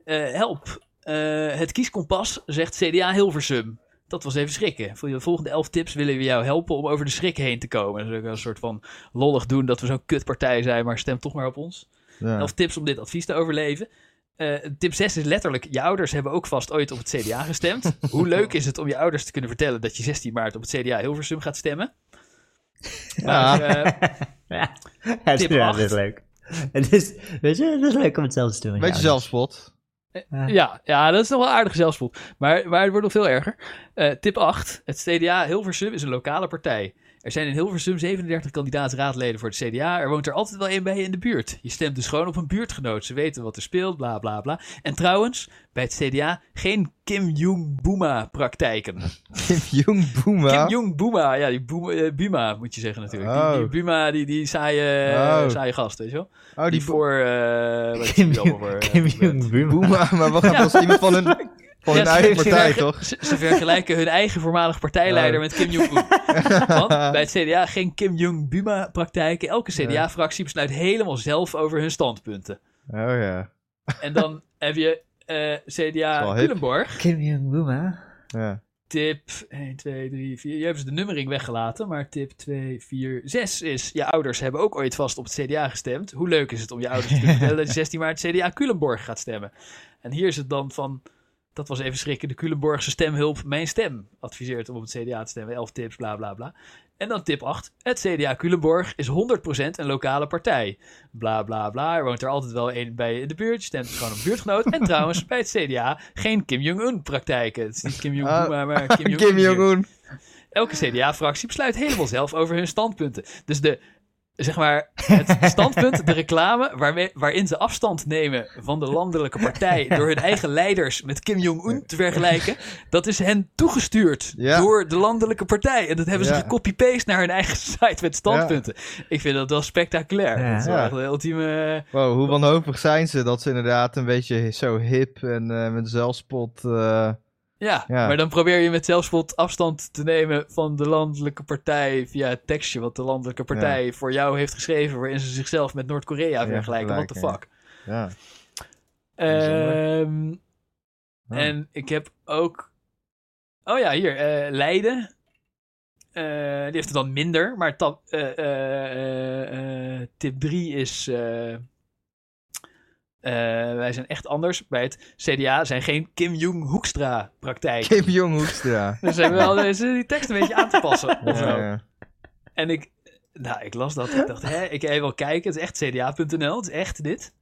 S2: Eh, help. Eh, het kieskompas zegt CDA Hilversum. Dat was even schrikken. Voor de volgende elf tips willen we jou helpen om over de schrik heen te komen. Dus ook een soort van lollig doen dat we zo'n kutpartij zijn, maar stem toch maar op ons.
S4: Ja.
S2: Elf tips om dit advies te overleven. Eh, tip 6 is letterlijk: je ouders hebben ook vast ooit op het CDA gestemd. Hoe leuk is het om je ouders te kunnen vertellen dat je 16 maart op het CDA Hilversum gaat stemmen? Maar, eh,
S3: Ja, het is,
S2: Tip
S3: ja,
S2: acht.
S3: dit is leuk. Het is, weet je, het is leuk om hetzelfde te doen.
S4: Beetje
S3: ja.
S4: zelfspot.
S2: dus- ja, ja, dat is nog wel aardig zelfspot. Maar, maar het wordt nog veel erger. Eh, tip 8: het CDA Hilversum is een lokale partij. Er zijn in Hilversum 37 kandidaatsraadleden voor het CDA. Er woont er altijd wel één bij je in de buurt. Je stemt dus gewoon op een buurtgenoot. Ze weten wat er speelt, bla bla bla. En trouwens, bij het CDA geen Kim Jong-Boema-praktijken.
S4: Kim Jong Boema.
S2: Kim Jong Buma, ja, die Buma, eh, Buma moet je zeggen natuurlijk.
S4: Oh.
S2: Die, die Buma, die, die saaie,
S4: Oh.
S2: saaie gast, weet je wel?
S4: Oh,
S2: die
S4: die Bo-
S2: voor... eh wat is
S3: Kim
S2: die allemaal voor,
S3: Jong-
S2: eh,
S3: Kim
S2: bent?
S3: Jong-un.
S4: Boema, maar wat gaat als iemand van hun, van hun
S2: Ja,
S4: eigen
S2: ze
S4: partij,
S2: vergelijken-
S4: toch?
S2: Ze, ze vergelijken hun eigen voormalig partijleider
S4: Oh.
S2: met Kim Jong-un. Want bij het CDA geen Kim Jong-Buma-praktijken. Elke CDA-fractie besluit helemaal zelf over hun standpunten.
S4: Oh ja.
S2: En dan heb je eh,
S4: Is wel
S2: CDA
S4: hip.
S2: Culemborg.
S3: Kim Jong-un, hè?
S4: ja.
S2: Tip 1, 2, 3, 4. Hier hebben ze dus de nummering weggelaten, maar tip 2, 4, 6 is... Je ouders hebben ook ooit vast op het CDA gestemd. Hoe leuk is het om je ouders te kunnen vertellen dat je 16 maart CDA Culemborg gaat stemmen. En hier is het dan van... Dat was even schrikken, de Culemborgse stemhulp Mijn Stem adviseert om op het CDA te stemmen. 11 tips, bla bla bla. En dan tip 8. Het CDA Culemborg is 100% een lokale partij. Bla bla bla. Er woont er altijd wel één bij in de buurt. Je stemt gewoon op buurtgenoot. En trouwens, bij het CDA geen Kim Jong-un praktijken. Het is niet Kim Jong-un,
S4: Ah,
S2: maar, maar Kim Jong-un.
S4: Kim Jong-un.
S2: Elke CDA-fractie besluit helemaal zelf over hun standpunten. Dus de, zeg maar, het standpunt, de reclame waarmee, waarin ze afstand nemen van de landelijke partij door hun eigen leiders met Kim Jong-un te vergelijken, dat is hen toegestuurd
S4: Ja.
S2: door de landelijke partij. En dat hebben ze
S4: Ja.
S2: gecopy-paste naar hun eigen site met standpunten. Ik vind dat wel spectaculair.
S3: Ja.
S2: Dat is wel
S4: Ja.
S2: echt een ultieme...
S4: Wow, hoe wanhopig zijn ze dat ze inderdaad een beetje zo hip en eh, met zelfspot... eh,
S2: Ja,
S4: Ja.
S2: maar dan probeer je met zelfspot afstand te nemen van de landelijke partij via het tekstje wat de landelijke partij voor jou heeft geschreven, waarin ze zichzelf met Noord-Korea vergelijken. What the fuck.
S4: vergelijken, ja.
S2: Ehm,
S4: Oh.
S2: En ik heb ook. Oh ja, hier. eh, Leiden. Eh, die heeft het dan minder. Maar tap, eh, eh, eh, eh, tip 3 is. eh, eh, wij zijn echt anders. Bij het CDA zijn geen Kim Jong-Hoekstra-praktijk.
S4: Kim Jong-hoekstra.
S2: Dus ze hebben wel eh, ze die tekst een beetje aan te passen. Of zo.
S4: Ja, ja.
S2: En ik, nou, ik las dat. Ik dacht, hè, ik ga even wel kijken. Het is echt cda.nl. Het is echt dit.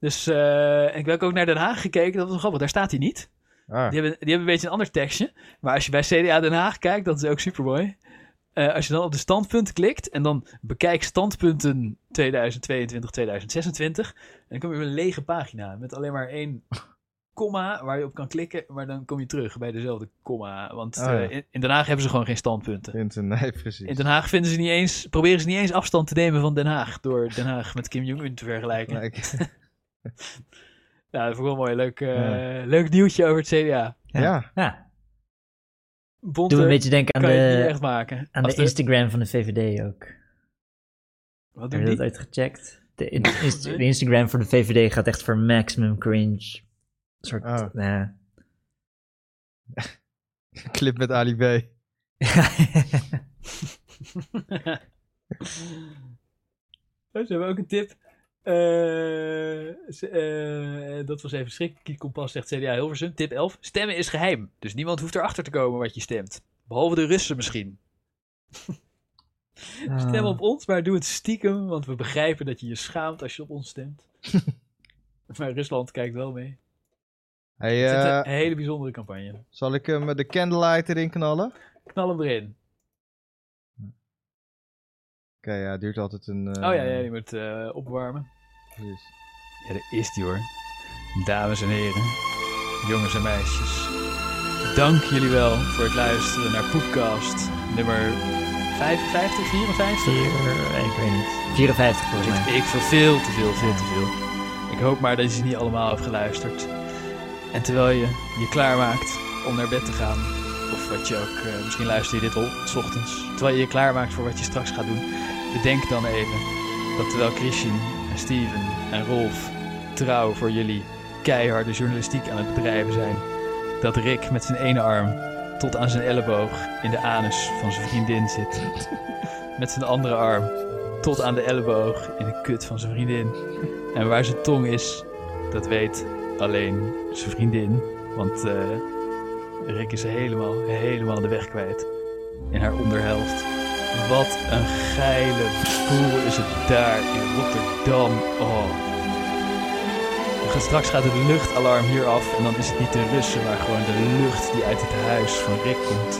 S2: Dus eh, en ik heb ook naar Den Haag gekeken. Dat was wel grappig. Daar staat hij niet.
S4: Ah,
S2: Die hebben, die hebben een beetje een ander tekstje. Maar als je bij CDA Den Haag kijkt, dat is ook super mooi. als je dan op de standpunten klikt en dan bekijk standpunten 2022-2026. En dan kom je op een lege pagina met alleen maar één komma waar je op kan klikken. Maar dan kom je terug bij dezelfde komma. Want
S4: Oh ja.
S2: eh, in, in Den Haag hebben ze gewoon geen standpunten.
S4: vindt een- nee, precies.
S2: In Den Haag vinden ze niet eens, proberen ze niet eens afstand te nemen van Den Haag. Door Den Haag met Kim Jong-un te vergelijken.
S4: Nee, ik-
S2: Nou, dat vond ik wel mooi. Leuk, eh, leuk nieuwtje over het CDA.
S4: ja.
S3: Ja, doe
S2: Bonte
S3: me een beetje denken aan
S2: kan je het niet
S3: de,
S2: echt maken.
S3: aan de
S2: Als de-
S3: Instagram van de VVD ook.
S2: Wat
S3: Heb
S2: doen
S3: je dat
S2: die?
S3: ooit gecheckt? De, in- inst- de Instagram voor de VVD gaat echt voor maximum cringe. Een soort,
S4: Oh.
S3: nou,
S4: Clip met Ali B.
S2: Oh, ze hebben ook een tip. Eh, ze- eh, dat was even schrik. Kieskompas zegt CDA Hilversum. Tip 11. Stemmen is geheim. Dus niemand hoeft erachter te komen wat je stemt. Behalve de Russen misschien.
S3: Ah.
S2: Stem op ons, maar doe het stiekem. Want we begrijpen dat je je schaamt als je op ons stemt. maar Rusland kijkt wel mee.
S4: Hey,
S2: Het is
S4: eh,
S2: een hele bijzondere campagne.
S4: zal ik hem eh, de candlelight erin knallen? Oké,
S2: Knal hem erin.
S4: ja, het duurt altijd een... eh,
S2: Oh ja, ja, je moet eh, opwarmen.
S4: precies.
S2: Ja, daar is die hoor. Dames en heren, jongens en meisjes. Dank jullie wel voor het luisteren naar Poepcast nummer 55, 54.
S3: Vier, ik weet niet. 54 volgens mij.
S2: Ik veel, veel te veel, veel te veel. Ik hoop maar dat je ze niet allemaal hebt geluisterd. En terwijl je je klaarmaakt om naar bed te gaan, of wat je ook, eh, misschien luister je dit al 's ochtends, terwijl je je klaarmaakt voor wat je straks gaat doen, bedenk dan even dat terwijl Christian en Steven en Rolf trouw voor jullie keiharde journalistiek aan het bedrijven zijn, dat Rick met zijn ene arm tot aan zijn elleboog in de anus van zijn vriendin zit. Met zijn andere arm tot aan de elleboog in de kut van zijn vriendin. En waar zijn tong is, dat weet alleen zijn vriendin. Want eh, Rick is helemaal, helemaal de weg kwijt. In haar onderhelft. Wat een geile boel is het daar in Rotterdam. Oh. We gaan- Straks gaat het luchtalarm hier af en dan is het niet de Russen, maar gewoon de lucht die uit het huis van Rick komt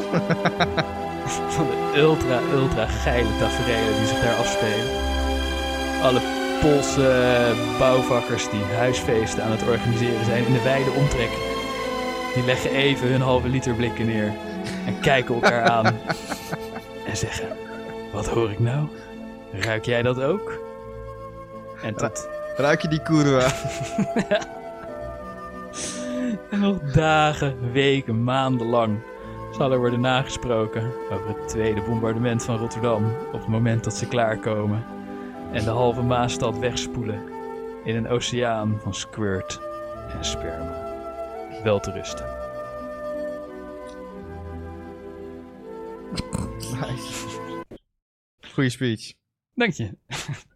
S2: van de ultra, ultra geile tafereelen die zich daar afspelen. Alle Poolse eh, bouwvakkers die huisfeesten aan het organiseren zijn in de wijde omtrek. Die leggen even hun halve liter blikken neer en kijken elkaar aan. En zeggen, wat hoor ik nou? Ruik jij dat ook? En tot
S4: Ruik je die kurwa?
S2: En nog dagen, weken, maanden lang zal er worden nagesproken over het tweede bombardement van Rotterdam op het moment dat ze klaarkomen en de halve Maasstad wegspoelen in een oceaan van squirt en sperma. Wel te rusten.
S4: Goeie speech.
S2: Dank je.